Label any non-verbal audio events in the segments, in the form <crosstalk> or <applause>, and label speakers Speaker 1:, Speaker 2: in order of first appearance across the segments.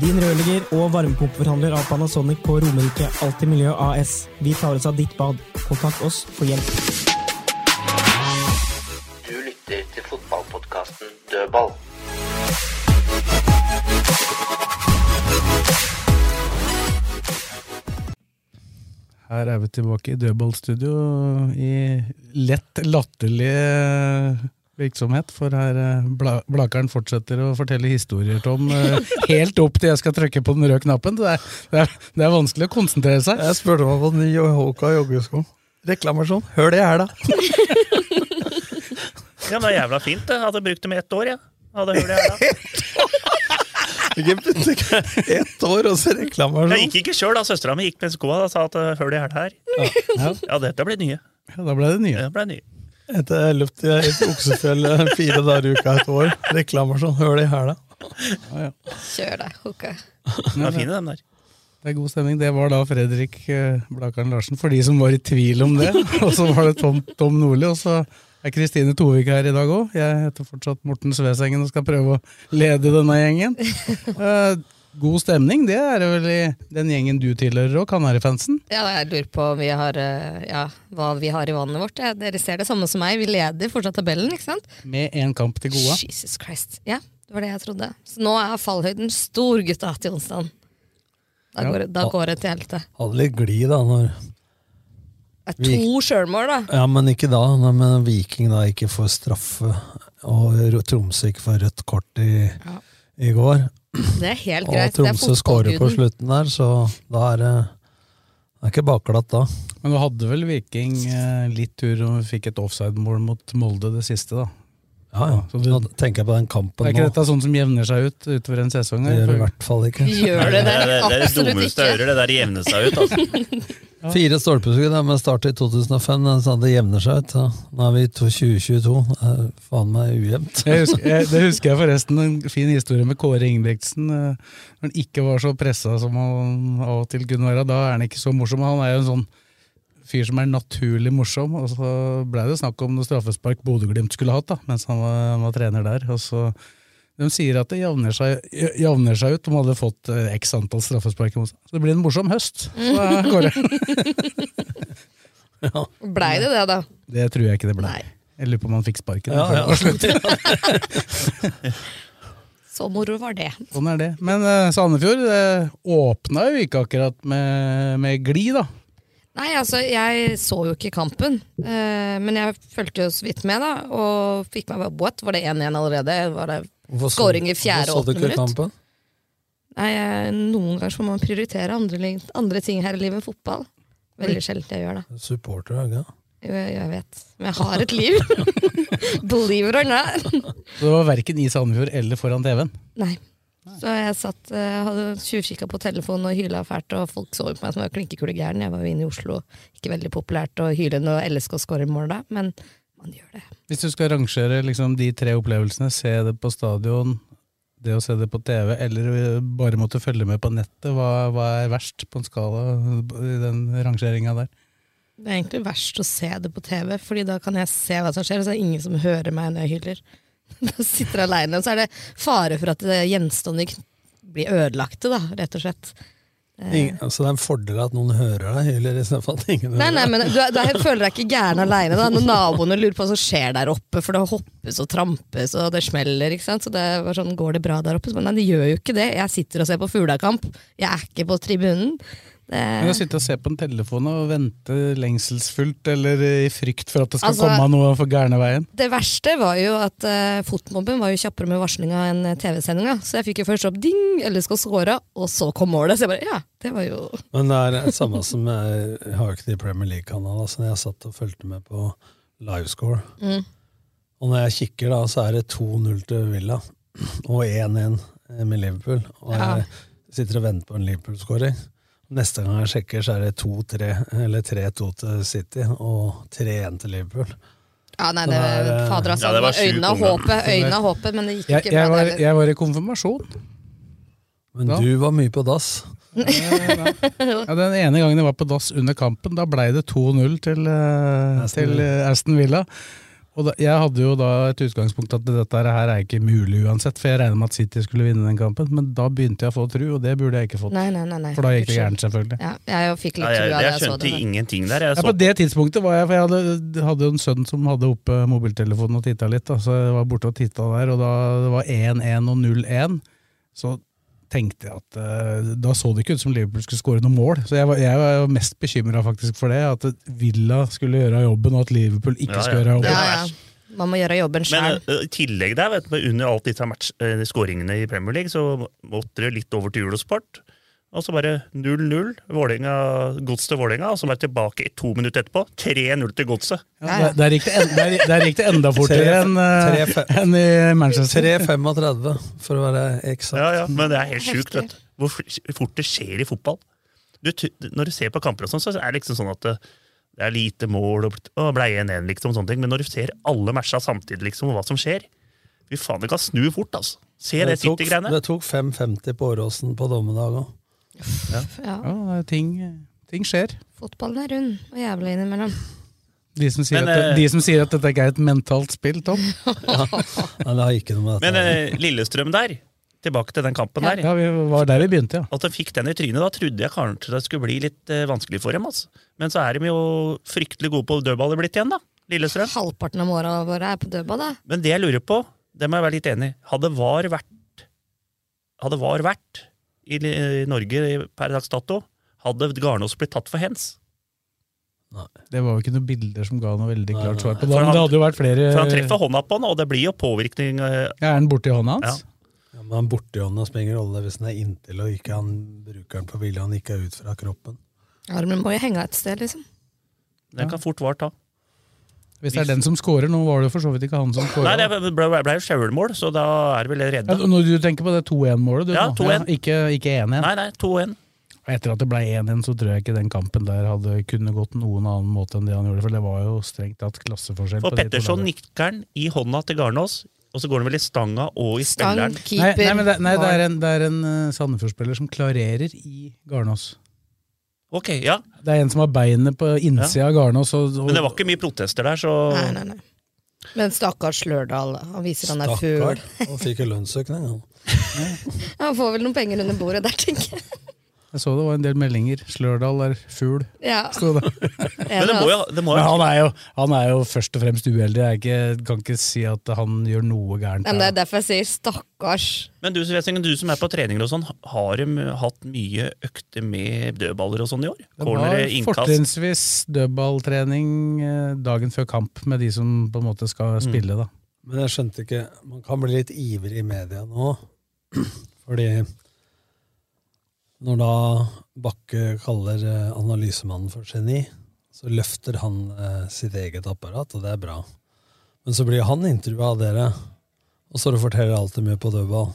Speaker 1: Din rørlegger og varmepumpeforhandler av Panasonic på Romerike Alltid Miljø AS. Vi tar oss av ditt bad. Kontakt oss for hjelp.
Speaker 2: Du lytter til fotballpodkasten Dødball.
Speaker 3: Her er vi tilbake i dødballstudio i lett latterlig eh, virksomhet, for her eh, bla, Blakeren fortsetter å fortelle historier, Tom, eh, helt opp til jeg skal trykke på den røde knappen. Det er, det er, det er vanskelig å konsentrere seg.
Speaker 4: Jeg spurte meg på ny Hoka joggesko. Reklamasjon. Hør det her, da.
Speaker 2: Ja, det er jævla fint. det. Hadde brukt dem i ett år, jeg. Hadde hørt det her, da.
Speaker 4: Ett år, og så sånn.
Speaker 2: Jeg
Speaker 4: reklamasjon.
Speaker 2: gikk ikke sjøl, da. Søstera mi gikk med skoa og sa at eh, hør de her her.
Speaker 3: Ja,
Speaker 2: Ja, dette blir nye.
Speaker 3: ja, da ble det nye.
Speaker 2: Det ble nye.
Speaker 4: Etter jeg løpt i et oksefjell eh, fire dager i uka et år. sånn, Reklamasjon. Hør det her, da.
Speaker 5: Kjør deg, Hoka.
Speaker 2: De er fine, dem der.
Speaker 3: Det er god stemning. Det var da Fredrik eh, Blakeren Larsen, for de som var i tvil om det. <laughs> Og så var det Tom, Tom Nordli, og så er Kristine Tovik her i dag òg. Jeg heter fortsatt Morten Svesengen og skal prøve å lede denne
Speaker 5: <laughs>
Speaker 3: gjengen. Eh, god stemning, det er det vel i den gjengen du tilhører òg, Kanarifansen?
Speaker 5: Ja, jeg lurer på om vi har, eh, ja, hva vi har i vannet vårt. Ja, dere ser det samme som meg. Vi leder fortsatt tabellen, ikke sant?
Speaker 3: Med én kamp til gode.
Speaker 5: Jesus Christ. Ja, det var det jeg trodde. Så nå er fallhøyden stor, gutta, til onsdagen. Da går, det- da går det til helvete.
Speaker 4: Hadde litt glid, da. Når,
Speaker 5: Det er to sjølmål, da.
Speaker 4: ja, men ikke da. Nei, men Viking da ikke får straffe, og Rø- Tromsø ikke får rødt kort i, i går.
Speaker 5: Det er helt
Speaker 4: Og
Speaker 5: greit. det er
Speaker 4: Tromsø skårer på
Speaker 5: fotballguden.
Speaker 4: slutten der, så da er det det er ikke bakglatt da.
Speaker 3: Men nå hadde vel Viking eh, litt tur og fikk et offside-mål mot Molde det siste, da.
Speaker 4: Ja, ja.
Speaker 3: Så du-
Speaker 4: Nå tenker jeg på den kampen
Speaker 3: Er ikke
Speaker 4: nå.
Speaker 3: dette sånn som jevner seg ut utover en sesong?
Speaker 4: Det
Speaker 3: her?
Speaker 4: gjør det i hvert fall ikke.
Speaker 5: Gjør det det? Absolutt ikke.
Speaker 2: hører. Det der jevner seg ut, altså.
Speaker 4: Fire stolpeskudd, ja, men startet i 2005, da, så det jevner seg ut. da. Nå er vi i to- 2022. Det er faen meg ujevnt.
Speaker 3: Jeg husker, jeg, det husker jeg forresten, en fin historie med Kåre Ingebrigtsen. eh, Når han ikke var så pressa som han av og til kunne være, da er han ikke så morsom. Han er jo en sånn fyr som er naturlig morsom, og så blei det snakk om noe straffespark Bodø-Glimt skulle hatt da, mens han var, han var trener der. og så... De sier at det javner seg, javner seg ut om han hadde fått eh, x antall straffespark. mot seg. Så det blir en morsom høst. Så, eh, Kåre.
Speaker 5: Blei det det, da?
Speaker 3: Det tror jeg ikke det ble.
Speaker 5: Nei.
Speaker 3: Jeg lurer på om han fikk
Speaker 6: <laughs>
Speaker 3: sparken.
Speaker 4: Ja, ja.
Speaker 5: Så moro var det.
Speaker 3: Sånn er det. Men eh, Sandefjord eh, åpna jo ikke akkurat med, med glid, da.
Speaker 5: Nei, altså, jeg så jo ikke kampen. eh, men jeg fulgte jo så vidt med, da. Og fikk meg bare what? Var det 1-1 allerede? Var det
Speaker 4: Hvorfor så-
Speaker 5: Skåring i
Speaker 4: hvorfor så
Speaker 5: fjerde
Speaker 4: du
Speaker 5: åttende
Speaker 4: ikke
Speaker 5: minutt?
Speaker 4: kampen?
Speaker 5: Nei, jeg- noen ganger så må man prioritere andre, ling- andre ting her i livet enn fotball. Veldig sjelden jeg gjør det.
Speaker 4: Supporter, er det ikke? det?
Speaker 5: Jo, jeg, jeg vet. Men jeg har et liv. <laughs> Believe it or not.
Speaker 3: Så det var verken i Sandefjord eller foran TV-en.
Speaker 5: Nei. Så jeg satt, eh, hadde tjuvkikka på telefonen og hyla fælt, og folk så på meg som var klinkekulegæren. Jeg var jo inne i Oslo, ikke veldig populært å hyle når LSK skårer mål da, men man gjør det.
Speaker 3: Hvis du skal rangere liksom, de tre opplevelsene, se det på stadion, det å se det på TV, eller eh, bare måtte følge med på nettet, hva, hva er verst på en skala eh, i den rangeringa der?
Speaker 5: Det er egentlig verst å se det på TV, Fordi da kan jeg se hva som skjer, og så er det ingen som hører meg når jeg hyler. <laughs> Da sitter jeg aleine, og så er det fare for at eh, gjenstander kn- blir ødelagte, da, rett og slett. Eh,
Speaker 4: Ingen, så det er en fordel at noen hører deg, heller istedenfor at ingen
Speaker 5: Nei,
Speaker 4: hører
Speaker 5: nei, men du, er- du er- føler deg ikke gæren aleine når naboene lurer på hva som skjer der oppe. For det hoppes og trampes og det smeller. ikke sant? Så det var sånn, Går det bra der oppe? Så, bare, nei, det gjør jo ikke det. Jeg sitter og ser på fuglekamp. Jeg er ikke på tribunen.
Speaker 3: Men å
Speaker 5: Det,
Speaker 3: sitte og se på en telefon og vente lengselsfullt eller i frykt for at det skal
Speaker 5: Altså-
Speaker 3: komme noe for gærne veien.
Speaker 5: det verste var jo at eh, fotmobben var jo kjappere med varslinga enn TV-sendinga. eh, Så jeg fikk jo først opp ding, eller skal score, og så kom målet. Så jeg bare ja, det var jo
Speaker 4: Men det er det samme som jeg, jeg har jo ikke det i Premier League-kanalen. Altså, jeg satt og fulgte med på livescore.
Speaker 5: Mm.
Speaker 4: Og når jeg kikker, da, så er det 2-0 til Villa og 1-1 med Liverpool. Og
Speaker 5: Ja.
Speaker 4: jeg sitter og venter på en Liverpool-skåring. Neste gang jeg sjekker, så er det 2-3 eller 3-2 til City og 3-1 til Liverpool.
Speaker 5: Ja, nei,
Speaker 4: Så det
Speaker 5: det,
Speaker 3: Sånn
Speaker 4: er-
Speaker 5: fader, altså.
Speaker 4: Ja, det var sjukt
Speaker 5: øynene av
Speaker 4: omgang.
Speaker 5: håpet, øynene av håpet, men det gikk
Speaker 3: Jeg,
Speaker 5: ikke
Speaker 3: jeg,
Speaker 5: bra.
Speaker 3: var,
Speaker 5: det heller.
Speaker 3: jeg var i konfirmasjon.
Speaker 4: Men du var mye på dass.
Speaker 3: Ja, den ene gangen jeg var på dass under kampen, da blei det 2-0 til, eh, til eh, Aston Villa. Og da, jeg hadde jo da et utgangspunkt at dette her er ikke mulig uansett, for jeg regner med at City skulle vinne den kampen, men da begynte jeg å få tru, og det burde jeg ikke fått.
Speaker 5: Nei, nei, nei, nei.
Speaker 3: For da gikk det
Speaker 5: Unnskyld.
Speaker 3: gærent, selvfølgelig.
Speaker 5: Ja, jeg fikk litt
Speaker 6: Nei, jeg,
Speaker 5: trua da
Speaker 6: jeg
Speaker 5: jeg så
Speaker 6: skjønte
Speaker 5: det.
Speaker 6: ingenting der. Jeg
Speaker 3: Ja,
Speaker 6: så
Speaker 3: på det tidspunktet var jeg, for jeg hadde, hadde jo en sønn som hadde oppe mobiltelefonen og titta litt, da, så jeg var borte og titta der, og da det var 1-1 og 0-1, så tenkte jeg at eh, da så det ikke ut som Liverpool skulle skåre noe mål. Så jeg var, jeg var jo mest bekymra faktisk for det, at Villa skulle gjøre jobben, og at Liverpool ikke
Speaker 6: Ja, ja.
Speaker 3: skulle gjøre
Speaker 6: Det
Speaker 3: jobben.
Speaker 6: var
Speaker 5: Ja, ja. Man må gjøre jobben
Speaker 6: Men
Speaker 5: sjøl.
Speaker 6: ø, i tillegg der, vet du, under alt disse match, eh, skåringene i Premier League, så måtte det litt over til julesport. Og så bare 0-0, Vålerenga- gods til Vålerenga, og så bare tilbake i to minutter etterpå. 3-0 til godset.
Speaker 3: Der, der, gikk det en, der, der gikk det enda fortere
Speaker 4: Tre-
Speaker 3: enn eh,
Speaker 4: tre-
Speaker 3: enn i Manchester.
Speaker 4: 3-35, for å være eksakt.
Speaker 6: Ja, ja, men det er helt sjukt, vet du. Hvor f- fort det skjer i fotball. Du, t- når du ser på kamper og sånn, så er det liksom sånn at det det er lite mål og bl- å, ble 1-1, liksom, sånne ting. Men når du ser alle matcha samtidig, liksom, og hva som skjer Fy faen, det kan snu fort, altså. Se det,
Speaker 4: tok,
Speaker 6: City-greiene.
Speaker 4: det tok 5.50 på Åråsen på dommedag òg.
Speaker 5: Ja,
Speaker 3: Ja, ting, ting skjer.
Speaker 5: fotballen er rund og jævla innimellom.
Speaker 3: De som, sier
Speaker 6: Men,
Speaker 3: at,
Speaker 6: eh,
Speaker 3: de som sier at dette ikke er et mentalt
Speaker 4: <laughs>
Speaker 3: spill, Tom.
Speaker 4: Nei, det har ikke noe med dette
Speaker 6: Men eh, Lillestrøm der, tilbake til den kampen der.
Speaker 3: Ja, vi var der vi begynte, ja.
Speaker 6: At de fikk den i trynet, da trodde jeg kanskje det skulle bli litt eh, vanskelig for dem. Altså. Men så er de jo fryktelig gode på dødballer blitt igjen, da. Lillestrøm.
Speaker 5: Halvparten av måla våre er på dødball, da.
Speaker 6: Men det jeg lurer på, det må jeg være litt enig i. Hadde VAR vært Hadde VAR vært i, Li- i Norge per dags dato, hadde Garnås blitt tatt for hens.
Speaker 3: Det var jo ikke noen bilder som ga noe veldig klart svar på det.
Speaker 6: For
Speaker 3: Men
Speaker 6: han-
Speaker 3: det hadde jo vært flere
Speaker 6: For han treffer hånda på han, og det blir jo påvirkning. eh,
Speaker 3: Ja, Er den borti hånda hans?
Speaker 4: Ja, men han bortehånda spiller ingen rolle hvis den er inntil og ikke han bruker den på vilje han ikke er ut fra kroppen.
Speaker 5: Armen må jo henge av et sted, liksom.
Speaker 6: Den kan fort VAR ta.
Speaker 3: Hvis det er den som scorer, nå var det jo for så vidt ikke han som
Speaker 6: Nei,
Speaker 3: scora.
Speaker 6: det ble- ble ble jo sjølmål, så da er det vel
Speaker 3: Ja,
Speaker 6: redda.
Speaker 3: når du tenker på det 2-1-målet, du.
Speaker 6: Ja,
Speaker 3: nå.
Speaker 6: 2-1.
Speaker 3: ikke ikke 1-1.
Speaker 6: Nei, nei, 2-1.
Speaker 3: Etter at det ble 1-1, så tror jeg ikke den kampen der hadde kunne gått noen annen måte enn det han gjorde, for det var jo strengt tatt klasseforskjell.
Speaker 6: For
Speaker 3: på de to
Speaker 6: Petterson
Speaker 3: lagene.
Speaker 6: nikker den i hånda til Garnås, og så går den vel i stanga og i spilleren.
Speaker 3: Nei, nei, men det, nei, det er en, det er en eh, Sandefjord-spiller som klarerer i Garnås.
Speaker 6: Ok, ja.
Speaker 3: Det er en som har beinet på innsida av Garnås. Og, og,
Speaker 6: Men det var ikke mye protester der, så
Speaker 5: Nei, nei, nei. Men stakkars Slørdal, han viser han er fugl.
Speaker 4: Stakkar. Han fikk jo lønnsøkning, han.
Speaker 5: Han får vel noen penger under bordet der, tenker jeg.
Speaker 3: Jeg så det var en del meldinger. Slørdal er fugl.
Speaker 5: <laughs> Ja.
Speaker 3: sto det.
Speaker 5: Men det må jo- det må jo-
Speaker 3: Men han, er jo, han er jo først og fremst uheldig. Jeg er ikke, kan ikke si at han gjør noe gærent.
Speaker 5: Nei, men det
Speaker 3: her.
Speaker 5: er derfor jeg sier stakkars.
Speaker 6: Men du, Svesingen, du som er på treninger og sånn, har de hatt mye økter med dødballer og sånn i år?
Speaker 3: Det
Speaker 6: Cornere,
Speaker 3: var
Speaker 6: innkast?
Speaker 3: fortrinnsvis dødballtrening eh, dagen før kamp med de som på en måte skal
Speaker 6: Mm.
Speaker 3: spille. da.
Speaker 4: Men jeg skjønte ikke Man kan bli litt ivrig i media nå, <clears throat> fordi når da Bakke kaller eh, analysemannen for geni, så løfter han eh, sitt eget apparat, og det er bra. Men så blir han intervjua av dere, og så forteller alt det mye på dødball.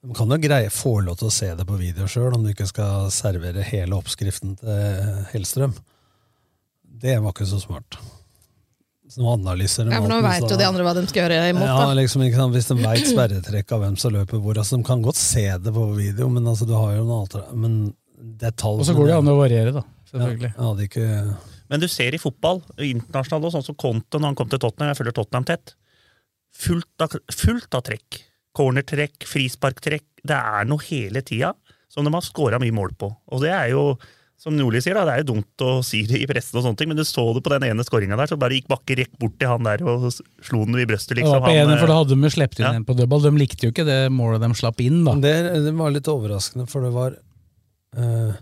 Speaker 4: De kan jo greie få lov til å se det på video sjøl, om du ikke skal servere hele oppskriften til eh, Hellstrøm. Det var ikke så smart. Så nå analyser de
Speaker 5: Ja, for nå
Speaker 4: alt, men
Speaker 5: veit
Speaker 4: så-
Speaker 5: jo de andre hva de skal gjøre imot,
Speaker 4: ja,
Speaker 5: da.
Speaker 4: liksom, ikke sant? Hvis de veit sperretrekk av hvem som løper hvor. Altså, de kan godt se det på video, men altså, du har jo noen alter... Men det er tall
Speaker 3: Og så går det jo an å variere, da. Selvfølgelig.
Speaker 4: Ja, det er ikke...
Speaker 6: Men du ser i fotball, internasjonalt og sånn som Conte når han kom til Tottenham, jeg følger Tottenham tett, fullt av, fullt av trekk. Cornertrekk, frisparktrekk. Det er noe hele tida som de har skåra mye mål på. Og det er jo, som Nordli sier, da, det er jo dumt å si det i pressen, og sånne ting, men du så det på den ene skåringa der, så bare gikk Bakke rett bort til han der og s- slo den i brystet,
Speaker 3: Det var
Speaker 6: liksom.
Speaker 3: på
Speaker 6: Han,
Speaker 3: ene, for Da
Speaker 6: eh,
Speaker 3: hadde de jo sleppet inn
Speaker 6: Ja.
Speaker 3: en på dødball. De likte jo ikke det målet de slapp inn. da.
Speaker 4: Det, det var litt overraskende, for det var eh,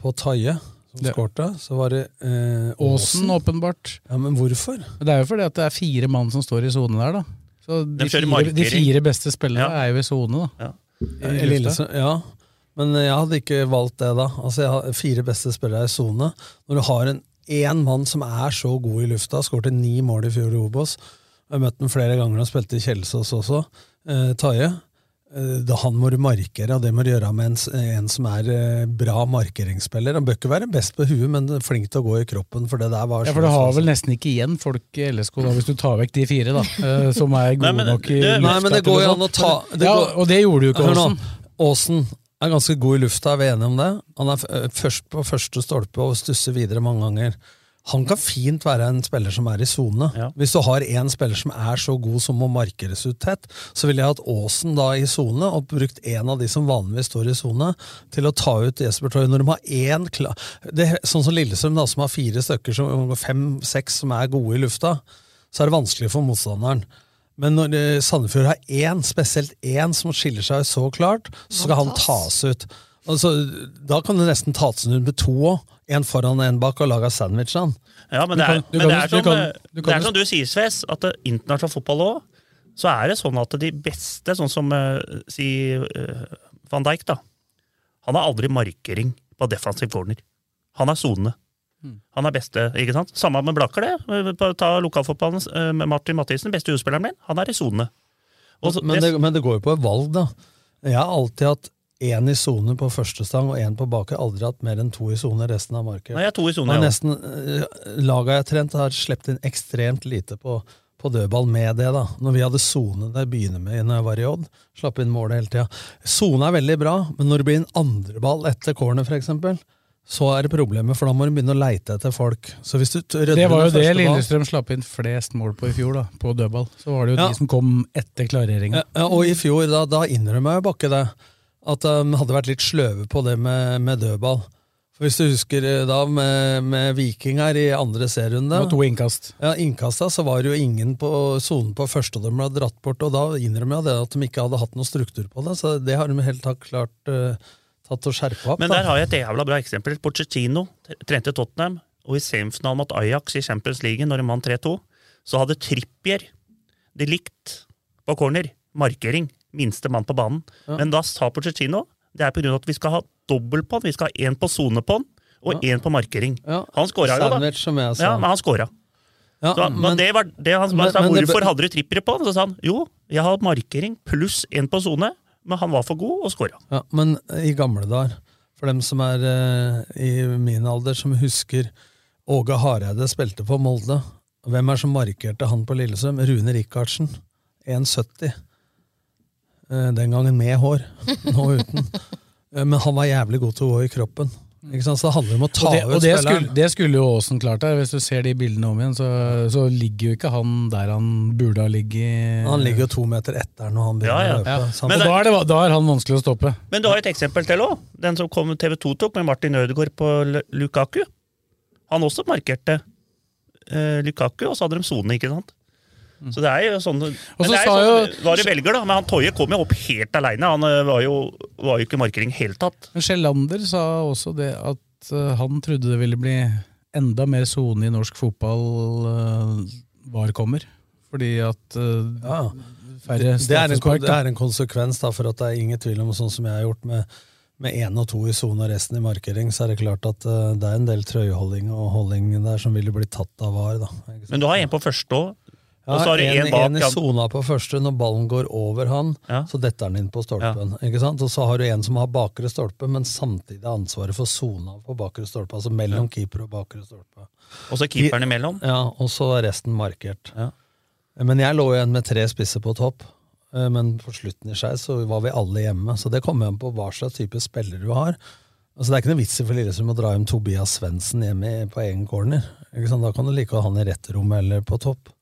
Speaker 4: på Taie som
Speaker 3: Det-
Speaker 4: skårte, så var det eh,
Speaker 3: Åsen, åpenbart.
Speaker 4: Ja, Men hvorfor?
Speaker 3: Det er jo fordi at det er fire mann som står i sone der, da. Så
Speaker 4: De
Speaker 3: de,
Speaker 4: kjører
Speaker 3: fire, de
Speaker 4: markering.
Speaker 3: fire beste spillerne er jo i sone, da. I
Speaker 4: Eh,
Speaker 3: lufta.
Speaker 4: Lillesund, ja. Men jeg hadde ikke valgt det da. Altså, jeg har Fire beste spillere i sone. Når du har en én mann som er så god i lufta, skårte ni mål i fjor i Obos Jeg møtte ham flere ganger da han spilte i Kjelsås også, eh, Taje. Eh, da han må du markere, og det må du gjøre med en, s- en som er eh, bra markeringsspiller. Han bør ikke være best på huet, men flink til å gå i kroppen, for det der var
Speaker 3: Ja,
Speaker 4: så-
Speaker 3: for du har vel nesten ikke igjen folk i LSK da, hvis du tar vekk de
Speaker 4: <laughs>
Speaker 3: fire, da. eh, Som er gode
Speaker 4: Nei, men
Speaker 3: nok i
Speaker 4: det- Nei, men det
Speaker 3: lufta til
Speaker 4: går jo an
Speaker 3: sånt.
Speaker 4: å ta
Speaker 3: Men- Ja,
Speaker 4: går-
Speaker 3: og det gjorde jo ikke
Speaker 4: Hør nå,
Speaker 3: Åsen.
Speaker 4: Åsen er ganske god i lufta, er vi enige om det? Han er f- ø, først på første stolpe og stusser videre mange ganger. Han kan fint være en spiller som er i sone. Hvis du har en spiller som er så god som må markeres ut tett, så ville jeg hatt Åsen da i sone, og brukt en av de som vanligvis står i sone, til å ta ut Jesper Torje. Når de har én klar det, er Sånn som Lillestrøm, da, som har fire stykker, som- fem-seks, som er gode i lufta, så er det vanskelig for motstanderen. Men når eh, Sandefjord har én, spesielt én, som skiller seg så klart, så skal han tas ut. Altså, da kan du nesten ta den ut med to òg. En foran og en bak, og lage sandwich. han.
Speaker 6: Ja, men
Speaker 4: Du
Speaker 6: det er,
Speaker 4: kan- du kan-
Speaker 6: men det
Speaker 4: du
Speaker 6: er, som,
Speaker 4: kan-
Speaker 6: eh,
Speaker 4: du
Speaker 6: det
Speaker 4: kan-
Speaker 6: er som du sier, Sves, at eh, internasjonal fotball òg, så er det sånn at de beste, sånn som eh, si eh, van Dijk, da. Han har aldri markering på defensiv corner. Han er sonene.
Speaker 4: Hmm.
Speaker 6: Han er beste, ikke sant? Samme med Blaker, det. Eh, Ta lokalfotballen eh, med Martin Mathisen, beste utspilleren min. Han er i sonene. Og så-
Speaker 4: Men det, men det går jo på et valg, da. Jeg har alltid hatt én i sone på første stang og én på bake. Aldri hatt mer enn to i sone resten av markedet.
Speaker 6: Nei, jeg har to i sone,
Speaker 4: Og
Speaker 6: ja.
Speaker 4: nesten eh, Laga jeg har trent, har sluppet inn ekstremt lite på, på dødball med det. da. Når vi hadde sone der jeg begynner med når jeg var i Odd, slapp inn målet hele tida. Sone er veldig bra, men når det blir en andreball etter corner, f.eks., så er det problemet, for da må du begynne å leite etter folk. Så hvis du t- rydder
Speaker 3: Det var jo
Speaker 4: den
Speaker 3: det
Speaker 4: første ballen-
Speaker 3: Lillestrøm slapp inn flest mål på i fjor, da, på dødball. Så var det jo
Speaker 4: Ja.
Speaker 3: de som kom etter klareringa.
Speaker 4: Ja, ja, og i fjor, da, da innrømmer jeg Bakke det, at de hadde vært litt sløve på det med, med dødball. For hvis du husker eh, da med, med Viking her i andre serierunde
Speaker 3: Det var to innkast.
Speaker 4: Ja, innkasta så var det jo ingen på sonen på første de ble dratt bort, og da innrømmer jeg det at de ikke hadde hatt noen struktur på det, så det har de helt tak- klart eh, tatt og skjerpa opp.
Speaker 6: Men der har jeg et jævla bra eksempel. Pochettino trente Tottenham, og i semifinalen mot Ajax i Champions League, når de vant 3-2, så hadde Trippier de likt på corner. Markering. Minste mann på banen. Men da sa Pochettino det er på grunn av at vi skal ha dobbel på den. Vi skal ha én på sone på den, og én på markering. Han skåra jo, da.
Speaker 4: Sandwich, som jeg sa.
Speaker 6: Ja, men han skåra.
Speaker 4: Ja,
Speaker 6: så, men,
Speaker 4: men-
Speaker 6: det var det han
Speaker 4: Men-
Speaker 6: sa.
Speaker 4: men det
Speaker 6: Hvorfor
Speaker 4: bør-
Speaker 6: hadde du Trippier på? Så sa han jo, jeg har markering pluss én på sone, men han var for god og skåra.
Speaker 4: Ja, men eh, i gamle dager, for dem som er eh, i min alder, som husker Åge Hareide spilte på Molde. Hvem er det som markerte han på Lillestrøm? Rune Rikardsen. 1,70. Eh, Den gangen med hår, <laughs> nå uten. Eh, Men han var jævlig god til å gå i kroppen. Ikke sant? Så det handler om å ta
Speaker 3: Og det, og
Speaker 4: ut
Speaker 3: det,
Speaker 4: spilleren.
Speaker 3: skulle, det skulle jo Aasen klart der. Hvis du ser de bildene om igjen, så, så ligger jo ikke han der han burde ha ligget.
Speaker 4: Han ligger jo to meter etter når han begynner
Speaker 6: Ja, ja.
Speaker 4: å løpe.
Speaker 6: Ja.
Speaker 4: sant?
Speaker 3: Og da er, det, da er han vanskelig å stoppe.
Speaker 6: Men du har et eksempel til òg. Den som kom TV 2 tok, med Martin Ødegaard på L- Lukaku. Han også markerte eh, Lukaku, og så hadde de sone, ikke sant? Så det er jo sånn men
Speaker 3: så
Speaker 6: det er
Speaker 3: sa
Speaker 6: sånn,
Speaker 3: jo-
Speaker 6: Hva du velger, da. Men han Toje kom jo opp helt aleine. Han eh, var jo, var jo ikke markering i det hele tatt.
Speaker 3: Men Sjelander sa også det at eh, han trodde det ville bli enda mer sone i norsk fotball eh, var kommer. Fordi at eh,
Speaker 4: Ja.
Speaker 3: færre
Speaker 4: det, er en, kon-
Speaker 3: straffespark
Speaker 4: det
Speaker 3: da.
Speaker 4: er en konsekvens, da, for at det er ingen tvil om, sånn som jeg har gjort med, med én og to i sone og resten i markering, så er det klart at eh, det er en del trøyeholding og holding der som ville blitt tatt av var. Da. Ikke sant?
Speaker 6: Men du har en på første òg.
Speaker 4: Ja,
Speaker 6: og så har du
Speaker 4: en,
Speaker 6: en bak.
Speaker 4: en i
Speaker 6: ja.
Speaker 4: sona på første, når ballen går over han, så detter han inn på stolpen. Ikke sant? Og så har du en som har bakre stolpe, men samtidig har ansvaret for sona på bakre stolpe, altså mellom keeper og bakre stolpe.
Speaker 6: Og så keeperen imellom.
Speaker 4: Ja, og så er resten markert. Men jeg lå igjen med tre spisser på topp. Eh, Men på slutten i Skeid så var vi alle hjemme, så det kommer an på hva slags type spiller du har. Altså Det er ikke noe vits i for Lillestrøm å dra hjem Tobias Svendsen hjemme i- på egen corner. Ikke sant? Da kan du like å ha han i rett rom eller på topp.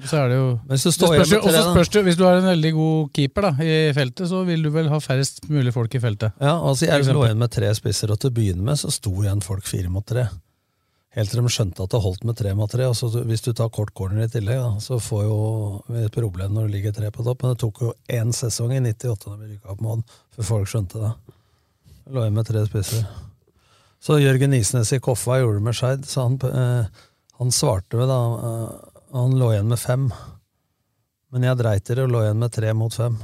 Speaker 3: Så er det jo
Speaker 4: Men hvis du
Speaker 3: Det
Speaker 4: står
Speaker 3: spørs
Speaker 4: igjen
Speaker 3: jo-
Speaker 4: med tre,
Speaker 3: også
Speaker 4: da.
Speaker 3: spørs det, Hvis du er en veldig god keeper da, i feltet, så vil du vel ha færrest mulig folk i feltet.
Speaker 4: Ja, altså
Speaker 3: For
Speaker 4: Jeg lå
Speaker 3: eksempel.
Speaker 4: igjen med tre spisser, og til å begynne med så sto igjen folk fire mot tre. Helt til de skjønte at det holdt med tre mot tre. Og så hvis du tar kort corner i tillegg, da, så får jo vi et problem når det ligger tre på topp. Men det tok jo én sesong i 98 da vi rykka opp med Odd, før folk skjønte det. Jeg lå igjen med tre spisser. Så Jørgen Isnes i Koffa gjorde det med Skeid, så han, eh, han svarte med da eh, Han lå igjen med fem. Men jeg dreit i det og lå igjen med tre mot fem.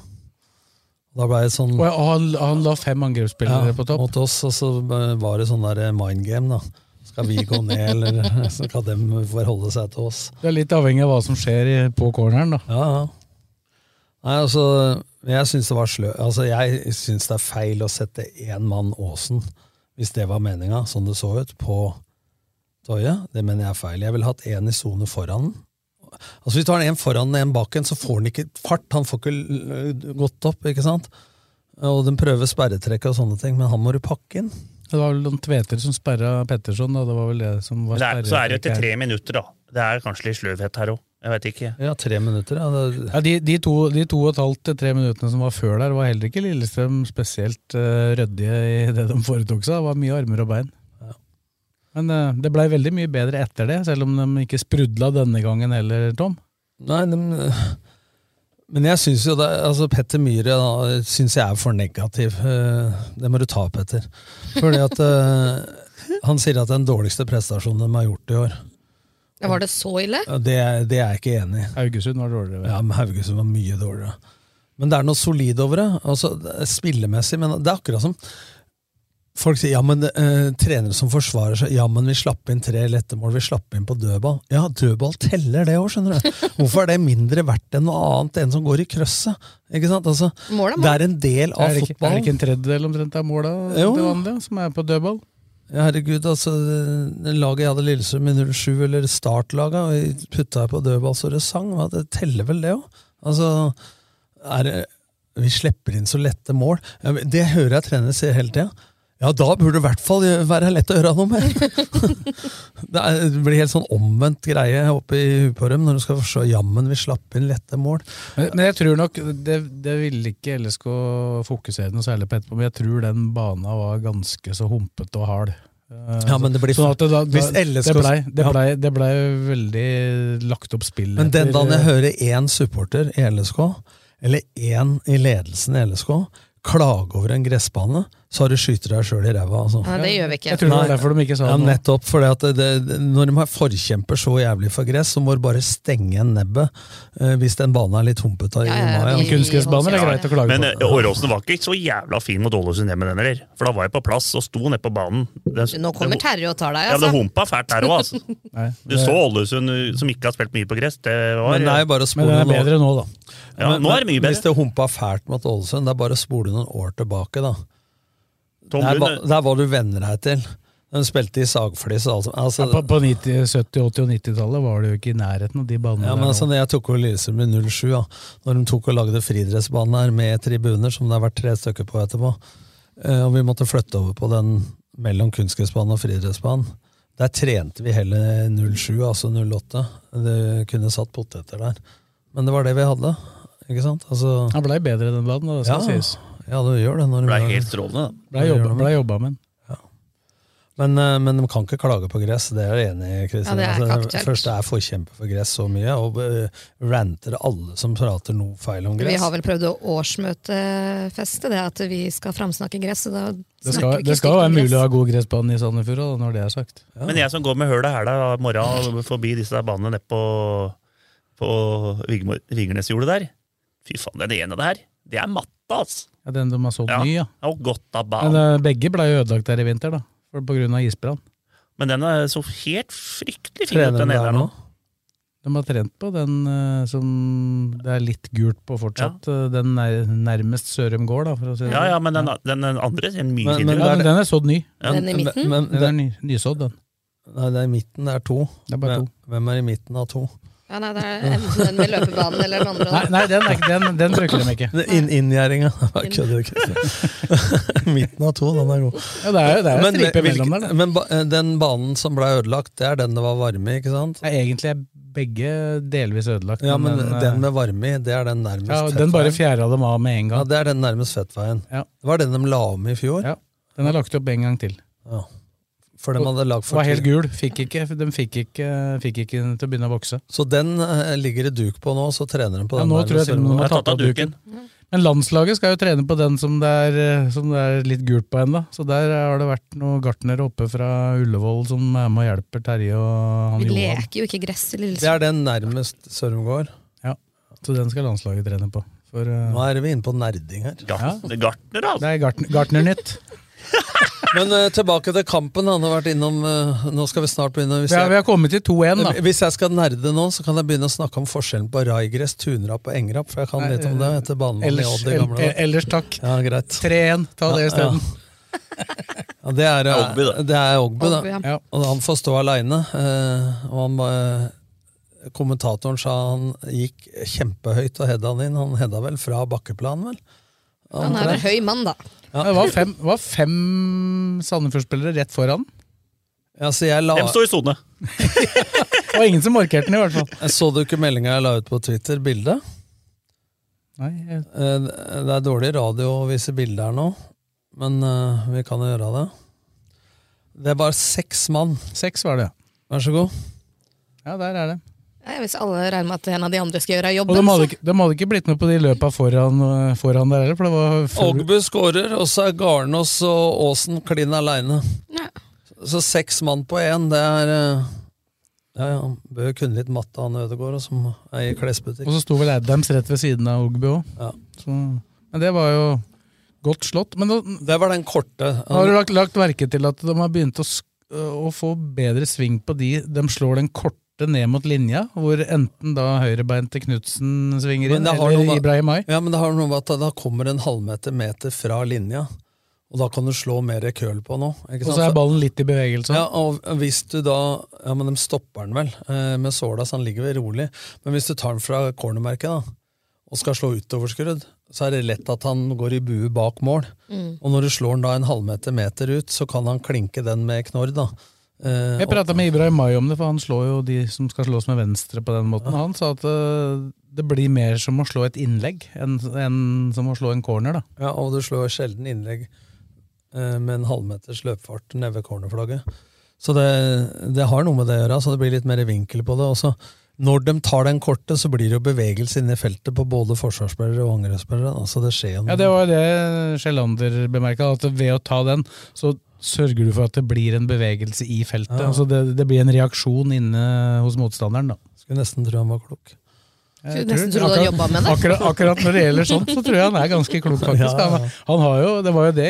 Speaker 4: Da ble det sånn
Speaker 3: Og han, han la fem angrepsspillere på topp.
Speaker 4: mot oss, og så eh, var det sånn der eh, mind game, da. Skal vi gå ned, eller <laughs> så skal dem forholde seg til oss?
Speaker 3: Det er litt avhengig av hva som skjer i, på corneren. da.
Speaker 4: Ja, ja. Nei, altså, jeg syns det var slø... Altså, jeg syns det er feil å sette én mann Aasen, hvis det var meninga, sånn det så ut, på Toje. Det mener jeg er feil. Jeg ville hatt én i sone foran den. Altså, hvis du har en foran og en bak en, så får han ikke fart. Han får ikke l- l- gått opp, ikke sant? Og den prøver sperretrekk og sånne ting, men han må du pakke inn.
Speaker 3: Det var vel noen tveter som sperra Petterson. da, det var vel det som var
Speaker 6: Men det er, så er det jo etter
Speaker 3: sperretrekket her.
Speaker 6: tre minutter, da. Det er kanskje litt sløvhet her òg. Jeg vet ikke.
Speaker 4: Ja, tre minutter, ja. Det,
Speaker 3: Ja, de, de, to, de to og et halvt til tre minuttene som var før der, var heller ikke Lillestrøm spesielt eh, ryddige i det de foretok seg. Det var mye armer og bein. Men eh, det blei veldig mye bedre etter det, selv om de ikke sprudla denne gangen heller, Tom.
Speaker 4: Nei, de, men jeg syns jo det altså Petter Myhre da, syns jeg er for negativ. Eh, Det må du ta, Petter. Fordi at eh, Han sier at det er den dårligste prestasjonen de har gjort i år.
Speaker 5: Ja, Var det så ille?
Speaker 4: Ja, Det, er- det er jeg ikke enig i.
Speaker 3: <laughs> Haugesund var dårligere.
Speaker 4: Ja, men Haugesund var mye dårligere. Men det er noe solid over det. Altså, det er spillemessig, men det er akkurat som Folk sier ja, men eh, trenere som forsvarer seg Ja, men vi slapp inn tre lette mål, vi slapp inn på dødball. Ja, dødball teller det òg, skjønner du.
Speaker 3: <laughs>
Speaker 4: Hvorfor er det mindre verdt enn noe annet enn som går i krøsset? Ikke sant? Altså,
Speaker 5: Mål er mål.
Speaker 4: Det er en del av
Speaker 3: Er det, ikke, er det
Speaker 4: fotballen.
Speaker 3: ikke en tredjedel omtrent av måla
Speaker 4: Jo.
Speaker 3: til vanlig, som er på dødball?
Speaker 4: Ja, herregud, altså det Laget jeg hadde i Lillestrøm i 07, eller startlaget, og jeg putta jeg på dødball så det sang, hva, det teller vel det òg? Altså, er det Vi slipper inn så lette mål. Ja, men Det hører jeg trenere si hele tida. Ja, da burde det i hvert fall være lett å gjøre noe med! <laughs> det, er, det blir helt sånn omvendt greie oppe i huet på dem når du skal se jammen vi slapp inn lette mål.
Speaker 3: Men, men jeg tror nok det, det ville ikke LSK fokusere noe særlig på etterpå, men jeg tror den bana var ganske så humpete og hard. Eh,
Speaker 4: Ja, men det blir-
Speaker 3: sånn at det, da, da,
Speaker 4: Hvis LSK
Speaker 3: det, blei, det,
Speaker 4: Ja.
Speaker 3: blei, det blei veldig lagt opp spill.
Speaker 4: Men den
Speaker 3: etter- eh,
Speaker 4: dagen jeg hører én supporter i LSK, eller én i ledelsen i LSK, klage over en gressbane, så har du skyter deg sjøl i ræva. Altså.
Speaker 5: Nei, det gjør vi ikke.
Speaker 3: Jeg tror det var derfor de ikke sa
Speaker 4: Ja,
Speaker 3: noe.
Speaker 4: nettopp. Fordi at det, det, når de har forkjemper så jævlig for gress, så må du bare stenge igjen nebbet eh, hvis den banen er litt humpete. i
Speaker 5: Ja, ja,
Speaker 4: mai,
Speaker 5: vi-
Speaker 4: altså.
Speaker 3: Kunstgressbaner er greit å klage
Speaker 6: Men
Speaker 3: på.
Speaker 6: eh, Åråsen var ikke så jævla fin mot Ålesund hjemme, den heller. For da var jeg på plass og sto nede på banen. Den-
Speaker 5: Nå kommer
Speaker 6: den-
Speaker 5: Terje og tar deg,
Speaker 6: Ja, men det
Speaker 5: altså.
Speaker 6: humpa fælt der òg, altså.
Speaker 3: Nei,
Speaker 6: Du så Ålesund uh, som ikke har spilt mye på gress. Det var
Speaker 4: Men det er jo bare å
Speaker 3: Men
Speaker 4: spole
Speaker 3: den er
Speaker 4: noen år-
Speaker 3: bedre nå, da.
Speaker 6: Ja,
Speaker 4: Men-
Speaker 6: nå er det mye
Speaker 4: men Hvis
Speaker 6: bedre.
Speaker 4: det humpa fælt mot Ålesund, det er bare å spole noen år tilbake, da.
Speaker 6: Tom
Speaker 4: Der, ba,
Speaker 6: Lund,
Speaker 4: der var du venner deg til. De spilte i sagflis og alt sånt. Altså,
Speaker 3: Ja, på på 90, 70-, 80- og 90-tallet var det jo ikke i nærheten av de banene.
Speaker 4: Ja, men
Speaker 3: der
Speaker 4: altså,
Speaker 3: nå.
Speaker 4: når jeg tok over Lillestrøm i 07, da, når de tok og lagde friidrettsbanen her med tribuner, som det har vært tre stykker på etterpå, eh, og vi måtte flytte over på den mellom kunstgressbanen og friidrettsbanen, der trente vi hele 07, altså 08. Det kunne satt poteter der. Men det var det vi hadde, ikke sant? Altså,
Speaker 3: Han blei bedre den banen, da, det skal
Speaker 4: Ja.
Speaker 3: sies.
Speaker 4: ja, du gjør det når
Speaker 6: det
Speaker 4: du
Speaker 6: ble helt strålende, da.
Speaker 3: Blei jobba, ble jobba med den.
Speaker 4: Men, eh, men de kan ikke klage på gress, det er jeg enig i. Kristin.
Speaker 5: Ja, det er ikke
Speaker 4: altså,
Speaker 5: aktuelt.
Speaker 4: først er forkjemper for gress så mye, og eh, ranter alle som prater noe feil om gress.
Speaker 5: Vi har vel prøvd å årsmøtefeste det at vi skal framsnakke gress. så Da
Speaker 3: Det
Speaker 5: snakker
Speaker 3: skal,
Speaker 5: vi ikke
Speaker 3: det skal
Speaker 5: stygt om
Speaker 3: være mulig å
Speaker 5: gress.
Speaker 3: ha god gressbane i Sandefjord, da, når det er sagt.
Speaker 6: eh, Men jeg som går med høla hæla i morgen forbi disse der banene nede på, på Vigmo- Vigernesjordet der Fy faen, den ene der, det er matta, altså.
Speaker 3: Ja, den de har solgt
Speaker 6: Ja.
Speaker 3: ny, ja.
Speaker 6: Og godt av
Speaker 3: Men
Speaker 6: banen.
Speaker 3: eh, begge ble jo ødelagt der i vinter, da. For, på grunn av isbrann.
Speaker 6: Men den er så helt fryktelig fin ut,
Speaker 4: Trener
Speaker 6: den ene
Speaker 4: der
Speaker 6: der
Speaker 4: nå?
Speaker 6: nå.
Speaker 3: De har trent på den eh, som det er litt gult på fortsatt. eh, Den nær, nærmest Sørum gård, da, for å si det
Speaker 6: Ja,
Speaker 3: sånn.
Speaker 6: ja, men den, den, den andre er mye
Speaker 4: Men- men
Speaker 6: finere.
Speaker 3: Ja, men den er sådd ny.
Speaker 6: Ja.
Speaker 5: Den i midten?
Speaker 4: Men,
Speaker 3: Den
Speaker 4: det,
Speaker 3: er ny, nysådd, den.
Speaker 4: nei, det er i midten, det er to.
Speaker 3: Det er bare
Speaker 4: Hvem-
Speaker 3: to.
Speaker 4: Hvem er i midten av
Speaker 3: <laughs>
Speaker 4: to?
Speaker 5: Ja, nei, det er enten den med løpebanen eller den andre.
Speaker 3: Nei,
Speaker 5: da.
Speaker 3: nei den, er ikke, den, den bruker de ikke.
Speaker 4: Det er inn- <laughs> Inngjerdinga. Jeg Kødder, Kristian. <laughs> midten av to, den er god.
Speaker 3: Ja, det er jo det er jo
Speaker 4: Men, eh,
Speaker 3: stripe
Speaker 4: hvilken-
Speaker 3: mellom der, da.
Speaker 4: men ba- den banen som ble ødelagt, det er den det var varme i, ikke sant?
Speaker 3: Det er egentlig begge delvis ødelagt.
Speaker 4: Ja, men
Speaker 3: eh,
Speaker 4: den med varme i, det er den nærmest
Speaker 3: ja, Den bare fjæra dem av med en gang.
Speaker 4: Ja, det er den nærmest fettveien. Det var den de la om i fjor.
Speaker 3: Ja, Den er lagt opp en gang til.
Speaker 4: Ja. For dem hadde lagd for
Speaker 3: Var helt
Speaker 4: tidlig.
Speaker 3: gul. Fikk ikke, de fikk ikke, fikk ikke den til å begynne å vokse.
Speaker 4: Så den eh, ligger det duk på nå, så trener de på
Speaker 3: Ja,
Speaker 4: den.
Speaker 3: nå
Speaker 4: der
Speaker 3: tror jeg til og med de
Speaker 4: med
Speaker 3: har tatt av duken. Men landslaget skal jo trene på den som det er, eh, som det er litt gult på ennå. Så der har det vært noen gartnere oppe fra Ullevål som er med og hjelper Terje og han
Speaker 5: Vi
Speaker 3: Johan.
Speaker 5: leker jo ikke gress i
Speaker 4: Det
Speaker 5: Lillesand.
Speaker 4: er den nærmest Sørum gård.
Speaker 3: Ja, så den skal landslaget trene på. For, eh,
Speaker 4: Nå er vi inne på nerding her.
Speaker 6: Det er gartner, altså. da.
Speaker 3: Det er gartn <laughs> Gartnernytt.
Speaker 4: Men eh, tilbake til kampen. Han har vært innom eh, Nå skal vi snart begynne. Hvis
Speaker 3: Vi
Speaker 4: jeg-
Speaker 3: har-
Speaker 4: Eh,
Speaker 3: vi har kommet til 2-1, da.
Speaker 4: Hvis jeg skal nerde nå, så kan jeg begynne å snakke om forskjellen på raigress, tunrapp og engrapp, for jeg kan
Speaker 3: Nei, eh,
Speaker 4: litt om det etter banemann i
Speaker 3: ellers-
Speaker 4: Odd i gamle
Speaker 3: el-
Speaker 4: dager.
Speaker 3: el- ellers takk.
Speaker 4: Ja, greit.
Speaker 3: 3-1, ta det
Speaker 4: Ja, ja.
Speaker 3: isteden.
Speaker 4: Ja, det er, eh,
Speaker 3: Det er Ogbu, da.
Speaker 4: det er Ogbu, da.
Speaker 3: Ogbu, ja. Ja.
Speaker 4: Og han får stå aleine. Og han, eh, kommentatoren sa han gikk kjempehøyt og heada han inn. Han heada vel fra bakkeplan, vel?
Speaker 5: Han er en høy mann, da.
Speaker 3: Det var fem, var fem Sandefjord-spillere rett foran.
Speaker 4: Ja, så jeg la...
Speaker 6: Dem står i sone.
Speaker 3: Det var ingen som markerte den, i hvert fall.
Speaker 4: Så du ikke meldinga jeg la ut på Twitter? Bildet?
Speaker 3: Nei, jeg,
Speaker 4: Eh, Det er dårlig radio å vise bilder her nå, men eh, vi kan jo gjøre det. Det er bare seks mann.
Speaker 3: Seks var det,
Speaker 4: Vær så god.
Speaker 3: ja, der er det.
Speaker 5: Ja, Hvis alle regner med at en av de andre skal gjøre
Speaker 3: Og de
Speaker 5: jobben,
Speaker 3: hadde, ikke, de hadde ikke blitt med på de løpa foran, eh, foran der heller, for det var full-
Speaker 4: Ogbu skårer, og så er Garnås og Aasen klin aleine. Så seks mann på én, det er eh, Ja, ja, han bør jo kunne litt matte, han Ødegaard, og som er i klesbutikk.
Speaker 3: Og så sto vel Adams rett ved siden av Ogbu òg. Men det var jo godt slått. Men da,
Speaker 4: Det var den korte.
Speaker 3: har du lagt, lagt merke til at de har begynt å, sk- å få bedre sving på de de slår den korte ned mot linja, hvor enten da høyrebeinte Knutsen svinger inn,
Speaker 4: det har noe
Speaker 3: eller
Speaker 4: med-
Speaker 3: Ibrahim
Speaker 4: Ja, men det har noe med at da kommer en halvmeter meter fra linja, og da kan du slå mer køl på nå.
Speaker 3: Og så er ballen litt i bevegelse.
Speaker 4: Ja, og hvis du da Ja, men de stopper den vel eh, med såla, så han ligger vel rolig. Men hvis du tar den fra cornermerket da, og skal slå utoverskrudd, så er det lett at han går i bue bak mål.
Speaker 3: Mm.
Speaker 4: Og når du slår den da en halvmeter meter ut, så kan han klinke den med knorr, da. Eh,
Speaker 3: Jeg prata med Ibrahim Mai om det, for han slår jo de som skal slås med venstre på den måten. Han sa at eh, det blir mer som å slå et innlegg enn enn som å slå en corner, da.
Speaker 4: og, ja, og du slår sjelden innlegg eh, med en halvmeters løpefart nede ved cornerflagget. Så det, det har noe med det å gjøre, så det blir litt mer vinkel på det. Og så når de tar den korte, så blir det jo bevegelse inne i feltet på både forsvarsspillere og angrepsspillere. da, så det skjer jo
Speaker 5: Mm.
Speaker 4: noe.
Speaker 3: Ja, Det var jo det Sjelander bemerka, at ved å ta den, så sørger du for at det blir en bevegelse i feltet.
Speaker 4: Ja.
Speaker 3: Altså det, det blir en reaksjon inne hos motstanderen, da.
Speaker 4: Skulle nesten tro han var klok.
Speaker 3: Jeg
Speaker 5: Skulle nesten
Speaker 3: tror-
Speaker 5: tro du hadde
Speaker 3: akkurat-
Speaker 5: jobbet med det.
Speaker 3: Akkurat, akkurat når det gjelder sånt, så tror jeg han er ganske
Speaker 4: <laughs>
Speaker 3: klok,
Speaker 4: Ja,
Speaker 3: faktisk.
Speaker 4: ja, ja.
Speaker 3: Han, han har jo, det var jo det,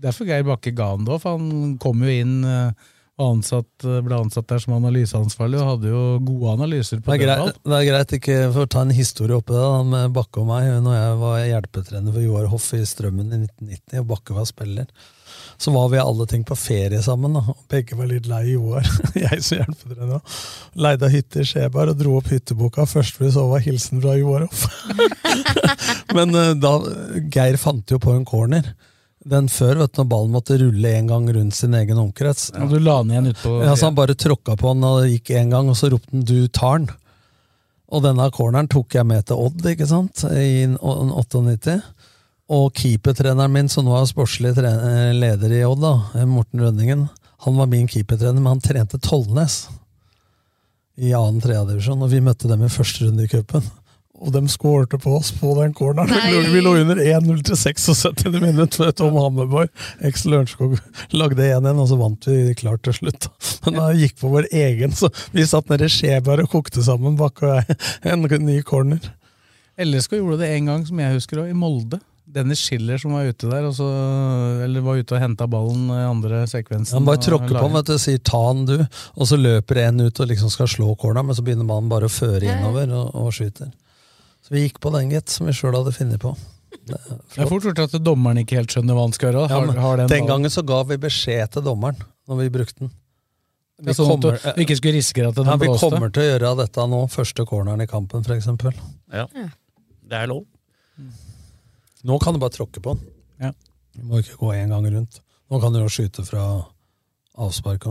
Speaker 3: derfor Geir Bakke ga han det òg, for han kom jo inn eh, og ansatt, eh, ble ansatt der som analyseansvarlig, og hadde jo gode analyser
Speaker 4: Det
Speaker 3: på
Speaker 4: er,
Speaker 3: dødball.
Speaker 4: greit, det er greit ikke for å ta en historie oppi det, da, med Bakke og meg. Når jeg var hjelpetrener for Joar Hoff i Strømmen i 1990, og Bakke var spiller, så var vi alle ting på ferie sammen. Da. og Begge var litt lei Joar, <laughs> jeg som hjelpetrener. også. Leide hytte i Skjeberg og dro opp hytteboka. Først vi så, var hilsen fra Joar Hoff. <laughs> Men eh, da, Geir fant jo på en corner. Den før, vet du, når ballen måtte rulle en gang rundt sin egen omkrets.
Speaker 3: Og du la han igjen utpå
Speaker 4: Ja, så han bare tråkka på han, og det gikk en gang, og så ropte han 'du tar den'. Og denne corneren tok jeg med til Odd, ikke sant, i en- en 98. Og keepertreneren min, som nå er sportslig tre- leder i Odd, da, Morten Rønningen, han var min keepertrener, men han trente Tollnes i annen tredjedivisjon, og vi møtte dem i første runde i cupen. Og de skårte på oss på den corneren. Vi lå- Vi lå under 1-0 til 76 minutt ved Tom Hammerborg. Eks Lørenskog <laughs> lagde 1-1, og så vant vi klart til slutt. <laughs> da. Men da gikk på vår egen, så vi satt nede i Skjeberg og kokte sammen bak og jeg, <laughs> en ny corner.
Speaker 3: LSK gjorde det en gang, som jeg husker òg, i Molde. Dennis Schiller som var ute der, og så, eller var ute og henta ballen i andre sekvensen.
Speaker 4: Han bare
Speaker 3: og
Speaker 4: tråkker på
Speaker 3: laget.
Speaker 4: ham vet du, og sier 'ta han, du', og så løper en ut og liksom skal slå corneren, men så begynner mannen bare å føre innover og, og skyter. Så vi gikk på den, gitt, som vi sjøl hadde funnet på. Det er
Speaker 3: Det er fort gjort at dommeren ikke helt skjønner hva han skal gjøre.
Speaker 4: Ja,
Speaker 3: Har,
Speaker 4: men
Speaker 3: har
Speaker 4: den,
Speaker 3: den ballen.
Speaker 4: gangen så ga vi beskjed til dommeren når vi brukte den.
Speaker 3: Ja, sånn at du- du ikke skulle risikere at den
Speaker 4: ja, vi
Speaker 3: blåste.
Speaker 4: kommer til å gjøre dette nå, første corneren i kampen f.eks.
Speaker 6: Ja. Det er lov.
Speaker 4: Nå kan du bare tråkke på den.
Speaker 3: Ja.
Speaker 4: Du må ikke gå én gang rundt. Nå kan du jo skyte fra avsparka.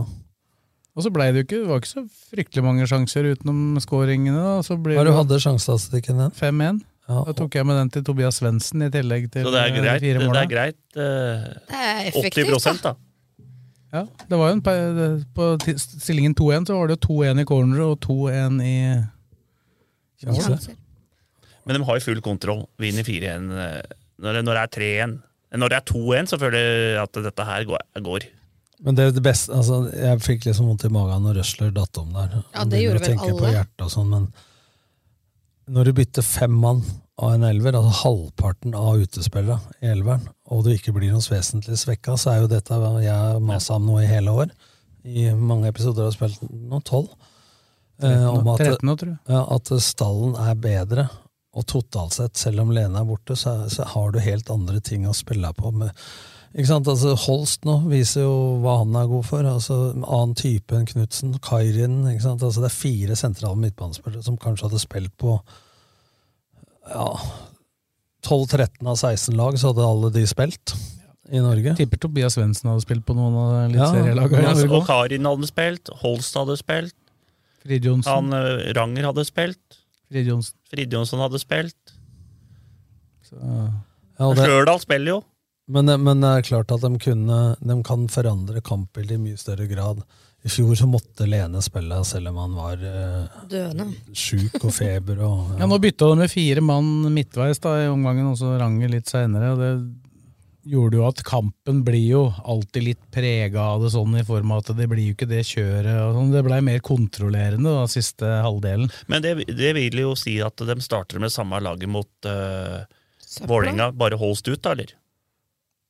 Speaker 3: Og så blei det jo ikke, det var ikke så fryktelig mange sjanser utenom scoringene. da. Så blir
Speaker 4: Hva er det
Speaker 3: det jo
Speaker 4: du hadde sjansestatistikken din?
Speaker 3: 5-1. Da tok jeg med den til Tobias Svendsen i tillegg til
Speaker 6: Så det er
Speaker 3: eh,
Speaker 6: greit.
Speaker 3: fire
Speaker 6: Det
Speaker 3: måla.
Speaker 6: er greit. eh,
Speaker 5: Det er effektivt,
Speaker 6: 80 da.
Speaker 3: Ja, det var jo en, pe- det- på ti- stillingen 2-1 så var det jo 2-1 i corner og 2-1 i
Speaker 4: Sjanser.
Speaker 3: mål.
Speaker 6: Men de har jo full kontroll. Vinner 4-1. eh, Når, det- når det er 3-1 Når det er 2-1, så føler jeg at dette her går. går.
Speaker 4: Men det er det beste, altså, jeg fikk liksom vondt i magen når Røsler datt om der.
Speaker 5: Ja,
Speaker 4: Man
Speaker 5: det
Speaker 4: begynner
Speaker 5: gjorde
Speaker 4: å
Speaker 5: vel
Speaker 4: tenke på
Speaker 5: alle.
Speaker 4: hjertet og sånn, men når du bytter fem mann av en elver, altså halvparten av utespillere i elveren, og du ikke blir noe vesentlig svekka, så er jo dette hva jeg har masa om nå i hele år. I mange episoder har jeg spilt nå, tolv. Eh, om at,
Speaker 3: 13 nå, tror jeg.
Speaker 4: ja, at stallen er bedre, og totalt sett, selv om Lene er borte, så, er- så har du helt andre ting å spille på. Med, ikke sant? Altså, Holst nå viser jo hva han er god for. altså Annen type enn Knutsen, Kairin ikke sant? Altså, Det er fire sentrale midtbanespillere som kanskje hadde spilt på ja, 12-13 av 16 lag, så hadde alle de spilt i Norge.
Speaker 3: Tipper Tobias Svendsen hadde spilt på noen av
Speaker 4: Ja,
Speaker 3: eliteserielagene.
Speaker 6: Men,
Speaker 3: i
Speaker 6: og
Speaker 3: Norge.
Speaker 6: Altså, Karin hadde spilt. Holst hadde spielt.
Speaker 3: Frid Johnsen.
Speaker 6: Han, eh, Ranger hadde spilt.
Speaker 3: Frid Johnsen.
Speaker 6: Frid Jonsson hadde spilt.
Speaker 4: Ja, og det-
Speaker 6: Stjørdal spiller jo.
Speaker 4: Men, eh, men det er klart at de, kunne, de kan forandre kampbildet i mye større grad. I fjor så måtte Lene spille selv om han var eh,
Speaker 5: Døende.
Speaker 4: sjuk og feber. Og,
Speaker 3: <laughs> Ja, nå bytta de med fire mann midtveis da, i omgangen, og så Ranger litt seinere. Det gjorde jo at kampen blir jo alltid litt prega av det sånn, i form av at det blir jo ikke det kjøret. Og sånn. Det blei mer kontrollerende da, siste halvdelen.
Speaker 6: Men det, det vil jo si at de starter med samme laget mot uh, Vålerenga. Bare Holst ut, da, eller?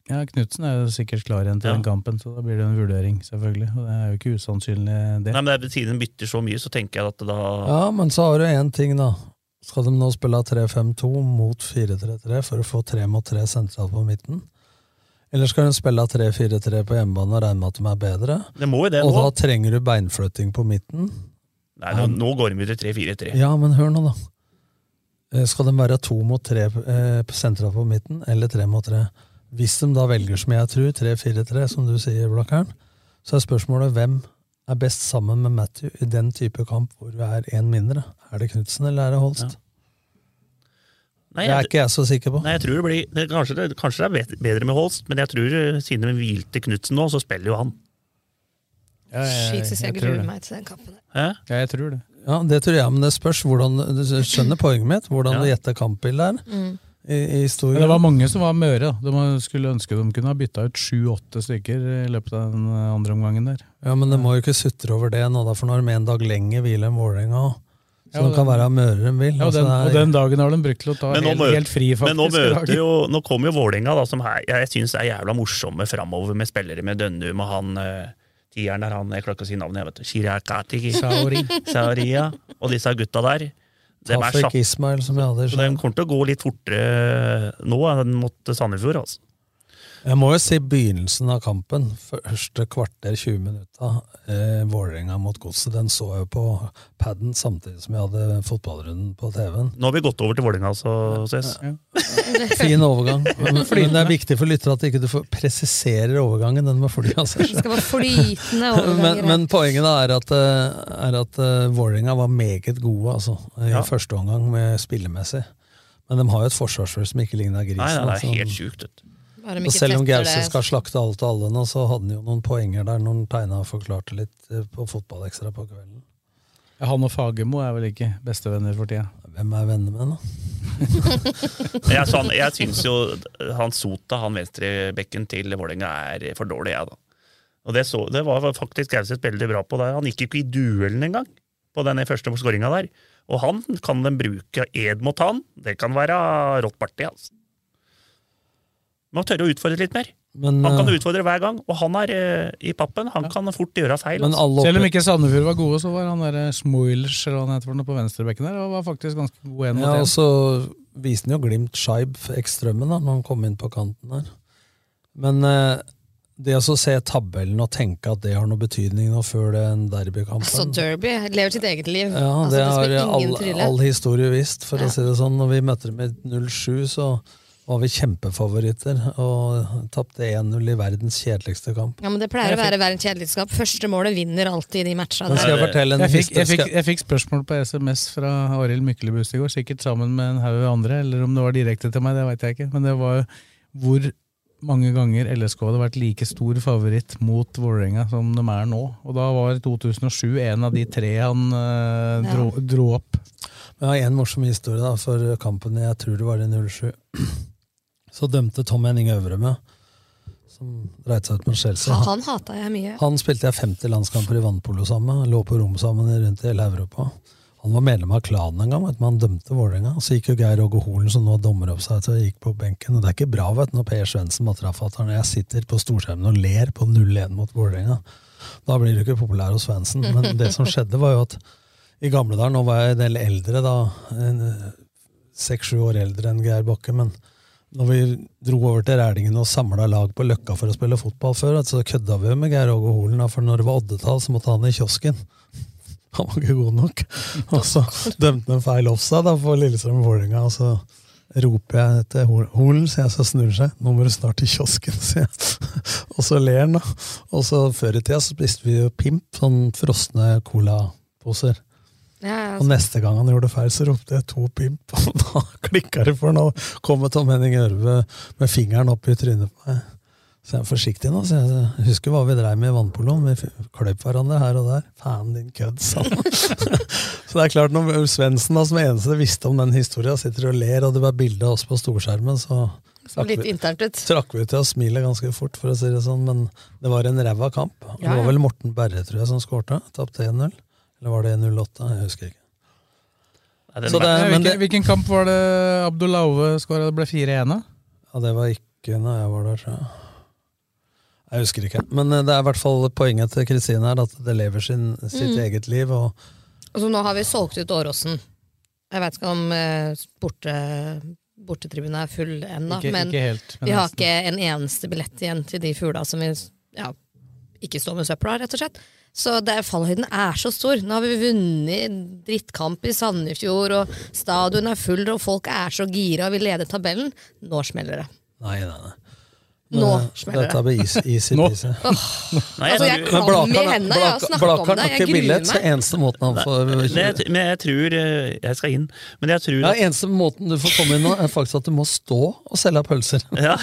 Speaker 3: Ja, Knutsen er jo sikkert klar igjen til den kampen, så da blir det en vurdering, selvfølgelig. Og det er jo ikke usannsynlig, det.
Speaker 6: Nei, men det er- Siden de bytter så mye, så tenker jeg at da
Speaker 4: ja, men så har du én ting, da. Skal de nå spille 3-5-2 mot 4-3-3 for å få 3 mot 3 sentralt på midten? Eller skal de spille 3-4-3 på hjemmebane og regne med at de er bedre?
Speaker 6: Det må jo det
Speaker 4: og
Speaker 6: nå.
Speaker 4: da trenger du beinflytting på midten.
Speaker 6: Nei, nå, nå går de ut i 3-4-3.
Speaker 4: Ja, men hør nå, da. Eh, Skal de være to mot tre eh, på sentra på midten, eller tre mot tre? Hvis de da velger, som jeg tror, 3-4-3, som du sier, Blakkern, så er spørsmålet hvem er best sammen med Matthew i den type kamp hvor du er én mindre? Er det Knutsen eller er det Holst?
Speaker 6: Nei,
Speaker 4: det er ikke jeg så sikker på.
Speaker 6: Nei, jeg tror det blir, det, kanskje, det, kanskje det er bet- bedre med Holst, men jeg tror eh, siden de hvilte Knutsen nå, så spiller jo han.
Speaker 5: Skyt, jeg
Speaker 3: tror
Speaker 5: gruer
Speaker 3: det.
Speaker 5: meg til den kampen.
Speaker 6: Hæ?
Speaker 3: Ja, jeg tror det.
Speaker 4: Ja, det tror jeg, men det spørs hvordan Du skjønner poenget mitt, hvordan
Speaker 3: Ja.
Speaker 4: du gjetter kampbildet her.
Speaker 5: Mm.
Speaker 4: I, i stor
Speaker 3: Men det var
Speaker 4: grad.
Speaker 3: mange som var møre. da. De skulle ønske de kunne ha bytta ut sju-åtte stykker i løpet av den andre omgangen der.
Speaker 4: Ja, men det må jo ikke sutre over det nå, da, for nå har de en dag lenger hvile enn Vålerenga. også. Så
Speaker 3: Ja,
Speaker 4: de kan
Speaker 3: det-
Speaker 4: være mørere enn vil.
Speaker 3: Ja, og,
Speaker 4: altså,
Speaker 3: den,
Speaker 4: det er-
Speaker 3: og den dagen har de brukt til å ta
Speaker 6: Men nå,
Speaker 3: helt,
Speaker 6: møter,
Speaker 3: helt fri, faktisk.
Speaker 6: men nå møter
Speaker 3: laget.
Speaker 6: jo Nå kommer jo Vålerenga, da, som her, jeg syns er jævla morsomme framover med spillere med Dønnum og han eh, tieren der, han Jeg klarer ikke å si navnet, jeg, vet du. Shirakati.
Speaker 3: Saori.
Speaker 6: Saoria. Og disse gutta der. Dem er
Speaker 4: Tafik
Speaker 6: satt,
Speaker 4: Ismail, som jeg hadde.
Speaker 6: så de kommer til å gå litt fortere nå enn mot Sandefjord, altså.
Speaker 4: Jeg må jo si begynnelsen av kampen, første kvarter, 20 minutter, eh, Vålerenga mot Godset, den så jeg jo på paden samtidig som jeg hadde fotballrunden på TV-en.
Speaker 6: Nå har vi gått over til Vålerenga, så ses.
Speaker 4: Fin
Speaker 6: <laughs>
Speaker 4: overgang. Men, men det er viktig for lyttere at ikke du får presiserer overgangen, den må fly av seg
Speaker 5: <laughs> Det skal være
Speaker 4: <laughs>
Speaker 5: flytende
Speaker 4: men,
Speaker 5: overganger.
Speaker 4: men poenget da er at, eh, er at eh, Vålerenga var meget gode altså, i
Speaker 6: Ja.
Speaker 4: første omgang med spillemessig. Men de har jo et forsvarsspill som ikke ligner grisen.
Speaker 6: Nei, nei, det er
Speaker 4: altså.
Speaker 6: helt sjukt. vet du.
Speaker 5: Bare de
Speaker 4: Og
Speaker 5: ikke
Speaker 4: selv om
Speaker 5: tetter
Speaker 4: Gause
Speaker 5: det.
Speaker 4: skal slakte alt og alle nå, så hadde han jo noen poenger der når han tegna og forklarte litt eh, på Fotballekstra på kvelden.
Speaker 3: Ja, Han og Fagermo er vel ikke bestevenner for tida.
Speaker 4: Hvem er venner med henne?
Speaker 6: Men Jeg, sånn, jeg syns jo han Sota, han venstrebekken til Vålerenga, er for dårlig, jeg, da. Og det, så, det var faktisk Gauseth veldig bra på. Der. Han gikk jo ikke i duellen engang på den første skåringa der. Og han kan den bruke ed mot han. Det kan være rått parti, altså. Man tørre å utfordre litt mer.
Speaker 4: Men,
Speaker 6: han kan
Speaker 4: eh,
Speaker 6: utfordre hver gang, og han er eh, i pappen. Han kan fort gjøre feil. altså.
Speaker 3: Selv om ikke Sandefjord var gode, så var han der Smoilers eller hva han heter for noe på venstrebekken der, og var faktisk ganske god en mot
Speaker 4: Ja,
Speaker 3: en.
Speaker 4: og
Speaker 6: altså,
Speaker 4: så viste han jo Glimt Scheib ekstrømmen da, når han kom inn på kanten her. Men eh, det å så se tabellen og tenke at det har noe betydning nå før den derbykampen
Speaker 5: Altså, Derby lever sitt eget liv.
Speaker 4: Ja,
Speaker 5: altså,
Speaker 4: det
Speaker 5: det
Speaker 4: har
Speaker 5: skal ingen
Speaker 4: all,
Speaker 5: trylle.
Speaker 4: all historie visst, for å si det sånn. Når vi møtte dem i 07, så var vi kjempefavoritter og tapte 1-0 i verdens kjedeligste kamp.
Speaker 5: Ja, men Det pleier å være verdens kjedeligste kamp. Første målet vinner alltid i de matcha.
Speaker 4: Men skal jeg fortelle en
Speaker 3: jeg fikk, jeg,
Speaker 4: historie?
Speaker 3: fikk, jeg fikk spørsmål på SMS fra Arild Myklebust i går, sikkert sammen med en haug andre, eller om det var direkte til meg, det veit jeg ikke. Men det var jo hvor mange ganger LSK hadde vært like stor favoritt mot Vålerenga som de er nå. Og da var 2007 en av de tre han eh, dro, dro opp.
Speaker 4: Men jeg har en morsom historie da, for kampen jeg tror det var i 07. <clears throat> Så dømte Tom Henning Øvreme, som dreit seg ut mot Chelsea.
Speaker 5: Han, han hata jeg mye.
Speaker 4: Han spilte jeg 50 landskamper i vannpolo sammen med. Lå på rom sammen rundt i hele Europa. Han var medlem av klanen en gang, vet du, men han dømte Vålerenga. Så gikk jo Geir Åge Holen, som nå dommer opp seg, til å gikk på benken. Og det er ikke bra vet du, når Per Svendsen og Trafateren og jeg sitter på storskjermen og ler på 0-1 mot Vålerenga. Da blir du ikke populær hos Svendsen. Men det som skjedde, var jo at i gamle dager, nå var jeg en del eldre da, en, eh, seks-sju år eldre enn Geir Bakke, men når vi dro over til Rælingen og samla lag på Løkka for å spille fotball før, så kødda vi jo med Geir Åge Holen, da, for når det var oddetall, så måtte han i kiosken. <laughs> Han var ikke god nok. Og så dømte han feil offside da, for Lillestrøm og Vålerenga, og så roper jeg til Hol- Holen, sier jeg, så snur han seg. 'Nå må du snart i kiosken', <laughs> sier jeg. Og så ler han, da. Og så før i tida så spiste vi jo pimp, sånn frosne colaposer.
Speaker 5: Ja, ja, altså,
Speaker 4: Og neste gang han gjorde feil, så ropte jeg to pimp, <laughs> og da klikka det for han, og kom Tom Henning Ørve med fingeren opp i trynet på meg. Så jeg er forsiktig nå, så jeg jeg husker hva vi dreiv med i vannpoloen. Vi f- kløp hverandre her og der. Faen din kødd, sa han. <laughs> så det er klart, når Svendsen da, som eneste visste om den historien, sitter og ler, og det var bilde av oss på storskjermen, så
Speaker 5: Så litt internt ut.
Speaker 4: trakk vi til å smile ganske fort, for å si det sånn, men det var en ræva kamp. Det
Speaker 5: Ja, ja.
Speaker 4: var vel Morten Berre, tror jeg, som skårte. Tapte 1-0. Eller var det 1-08? Jeg husker ikke. Så det,
Speaker 3: Nei,
Speaker 4: Eh, men
Speaker 3: hvilken,
Speaker 4: det,
Speaker 3: hvilken kamp var det Abdullahove skåra? Det ble 4-1 av?
Speaker 4: ja, det var ikke når jeg var der, tror jeg. Jeg husker ikke. Men eh, det er i hvert fall poenget til Kristine her, at det lever sin, sitt
Speaker 5: Mm.
Speaker 4: eget liv. Og
Speaker 5: Og så Altså, nå har vi solgt ut Åråsen. Jeg vet ikke om eh, borte, bortetribunen er full ennå,
Speaker 3: Ikke-
Speaker 5: men,
Speaker 3: ikke helt, men
Speaker 5: vi har
Speaker 3: nesten.
Speaker 5: ikke en eneste billett igjen til de fugla som vi ja, ikke står med søpla, rett og slett. Så det, fallhøyden er så stor. Nå har vi vunnet drittkamp i Sandefjord, og stadion er full, og folk er så gira, og vi leder tabellen. Nå smeller det.
Speaker 4: nei, nei, nei.
Speaker 5: Nå
Speaker 4: Det-
Speaker 5: smeller det.
Speaker 4: Dette blir is- easy-peasy.
Speaker 5: Nei, altså, jeg klam i hendene, jeg har snakket om det, jeg
Speaker 4: ikke
Speaker 5: gruer
Speaker 4: billett, så
Speaker 5: meg.
Speaker 4: eneste måten han får
Speaker 6: Men jeg, men jeg tror eh, Jeg skal inn, men jeg tror
Speaker 4: ja,
Speaker 6: at-
Speaker 4: Eneste måten du får komme inn nå, er faktisk at du må stå og selge pølser.
Speaker 6: <laughs> Ja.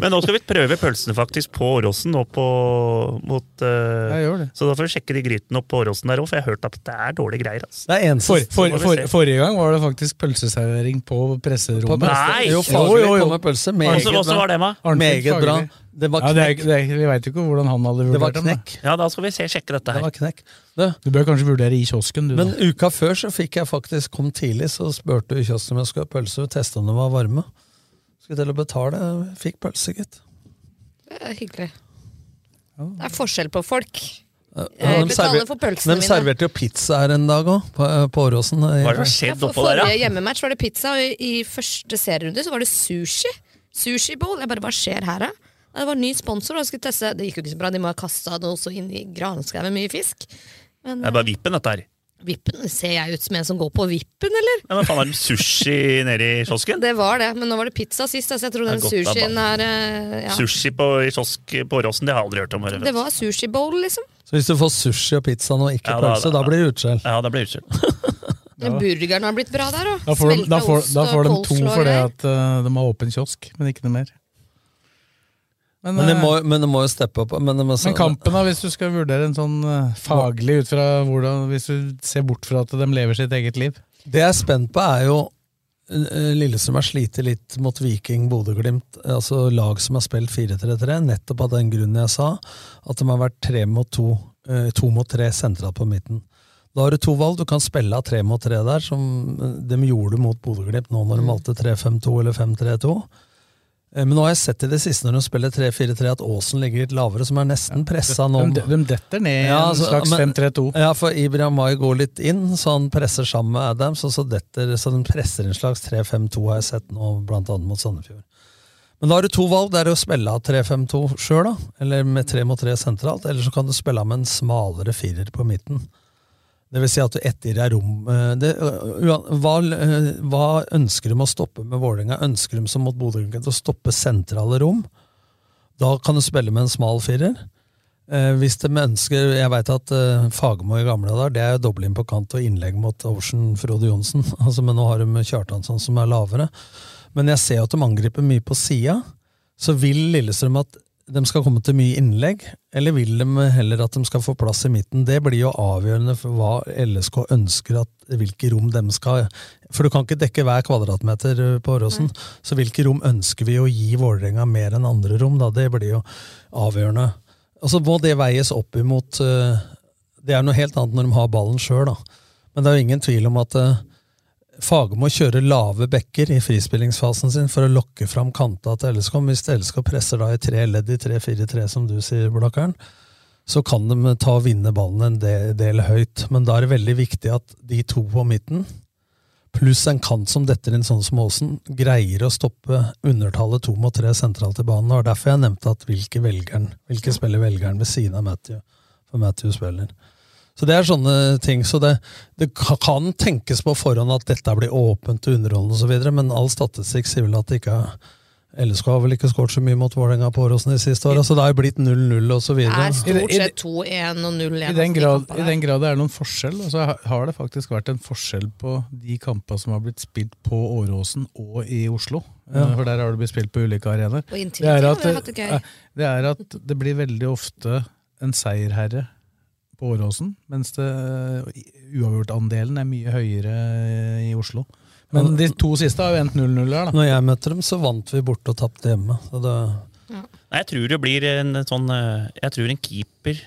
Speaker 6: Men nå skal vi prøve pølsene faktisk på Åråsen. nå på- mot, eh,
Speaker 3: Jeg gjør det.
Speaker 6: Så da får vi sjekke de grytene opp på Åråsen der òg, for jeg har hørt at det er dårlige greier. Altså.
Speaker 4: Det er eneste
Speaker 3: For, for,
Speaker 6: Så må vi
Speaker 3: for,
Speaker 6: se.
Speaker 3: forrige gang var det faktisk pølseservering på
Speaker 4: På
Speaker 3: presserommet.
Speaker 4: pølse.
Speaker 6: Nei!
Speaker 4: Jo, faglig kom med pølse. Meget
Speaker 6: Hvordan- hvordan var det, ma?
Speaker 4: bra. Meget bra. Det var
Speaker 3: Ja, det er,
Speaker 4: knekk.
Speaker 3: ikke- det er, vi veit jo ikke hvordan han hadde
Speaker 4: Det var
Speaker 3: vurdert dem, da.
Speaker 4: knekk.
Speaker 6: Ja, da skal vi se, sjekke dette her.
Speaker 4: Det var knekk.
Speaker 3: Du bør kanskje vurdere i kiosken, du.
Speaker 4: Men
Speaker 3: da.
Speaker 4: uka før så fikk jeg faktisk kom tidlig, så spurte jeg kiosken om jeg skulle ha pølse og teste om de var varme. Skulle til å betale, jeg fikk pølse, gitt.
Speaker 5: Det er hyggelig. Det er forskjell på folk.
Speaker 4: Ja,
Speaker 5: Jeg betaler for pølsene
Speaker 4: de
Speaker 5: mine.
Speaker 4: serverte jo pizza her en dag òg, på, eh, på Åråsen.
Speaker 6: Hva er det som har skjedd
Speaker 5: For
Speaker 6: oppå der,
Speaker 5: forrige
Speaker 6: da?
Speaker 5: hjemmematch var det pizza, og i i første serierunde så var det sushi. Sushi bowl. Jeg bare, hva skjer her, da? Nei, Det var en ny sponsor, og jeg skulle teste. Det gikk jo ikke så bra, de må ha kasta det også inn i granskauen med mye fisk. Men
Speaker 6: Det er bare vippen, dette her.
Speaker 5: eh, vippen, ser jeg ut som en som går på vippen, eller?
Speaker 6: Ja, men faen, er det sushi nede i kiosken?
Speaker 5: Det var det, men nå var det pizza sist, altså jeg
Speaker 6: Det
Speaker 5: tror
Speaker 6: er
Speaker 5: den
Speaker 6: godt, da,
Speaker 5: sushien er eh, ja.
Speaker 6: Sushi på, i kiosk på Åråsen, det har jeg aldri hørt om. Her,
Speaker 5: Det var sushi bowl, liksom.
Speaker 4: Så hvis du får sushi og pizza nå, ikke
Speaker 6: Ja, da-
Speaker 4: pølse, da blir det utskjell.
Speaker 6: Ja, det ble utskjelt.
Speaker 5: Men Burgeren har blitt bra der, og
Speaker 3: Da får, de, da,
Speaker 5: smelta
Speaker 3: får,
Speaker 5: ost
Speaker 3: da
Speaker 5: og
Speaker 3: får de to
Speaker 5: coleslaw
Speaker 3: for det
Speaker 5: der.
Speaker 3: at eh, de har åpen kiosk, men ikke noe mer. Men,
Speaker 4: Men det
Speaker 3: eh,
Speaker 4: må, men det må jo steppe opp. Men, det må,
Speaker 3: men kampen, da, hvis du skal vurdere en sånn eh, faglig ut fra hvordan Hvis du ser bort fra at de lever sitt eget liv.
Speaker 4: Det jeg er spent på, er jo eh, Lillestrøm har slitt litt mot Viking, Bodø-Glimt. eh, Altså lag som har spilt 4-3-3, nettopp av den grunnen jeg sa. At de har vært tre mot to, eh, to mot tre sentralt på midten. Da har du to valg. Du kan spille av tre mot tre der, som eh, de gjorde mot Bodø-Glimt nå når de valgte 3-5-2 eller 5-3-2. Eh, Men nå har jeg sett i det siste når de spiller 3-4-3 at Aasen ligger litt lavere, som er nesten pressa
Speaker 3: <laughs>
Speaker 4: nå.
Speaker 3: De, de detter ned i
Speaker 4: Ja, altså,
Speaker 3: en slags
Speaker 4: men-
Speaker 3: 5-3-2.
Speaker 4: Ja, for Ibrahim Mai går litt inn, så han presser sammen med Adams, og så detter, så den presser en slags 3-5-2 har jeg sett nå, blant annet mot Sandefjord. Men da har du to valg, det er å spille av 3-5-2 sjøl, da, eller med 3 mot 3 sentralt, eller så kan du spille av med en smalere firer på midten. Det vil si at du etter er rom eh, det, øh, uan- hva, eh, hva ønsker de å stoppe med Vålerenga? Ønsker de som mot Bodø-Glimt å stoppe sentrale rom? Da kan du spille med en smal firer. Eh, hvis de ønsker Jeg veit at eh, Fagermo i gamle dager det er jo doble inn på kant og innlegg mot Ocean Frode Johnsen. <laughs> Altså, men nå har de Kjartansson som er lavere. Men jeg ser jo at de angriper mye på sida. Så vil Lillestrøm at de skal komme til mye innlegg, eller vil de heller at de skal få plass i midten? Det blir jo avgjørende for hva LSK ønsker at hvilke rom de skal For du kan ikke dekke hver kvadratmeter eh, på Åråsen. Så hvilke rom ønsker vi å gi Vålerenga mer enn andre rom? da? Det blir jo avgjørende. Altså Må det veies opp imot eh, Det er noe helt annet når de har ballen sjøl, da. Men det er jo ingen tvil om at eh, Fagermo kjører lave bekker i frispillingsfasen sin for å lokke fram kanta til LSK. Men Hvis LSK presser da i tre ledd i 3-4-3, som du sier, Blakkern, så kan de ta og vinne ballen en del, del høyt. Men da er det veldig viktig at de to på midten, pluss en kant som detter inn sånn som Aasen, greier å stoppe undertallet to mot tre sentralt i banen. Og det var derfor jeg nevnte at hvilke, velgeren, hvilke spiller velgeren ved siden av Matthew, for Matthew spiller. Så det er sånne ting. Så det, det ka- kan tenkes på forhånd at dette blir åpent og underholdende og så videre, men all statistikk sier vel at det ikke er LSK har vel ikke skåret så mye mot Vålerenga på Åråsen de siste åra, så det har jo blitt 0-0 og så
Speaker 5: Det
Speaker 4: videre.
Speaker 5: er stort sett 2-1 og 0-1.
Speaker 3: I den, grad, I den grad det er noen forskjell, altså ha- har det faktisk vært en forskjell på de kampene som har blitt spilt på Åråsen og i Oslo.
Speaker 4: Ja.
Speaker 3: Eh, For der har det blitt spilt på ulike arenaer.
Speaker 5: Og inntil
Speaker 3: Det er,
Speaker 5: videre
Speaker 3: at,
Speaker 5: har vi hatt det gøy.
Speaker 3: eh, det er at det blir veldig ofte en seierherre på Åråsen, mens det eh, uavgjort-andelen er mye høyere i Oslo. Men de to siste har jo endt 0-0 her, da.
Speaker 4: Når jeg møtte dem, så vant vi borte og tapte hjemme. Så det,
Speaker 6: Nei, jeg tror det blir en sånn eh, Jeg tror en keeper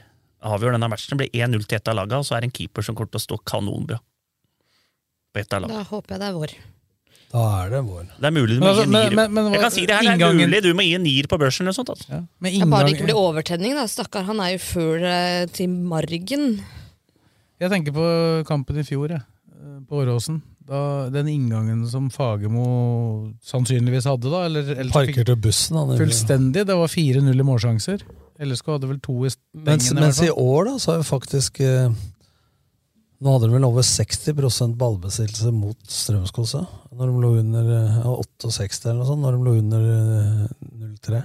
Speaker 6: avgjør denne matchen. Det blir 1-0 til ett av laga, og så er det en keeper som kommer til å stå kanonbra. På ett av laga.
Speaker 5: Da håper jeg det er vår.
Speaker 4: da er det vår.
Speaker 6: Det er mulig du må
Speaker 3: Men
Speaker 6: gi
Speaker 3: altså,
Speaker 6: en nier.
Speaker 3: men- men- men hva-
Speaker 6: jeg kan si det her, det er
Speaker 3: inngangen-
Speaker 6: mulig du må gi en nier på børsen eller noe sånt. Altså.
Speaker 3: Men
Speaker 5: Det er bare det
Speaker 3: inngangen-
Speaker 5: ikke blir overtenning, da. Stakkar, han er jo full eh, til margen.
Speaker 3: Jeg tenker på kampen i fjor, jeg. eh, På Åråsen. Da, den inngangen som Fagermo sannsynligvis hadde, da. Eller, eller
Speaker 4: Parker til bussen, han.
Speaker 3: Fullstendig. Det var 4-0 i målsjanser. LSK hadde vel to i stengene.
Speaker 4: Mens,
Speaker 3: i hvert
Speaker 4: mens i
Speaker 3: fall.
Speaker 4: år, da, så er jo faktisk eh, Nå hadde de vel over 60 ballbesittelse mot Strømskose. Når de lå under eh, ja, 68 eller noe sånt, når de lå under eh, 0-3.
Speaker 3: Det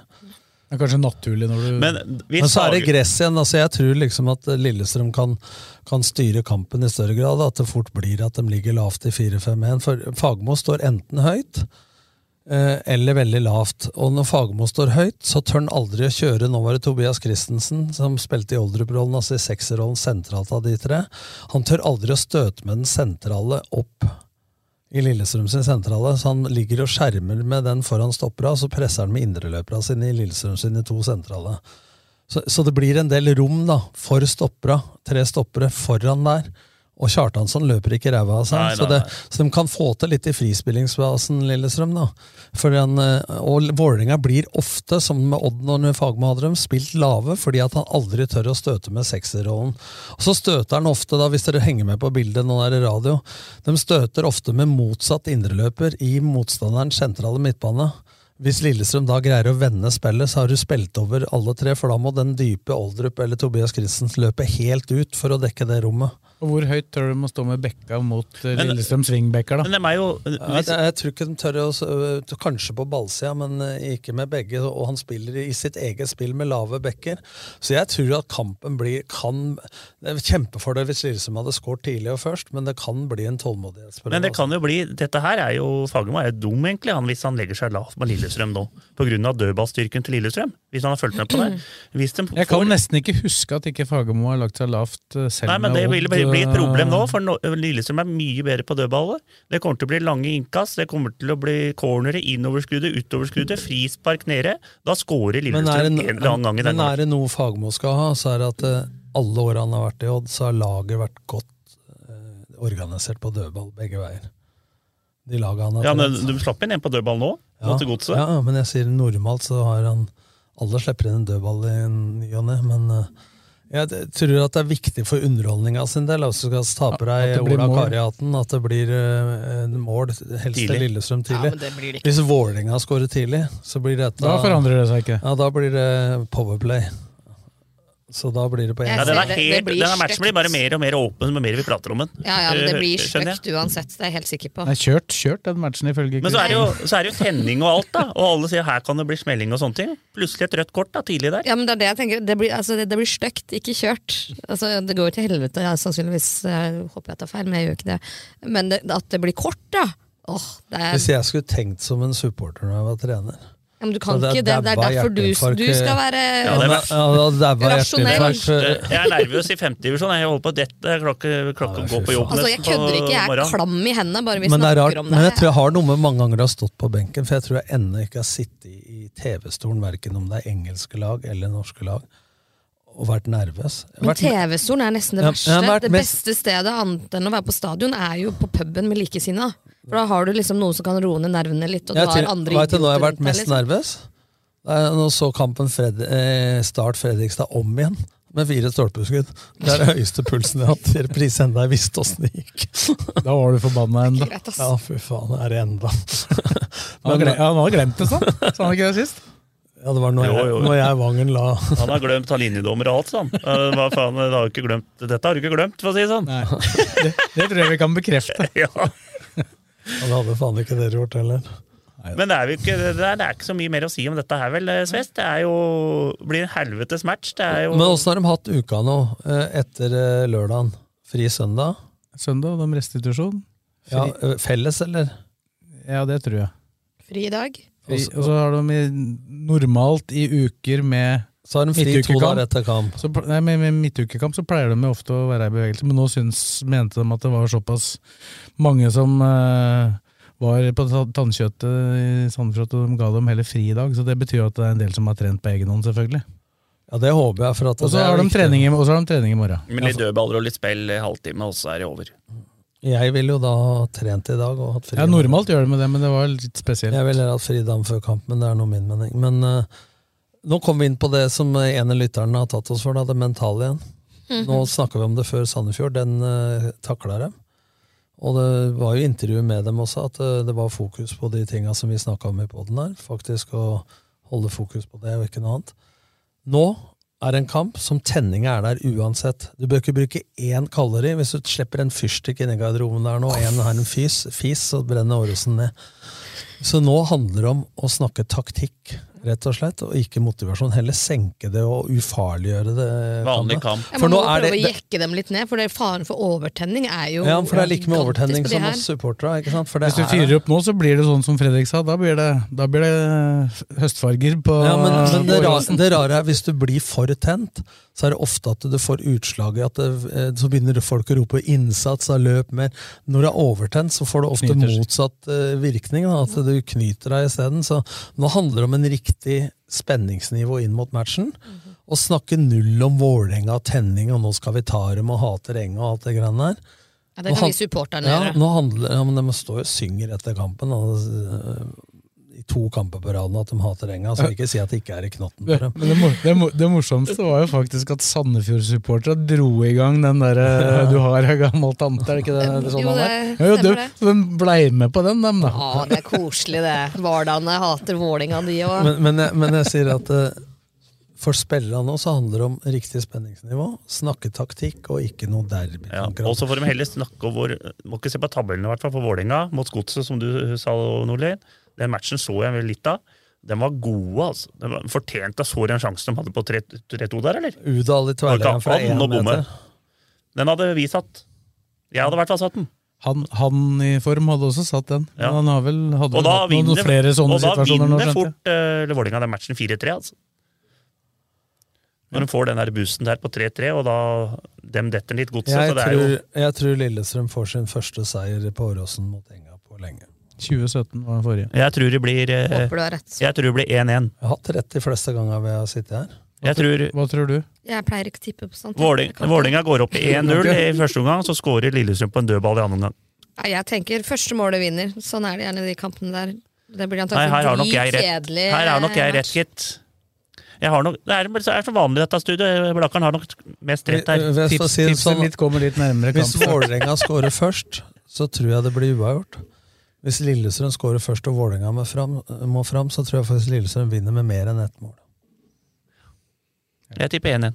Speaker 3: er kanskje naturlig når du
Speaker 6: Men vi
Speaker 4: Men så er det
Speaker 6: sager-
Speaker 4: gress igjen. altså Jeg tror liksom at Lillestrøm kan, kan styre kampen i større grad. At det fort blir at de ligger lavt i 4-5-1. For Fagmo står enten høyt eh, eller veldig lavt. Og når Fagmo står høyt, så tør han aldri å kjøre. Nå var det Tobias Christensen som spilte i Oldrup-rollen, altså i sekserrollen sentralt av de tre. Han tør aldri å støte med den sentrale opp i Lillestrøm sin sentrale, så han ligger og skjermer med den foran stoppera, og så presser han med indreløpera sine i Lillestrøm sine to sentrale. Så, så det blir en del rom da, for stoppera, tre stoppere foran der, og Kjartansson løper ikke ræva av seg,
Speaker 6: Nei, nei,
Speaker 4: så, det, så de eh, kan få til litt i frispillingsbasen Lillestrøm da. For den, eh, og Vålinga blir ofte, som med Odd når Fagmo hadde dem, spilt lave, fordi at han aldri tør å støte med sekserrollen. Og så støter han ofte, da, hvis dere henger med på bildet, nå er det radio, de støter ofte med motsatt indreløper i motstanderens sentrale midtbane. Hvis Lillestrøm da greier å vende spillet, så har du spilt over alle tre, for da må den dype Oldrup eller Tobias Christensen løpe helt ut for å dekke det rommet.
Speaker 3: Og hvor høyt tør du å stå med bekka mot eh,
Speaker 6: Men-
Speaker 3: Lillestrøm Svingbekker, da?
Speaker 6: Men dem er jo
Speaker 4: Jeg, jeg tror ikke de tør å s- øh, t- Kanskje på ballsida, men øh, ikke med begge. Og han spiller i sitt eget spill med lave bekker. Så jeg tror at kampen blir kan, Det er en kjempefordel hvis Lillestrøm hadde skåret tidlig og først, men det kan bli en
Speaker 3: altså.
Speaker 4: tålmodighetsprøve.
Speaker 6: Men det kan jo bli, dette her er jo Fagermo er jo dum, egentlig, han, hvis han legger seg lavt med Lillestrøm nå. Pga. dødballstyrken til Lillestrøm. Hvis han har fulgt med på det. Hvis de
Speaker 3: Jeg kan nesten ikke huske at ikke Fagermo har lagt seg lavt eh, selv
Speaker 6: Nei, men Det
Speaker 3: med
Speaker 6: vil
Speaker 3: Odd,
Speaker 6: bli bli et
Speaker 3: eh,
Speaker 6: problem nå, for nå- Lillestrøm er mye bedre på dødballer. Det kommer til å bli lange innkast, det kommer til å bli cornere, innoverskudde, utoverskudde, frispark nede. Da scorer
Speaker 4: Men er, det,
Speaker 6: Lillestrøm en eller annen gang i
Speaker 4: men
Speaker 6: denne.
Speaker 4: er det noe Fagermo skal ha, så er det at eh, alle åra han har vært i Odd, så har laget vært godt eh, organisert på dødball begge veier. De laga han har
Speaker 6: Ja, men
Speaker 4: trent.
Speaker 6: Du slapp inn en på dødball nå, mot Godset.
Speaker 4: ja, ja, men jeg sier normalt så har han Alle slipper inn en dødball i ny og ne, men eh, jeg t- tror at det er viktig for underholdninga sin del. Altså skal tape deg
Speaker 3: at det blir
Speaker 4: Ola
Speaker 3: mål.
Speaker 4: Kariaten, at det blir eh, en mål, helst til
Speaker 3: Tidlig.
Speaker 4: Lillestrøm tidlig.
Speaker 5: Ja, men det blir det ikke.
Speaker 4: Hvis Vålerenga skårer tidlig, så blir dette
Speaker 3: Da forandrer det seg ikke.
Speaker 4: ja, da blir det Powerplay. Så da blir det på én
Speaker 5: Jeg
Speaker 6: Ja, den, er
Speaker 5: ser det-
Speaker 6: helt,
Speaker 5: det blir
Speaker 6: den her matchen
Speaker 5: stygt.
Speaker 6: blir bare mer og mer åpen med mer vi prater om den.
Speaker 5: Ja, ja, men det blir
Speaker 6: Eh, skjønner jeg.
Speaker 5: stygt uansett, det er jeg helt sikker på.
Speaker 3: Nei, kjørt, kjørt den matchen ifølge
Speaker 6: Men så er, det jo,
Speaker 3: Kristian.
Speaker 6: så er det jo tenning og alt, da. Og alle sier her kan det bli smelling og sånne ting. Plutselig et rødt kort da, tidlig der.
Speaker 5: Ja, men Det er det jeg tenker. Det blir, altså, det, det blir stygt, ikke kjørt. Altså, det går jo til helvete, ja, sannsynligvis. Jeg håper jeg tar feil, men jeg gjør ikke det. Men det, at det blir kort, da. Åh, det er,
Speaker 4: Hvis jeg skulle tenkt som en supporter når jeg var trener
Speaker 5: ja, men du kan
Speaker 4: Så Altså, det er
Speaker 5: ikke det. Det er
Speaker 4: dabba
Speaker 5: derfor du,
Speaker 4: hjerteinfarkt.
Speaker 5: du skal være
Speaker 4: Ja, det er verst. Ja, det er dabba
Speaker 5: rasjonell.
Speaker 4: hjerteinfarkt.
Speaker 6: Eh, Jeg er nervøs i femtedivisjon. Jeg holder på dette. Klokke, klokke går på jobb
Speaker 5: Altså, Jeg kødder ikke, jeg er klam i hendene bare vi
Speaker 4: Men, det er
Speaker 5: snakker
Speaker 4: rart,
Speaker 5: om det.
Speaker 4: men jeg tror jeg har noe med mange ganger jeg har stått på benken, for jeg tror jeg ennå ikke har sittet i TV-stolen, verken om det er engelske lag eller norske lag, og vært nervøs. Jeg har
Speaker 5: Men
Speaker 4: vært-
Speaker 5: TV-stolen er nesten det
Speaker 4: Ja,
Speaker 5: verste.
Speaker 4: jeg har vært
Speaker 5: det
Speaker 4: mest-
Speaker 5: beste stedet annet enn å være på stadion, er jo på puben med likesinnede. For da har du liksom noen som kan roe ned nervene litt, og du
Speaker 4: Jeg
Speaker 5: har
Speaker 4: til-
Speaker 5: andre liksom.
Speaker 4: vet du, nå har jeg
Speaker 5: idioter
Speaker 4: vært
Speaker 5: rundt deg,
Speaker 4: mest nervøs. Da jeg nå så kampen Fred, eh, Start Fredrikstad om igjen, med fire stolpeskudd. Det er den høyeste pulsen jeg har hatt i reprise enda jeg visste åssen det gikk.
Speaker 3: Da var du forbanna
Speaker 6: <laughs>
Speaker 5: liksom.
Speaker 3: ennå.
Speaker 5: greit, ass.
Speaker 4: Ja, fy faen, er det enda. <laughs>
Speaker 3: Han gle- han hadde glemt det, sånn. Sa han ikke det sist?
Speaker 4: Ja, det var når
Speaker 6: Jo,
Speaker 4: jeg,
Speaker 6: jo.
Speaker 4: når jeg Vangen la
Speaker 6: Han har glemt han linjedommer og alt, sånn. Eh, Hva faen, det har jo ikke glemt. Dette har du ikke glemt, for å si det sånn.
Speaker 3: Nei. <laughs> Det, det tror jeg vi kan bekrefte.
Speaker 6: Ja.
Speaker 4: Ja, Det hadde faen ikke dere gjort heller.
Speaker 6: Men det er, jo ikke, det, er, det er ikke så mye mer å si om dette her, vel, eh, Svest? Det er jo, blir en helvetes match. Det er jo
Speaker 4: Men åssen har de hatt uka nå, eh, etter eh, lørdagen? Fri søndag?
Speaker 3: Søndag, om restitusjon.
Speaker 4: Ja, eh, felles, eller?
Speaker 3: Ja, det tror jeg.
Speaker 5: Fri i dag.
Speaker 3: Og så- og så har de i, normalt i uker med
Speaker 4: Så har de fri to
Speaker 3: midtukekamp,
Speaker 4: dager etter kamp.
Speaker 3: Så, pl- nei, med, med midtukekamp så pleier de jo ofte å være i bevegelse, men nå syns, mente de at det var såpass mange som eh, var på ta- tannkjøttet i Sandefjord at de ga dem heller fri i dag. Så det betyr jo at det er en del som har trent på egen hånd, selvfølgelig.
Speaker 4: Ja, det håper jeg. for at
Speaker 3: Og
Speaker 4: det er
Speaker 3: så har de
Speaker 4: viktig.
Speaker 3: trening i og så har de trening i morgen.
Speaker 6: Med litt dødballer og litt spill i halvtime, og så er det over.
Speaker 4: Jeg ville jo da ha trent i dag og hatt fri.
Speaker 3: Ja, Normalt gjør de med det, men det var litt spesielt.
Speaker 4: Jeg ville hatt fri dagen før kamp, men det er nå min mening. Men eh, nå kom vi inn på det som eh, en av lytterne har tatt oss for, da, det mentale igjen. Nå snakka vi om det før Sandefjord, den uh, takla dem. Og det var jo intervju med dem også, at eh, det var fokus på de tinga som vi snakka om i poden her. Faktisk å holde fokus på det, og ikke noe annet. Nå er det en kamp som tenninga er der uansett. Du bør ikke bruke én kalori. Hvis du slipper en fyrstikk inni garderoben der nå, og en har en fis, fis, så brenner Åresen ned. Så nå handler det om å snakke taktikk, rett og slett, og ikke motivasjon. Heller senke det og ufarliggjøre det.
Speaker 6: Vanlig kamp.
Speaker 5: Ja,
Speaker 4: For
Speaker 5: man
Speaker 4: nå
Speaker 5: må
Speaker 4: er
Speaker 5: prøve
Speaker 4: det,
Speaker 5: å
Speaker 4: det
Speaker 5: jekke dem litt ned, for det er faren for overtenning er jo
Speaker 4: ja, for det er like med overtenning
Speaker 5: gigantisk på
Speaker 4: som
Speaker 5: de her.
Speaker 4: oss supportere. ikke sant? For det
Speaker 3: Hvis du
Speaker 4: er-
Speaker 3: fyrer opp nå, så blir det sånn som Fredrik sa. Da blir det, da blir det høstfarger på
Speaker 4: Ja, men, men det,
Speaker 3: på
Speaker 4: rare,
Speaker 3: Åråsen.
Speaker 4: det rare er hvis du blir for tent, så er det ofte at du får utslaget at det, eh, så begynner folk å rope 'innsats', da 'løp mer'. Når det er overtent, så får det ofte
Speaker 3: Knyter seg.
Speaker 4: motsatt eh, virkning. Da, at du knyter deg isteden. Så nå handler det om en riktig spenningsnivå inn mot matchen.
Speaker 5: Mhm.
Speaker 4: Å snakke null om Vålerenga og tenning, og nå skal vi ta dem og hate renga og alt det greiene der.
Speaker 5: Ja, det
Speaker 4: Nå
Speaker 5: kan
Speaker 4: han-
Speaker 5: vi supporterne
Speaker 4: Ja,
Speaker 5: gjøre.
Speaker 4: nå handler, ja, men de står jo og synger etter kampen. Og, øh, I to kamper på raden at de hater enga. Så ikke si at det ikke er i knotten på dem.
Speaker 3: <laughs> Men det, mor- det, mor- det morsomste var jo faktisk at Sandefjord-supportere dro i gang den derre 'du har ei gammel tante', er det ikke det, det sånn
Speaker 5: Jo,
Speaker 3: han
Speaker 5: det
Speaker 3: er? Jo,
Speaker 5: stemmer
Speaker 3: du,
Speaker 5: det.
Speaker 3: så de blei med på den, dem, da.
Speaker 5: Å, det er koselig, det. Vardane hater Vålinga, de òg.
Speaker 4: Men, men, jeg, men jeg sier at øh, for spillerne nå så handler det om riktig spenningsnivå, snakke taktikk og ikke noe
Speaker 6: Ja, og
Speaker 4: derbykonkurranse.
Speaker 6: så får de heller snakke om hvor Må ikke se på tabellen, i hvert fall, for Vålerenga mot Godset, som du sa, Nordlien. Den matchen så jeg vel litt av. Den var gode, altså. Den var fortjent av så den sjansen de hadde på 3-2 der, eller?
Speaker 4: Udal i
Speaker 6: Det var
Speaker 4: tverrleggeren
Speaker 6: ikke
Speaker 4: fra én
Speaker 6: an å bomme.
Speaker 4: meter.
Speaker 6: Den hadde vi satt. Jeg hadde i hvert fall satt den.
Speaker 3: Han, han i form hadde også satt den.
Speaker 6: Ja.
Speaker 3: Men han har vel hadde
Speaker 6: Og
Speaker 3: vel
Speaker 6: da
Speaker 3: hatt noen,
Speaker 6: vinner,
Speaker 3: flere sånne
Speaker 6: og da
Speaker 3: situasjoner nå,
Speaker 6: vinner
Speaker 3: skjønte jeg.
Speaker 6: fort uh, Vålerenga den matchen 4-3, altså. Når de får den der boosten der på 3-3, og da dem detter litt godset.
Speaker 4: Jeg
Speaker 6: Så det er jo
Speaker 4: tror, jeg tror Lillestrøm får sin første seier på Åråsen mot Enga på lenge.
Speaker 3: 2017 var den forrige.
Speaker 6: Jeg tror det blir eh,
Speaker 5: Håper du har rett.
Speaker 6: Jeg tror det blir 1-1.
Speaker 4: Jeg har hatt rett de fleste ganger vi har sittet her.
Speaker 6: Jeg tror
Speaker 3: Hva tror du?
Speaker 5: Jeg pleier ikke å tippe på sånt.
Speaker 6: Våling-
Speaker 5: Jeg kan ikke.
Speaker 6: Vålinga går opp i 1-0 i første omgang, så skårer Lillestrøm på en dødball i andre omgang.
Speaker 5: Nei, jeg tenker første målet vinner. Sånn er det gjerne i de kampene der. Det blir eh,
Speaker 6: Nei, her har nok jeg
Speaker 5: antakelig
Speaker 6: rett.
Speaker 5: dritkjedelig.
Speaker 6: Her har nok jeg rett, gitt. Jeg har nok, det er, det er som vanlig i dette studioet. Blakkaren har nok mest rett her.
Speaker 4: Vi- vi- for å
Speaker 3: Tips,
Speaker 4: si det
Speaker 3: tipset
Speaker 4: sånn-
Speaker 3: mitt kommer litt nærmere
Speaker 4: Hvis
Speaker 3: kampen.
Speaker 4: Vålerenga scorer først, så tror jeg det blir uavgjort. Hvis Lillestrøm scorer først og Vålerenga må fram, må fram, så tror jeg faktisk Lillestrøm vinner med mer enn ett mål.
Speaker 6: Jeg tipper 1-1.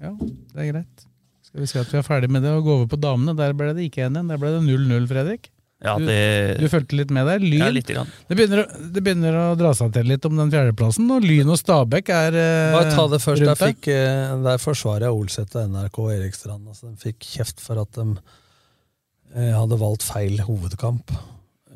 Speaker 3: Ja, det er greit. Skal vi si at vi er ferdig med det og gå over på damene? Der ble det ikke 1-1. Der ble det 0-0, Fredrik.
Speaker 6: Ja,
Speaker 3: Du-
Speaker 6: det-
Speaker 4: Eh,
Speaker 3: Du fulgte litt med der. Lyn
Speaker 6: Ja, lite grann.
Speaker 3: Det, begynner, å- det begynner å dra seg til litt om den fjerdeplassen, og Lyn og Stabæk er eh,
Speaker 4: Bare ta det først. Der,
Speaker 3: rundt der.
Speaker 4: fikk, eh, der forsvarer jeg Olseth og NRK og Erikstrand. Altså, de fikk kjeft for at de eh, hadde valgt feil hovedkamp.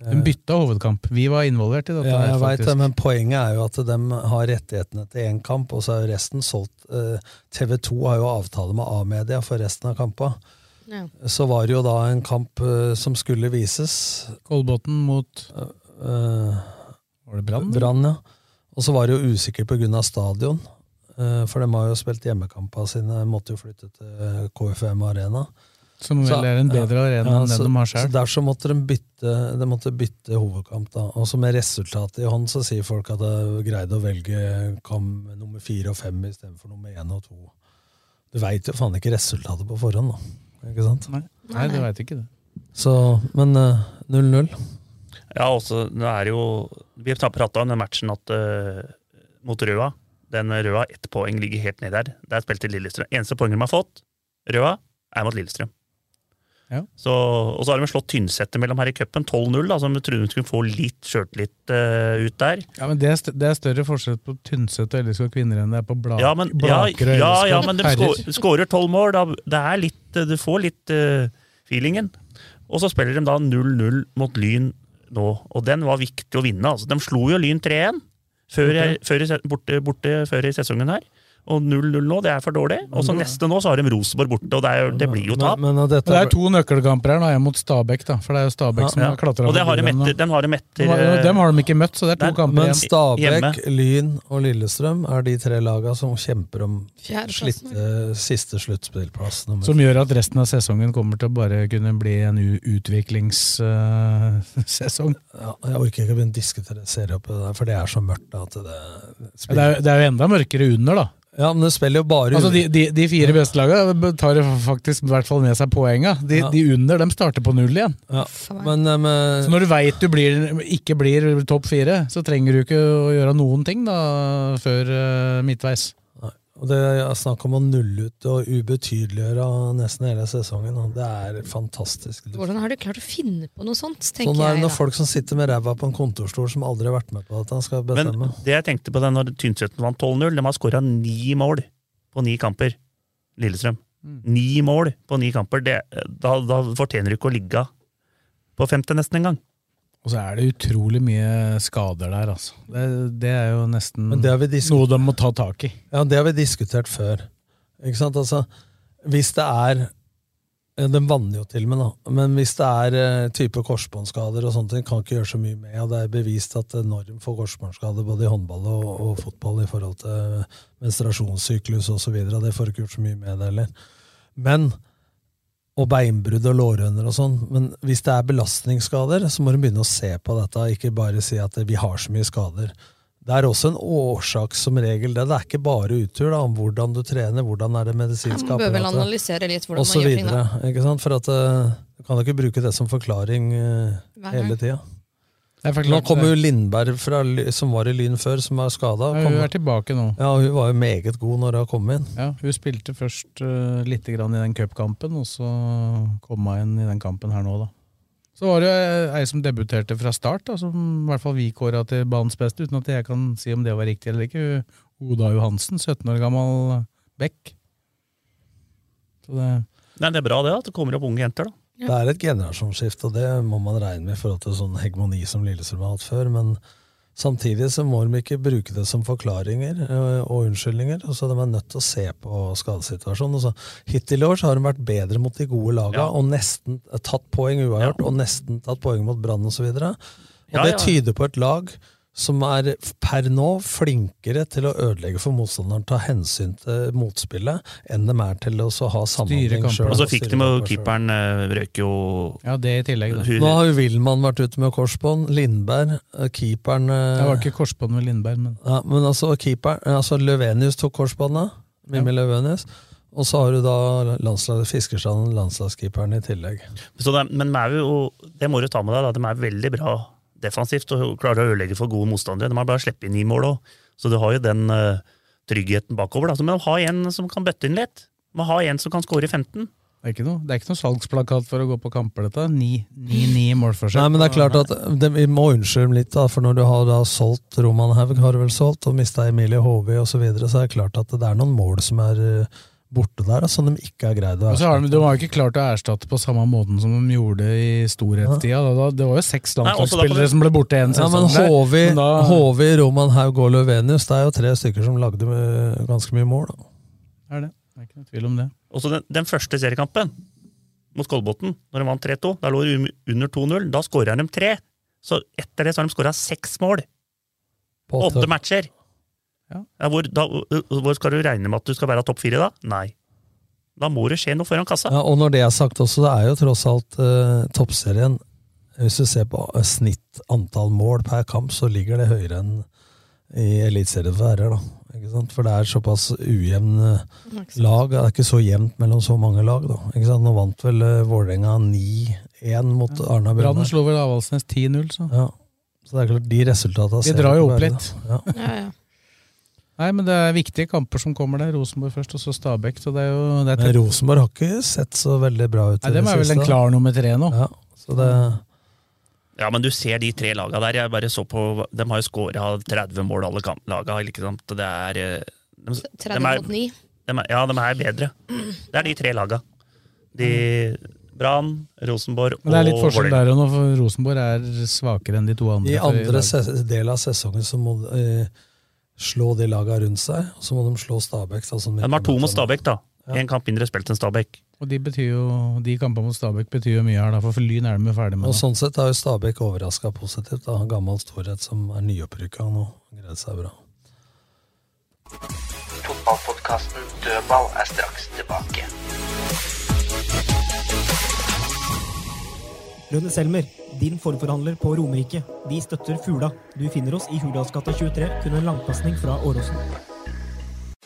Speaker 3: De bytta hovedkamp. Vi var involvert i dette.
Speaker 4: Ja,
Speaker 3: her,
Speaker 4: jeg vet det,
Speaker 3: faktisk.
Speaker 4: men poenget er jo at de har rettighetene til én kamp, og så er jo resten solgt. Eh, TV 2 har jo avtale med A-media for resten av kampa.
Speaker 5: Ja.
Speaker 4: Så var det jo da en kamp eh, som skulle vises.
Speaker 3: Kolbotn mot
Speaker 4: Var
Speaker 3: det Brann?
Speaker 4: Brann, ja. Og så var det jo usikkert pga. stadion. eh, For de har jo spilt hjemmekampene sine, måtte jo flytte til eh, KFUM Arena.
Speaker 3: Som vel
Speaker 4: Så-
Speaker 3: er en bedre arena enn den
Speaker 4: så-
Speaker 3: de har selv.
Speaker 4: Så Derfor måtte de bytte, de måtte bytte hovedkamp. da. Og så med resultatet i hånd så sier folk at de greide å velge kam nummer fire og fem istedenfor nummer én og to. Du veit jo faen ikke resultatet på forhånd, da. Ikke sant?
Speaker 3: Nei, Nei, du veit ikke det.
Speaker 4: Så, men eh, 0-0.
Speaker 6: Ja, også, nå er det jo Vi har prata om den matchen at, eh, mot Røa. Den med Røa, ett poeng ligger helt ned der. Der spilte Lillestrøm. Eneste poenget de har fått, Røa, er mot Lillestrøm.
Speaker 3: Ja.
Speaker 6: Så, og så har de slått Tynset mellom her i cupen, 12-0, da, så de trodde de skulle få litt sjøltillit eh, ut der.
Speaker 3: Ja, men det er, stø- det er større forskjell på Tynset og LSK kvinner enn det er på Bla
Speaker 6: Ja, men, ja,
Speaker 3: Blaker og
Speaker 6: ja, ja,
Speaker 3: LSK
Speaker 6: men de
Speaker 3: herrer.
Speaker 6: skå- skårer tolv mål. Da, det er litt, du får litt eh, feelingen. Og så spiller de da 0-0 mot Lyn nå, og den var viktig å vinne. Altså. De slo jo Lyn 3-1 før,
Speaker 3: Ok.
Speaker 6: før, i se- borte, borte før i sesongen her. Og 0-0 nå, det er for dårlig. Og
Speaker 3: Mm.
Speaker 6: så neste nå så har de Rosenborg borte, og det, er, jo- det blir jo tap.
Speaker 4: Men,
Speaker 3: Og det er to nøkkelkamper her, nå er jeg mot Stabæk, da, for det er jo Stabæk som
Speaker 6: Ja.
Speaker 3: har klatra
Speaker 6: Og det har de etter, den har de etter eh,
Speaker 3: Dem har de ikke møtt, så det er to kamper
Speaker 4: Men
Speaker 3: igjen.
Speaker 4: Stabæk, Lyn og Lillestrøm er de tre laga som kjemper om
Speaker 3: Fjerdeplassen,
Speaker 4: slitte, siste sluttspillplass. nummer
Speaker 3: Som gjør at resten av sesongen kommer til å bare kunne bli en eh, <laughs> utviklingssesong.
Speaker 4: Ja, jeg orker ikke å begynne å diskutere serieoppgjøret der, for det er så mørkt da, at det
Speaker 3: det, er, jo- det er jo enda mørkere under, da.
Speaker 4: Ja, men det spiller jo bare
Speaker 3: Altså, de, de, de fire beste lagene tar jo faktisk i hvert fall med seg poenga. De,
Speaker 4: Ja.
Speaker 3: de under dem starter på null igjen.
Speaker 4: Ja, men, eh, men-
Speaker 3: Så når du veit du blir, ikke blir topp fire, så trenger du ikke å gjøre noen ting da, før eh, midtveis.
Speaker 4: Og det er snakk om å nulle ut og ubetydeliggjøre nesten hele sesongen. Og det er fantastisk.
Speaker 5: Hvordan har du klart å finne på noe sånt, tenker
Speaker 4: Sånn er
Speaker 5: jeg
Speaker 4: det
Speaker 5: da.
Speaker 4: når folk som sitter med ræva på en kontorstol som aldri har vært med på at han skal bestemme.
Speaker 6: Men mm. det jeg tenkte på da når Tynseten vant 12-0, de har skåra ni mål på ni kamper. Lillestrøm. Ni mål på ni kamper. Det, da, da fortjener du ikke å ligge på femte nesten engang.
Speaker 3: Og så er det utrolig mye skader der, altså. Det, det er jo nesten
Speaker 4: Men det har vi diskutert.
Speaker 3: noe de må ta tak i.
Speaker 4: Ja, det har vi diskutert før. Ikke sant? Altså, hvis det er eh, Den vanner jo til med, da. Men hvis det er eh, type korsbåndskader og sånne ting, kan ikke gjøre så mye med. Og det er bevist at eh, når en får korsbåndskader både i håndball og, og fotball i forhold til eh, menstruasjonssyklus osv., det får du ikke gjort så mye med det heller. Men og beinbrudd og lårhøner og sånn. Men hvis det er belastningsskader, så må du begynne å se på dette, ikke bare si at vi har så mye skader. Det er også en årsak som regel. Det, det er ikke bare utur da, om hvordan du trener, hvordan er det medisinske
Speaker 5: Man bør vel
Speaker 4: apparatet
Speaker 5: analysere litt hvordan
Speaker 4: og så
Speaker 5: man gjør ting da.
Speaker 4: videre. Ikke sant? For at, eh, du kan jo ikke bruke det som forklaring eh,
Speaker 5: Hver gang.
Speaker 4: hele tida.
Speaker 3: Det er faktisk-
Speaker 4: Nå kommer jo Lindberg, fra, Ly- som var i Lyn før, som er skada.
Speaker 3: Ja, hun er tilbake nå.
Speaker 4: Ja, hun var jo meget god når hun kom inn.
Speaker 3: Ja, hun spilte først uh, litt grann i den cupkampen, og så kom hun inn i den kampen her nå, da. Så var det jo eh, ei som debuterte fra start, da, som i hvert fall vi kåra til banens beste, uten at jeg kan si om det var riktig eller ikke. Hun- Oda Johansen, 17 år gammel bekk. Så det
Speaker 6: Nei, det er bra det, at det kommer opp unge jenter. da.
Speaker 4: Det er et generasjonsskifte, og det må man regne med i forhold til sånn hegemoni som Lillestrøm har hatt før. Men samtidig så må de ikke bruke det som forklaringer eh, og unnskyldninger. og så De er nødt til å se på skadesituasjonen. og så Hittil i år så har de vært bedre mot de gode laga
Speaker 6: Ja.
Speaker 4: og nesten tatt poeng uavgjort og nesten tatt poeng mot Brann osv. Og, og
Speaker 6: Ja,
Speaker 4: det
Speaker 6: ja.
Speaker 4: tyder på et lag som er per nå flinkere til å ødelegge for motstanderen, ta hensyn til motspillet, enn de er til å så ha samhandling selv.
Speaker 6: Og så fikk
Speaker 4: Styre
Speaker 6: de jo
Speaker 4: kamper selv.
Speaker 6: keeperen eh, røyk jo
Speaker 3: Ja, det i tillegg, da.
Speaker 4: Nå har jo Wilman vært ute med korsbånd. Lindberg, eh, keeperen eh,
Speaker 3: Det var ikke korsbånd med Lindberg, men
Speaker 4: ja, Men altså, keeperen, eh, altså Løvenius tok korsbåndet. Mimmi Løvenius. Og så har du da landslag, Fiskerstrand, landslagskeeperen, i tillegg.
Speaker 6: Så det, men de er jo, det må du ta med deg, da. de er veldig bra defensivt og klarer å ødelegge for gode motstandere. De har bare sluppet inn ni mål òg, så du har jo den eh, tryggheten bakover. Da. Så, men de har en som kan bøtte inn litt. Må ha en som kan skåre 15.
Speaker 3: Det er ikke noe, det er ikke noe salgsplakat for å gå på kamper, dette. Ni, ni, ni målforskjell.
Speaker 4: Nei, men det er klart at eh, det, Vi må unnskylde dem litt, da, for når du har da solgt Roman Haug, har du vel solgt, og mista Emilie Håvi osv., så, videre, så er det klart at det er noen mål som er eh, borte der, da, som de ikke har greid å
Speaker 3: Og så har de, de har jo ikke klart å erstatte på samme måten som de gjorde i storhetstida. Da, da, det var jo seks
Speaker 4: Nei, også da kan
Speaker 3: landslagsspillere
Speaker 4: du-
Speaker 3: som ble borte en
Speaker 4: Ja, men
Speaker 3: sesong. der.
Speaker 4: Håvi,
Speaker 3: Men da-
Speaker 4: Håvi, Roman Haug og Løvenius, det er jo tre stykker som lagde eh, ganske mye mål. Da.
Speaker 3: Er det. det er ikke noe tvil om det.
Speaker 6: Også den, den første seriekampen mot Kolbotn, når de vant 3-2, da lå de um- under 2-0. Da skåra de tre. Så etter det så har de skåra seks mål.
Speaker 4: På åtte.
Speaker 6: Åtte matcher.
Speaker 3: Ja.
Speaker 6: hvor, da, hvor skal du regne med at du skal være topp fire da? Nei. Da må det skje noe foran kassa.
Speaker 4: Ja, og når det er sagt også, det er jo tross alt eh, toppserien Hvis du ser på eh, snitt antall mål per kamp, så ligger det høyere enn i eliteserien for herrer, da. Ikke sant? For det er såpass ujevn eh, lag. Det er ikke så jevnt mellom så mange lag, da. Ikke sant? Nå vant vel uh, Vålerenga 9-1 mot Arna
Speaker 3: Brann
Speaker 4: Brønnøy.
Speaker 3: slo vel Avaldsnes 10-0, så.
Speaker 4: Ja. Så det er klart, de resultatene
Speaker 3: De
Speaker 4: ser
Speaker 3: drar jo
Speaker 4: ikke
Speaker 3: opp
Speaker 4: bare,
Speaker 3: litt.
Speaker 4: da. Ja.
Speaker 3: Nei, men det er viktige kamper som kommer der. Rosenborg først, og så Stabæk. Så det er jo det er
Speaker 4: Men Rosenborg har ikke sett så veldig bra ut. i
Speaker 3: Nei, dem
Speaker 4: det
Speaker 3: er vel
Speaker 4: siste,
Speaker 3: en
Speaker 4: da.
Speaker 3: klar Mm. nummer tre nå.
Speaker 4: Ja, så det...
Speaker 6: Ja, men du ser de tre laga der. Jeg bare så på De har jo skåra 30 mål, alle kam- laga. Ikke sant? Det er eh, de,
Speaker 5: 30
Speaker 6: de er-
Speaker 5: mot 9.
Speaker 6: de er- Ja, de er bedre. Det er de tre laga. De Brann, Rosenborg
Speaker 3: Mm. Men det er litt
Speaker 6: og
Speaker 3: forskjell
Speaker 6: Vålerenga.
Speaker 3: der og nå, for Rosenborg er svakere enn de to andre.
Speaker 4: I
Speaker 3: for
Speaker 4: andre
Speaker 3: dag.
Speaker 4: ses- del av sesongen så må de eh, slå de laga rundt seg, og så må de slå Stabæk. da, som
Speaker 6: De har
Speaker 3: Sånn.
Speaker 6: to mot
Speaker 4: midtbanen.
Speaker 6: Stabæk, da. Én kamp mindre spilt enn Stabæk.
Speaker 3: Og de, betyr jo, de kampene mot Stabæk betyr jo mye her, da, for Lyn er de jo ferdig med.
Speaker 4: Og
Speaker 3: nå.
Speaker 4: Sånn sett er jo Stabæk overraska positivt. da, Han gammel storhet som er nyopprykka nå. Greide seg bra.
Speaker 7: Fotballpodkasten Dødball er straks tilbake.
Speaker 1: Rune Selmer, din forforhandler på Romerike. Vi støtter Fula. Du finner oss i Hurdalsgata 23, kun en langpasning fra Åråsen.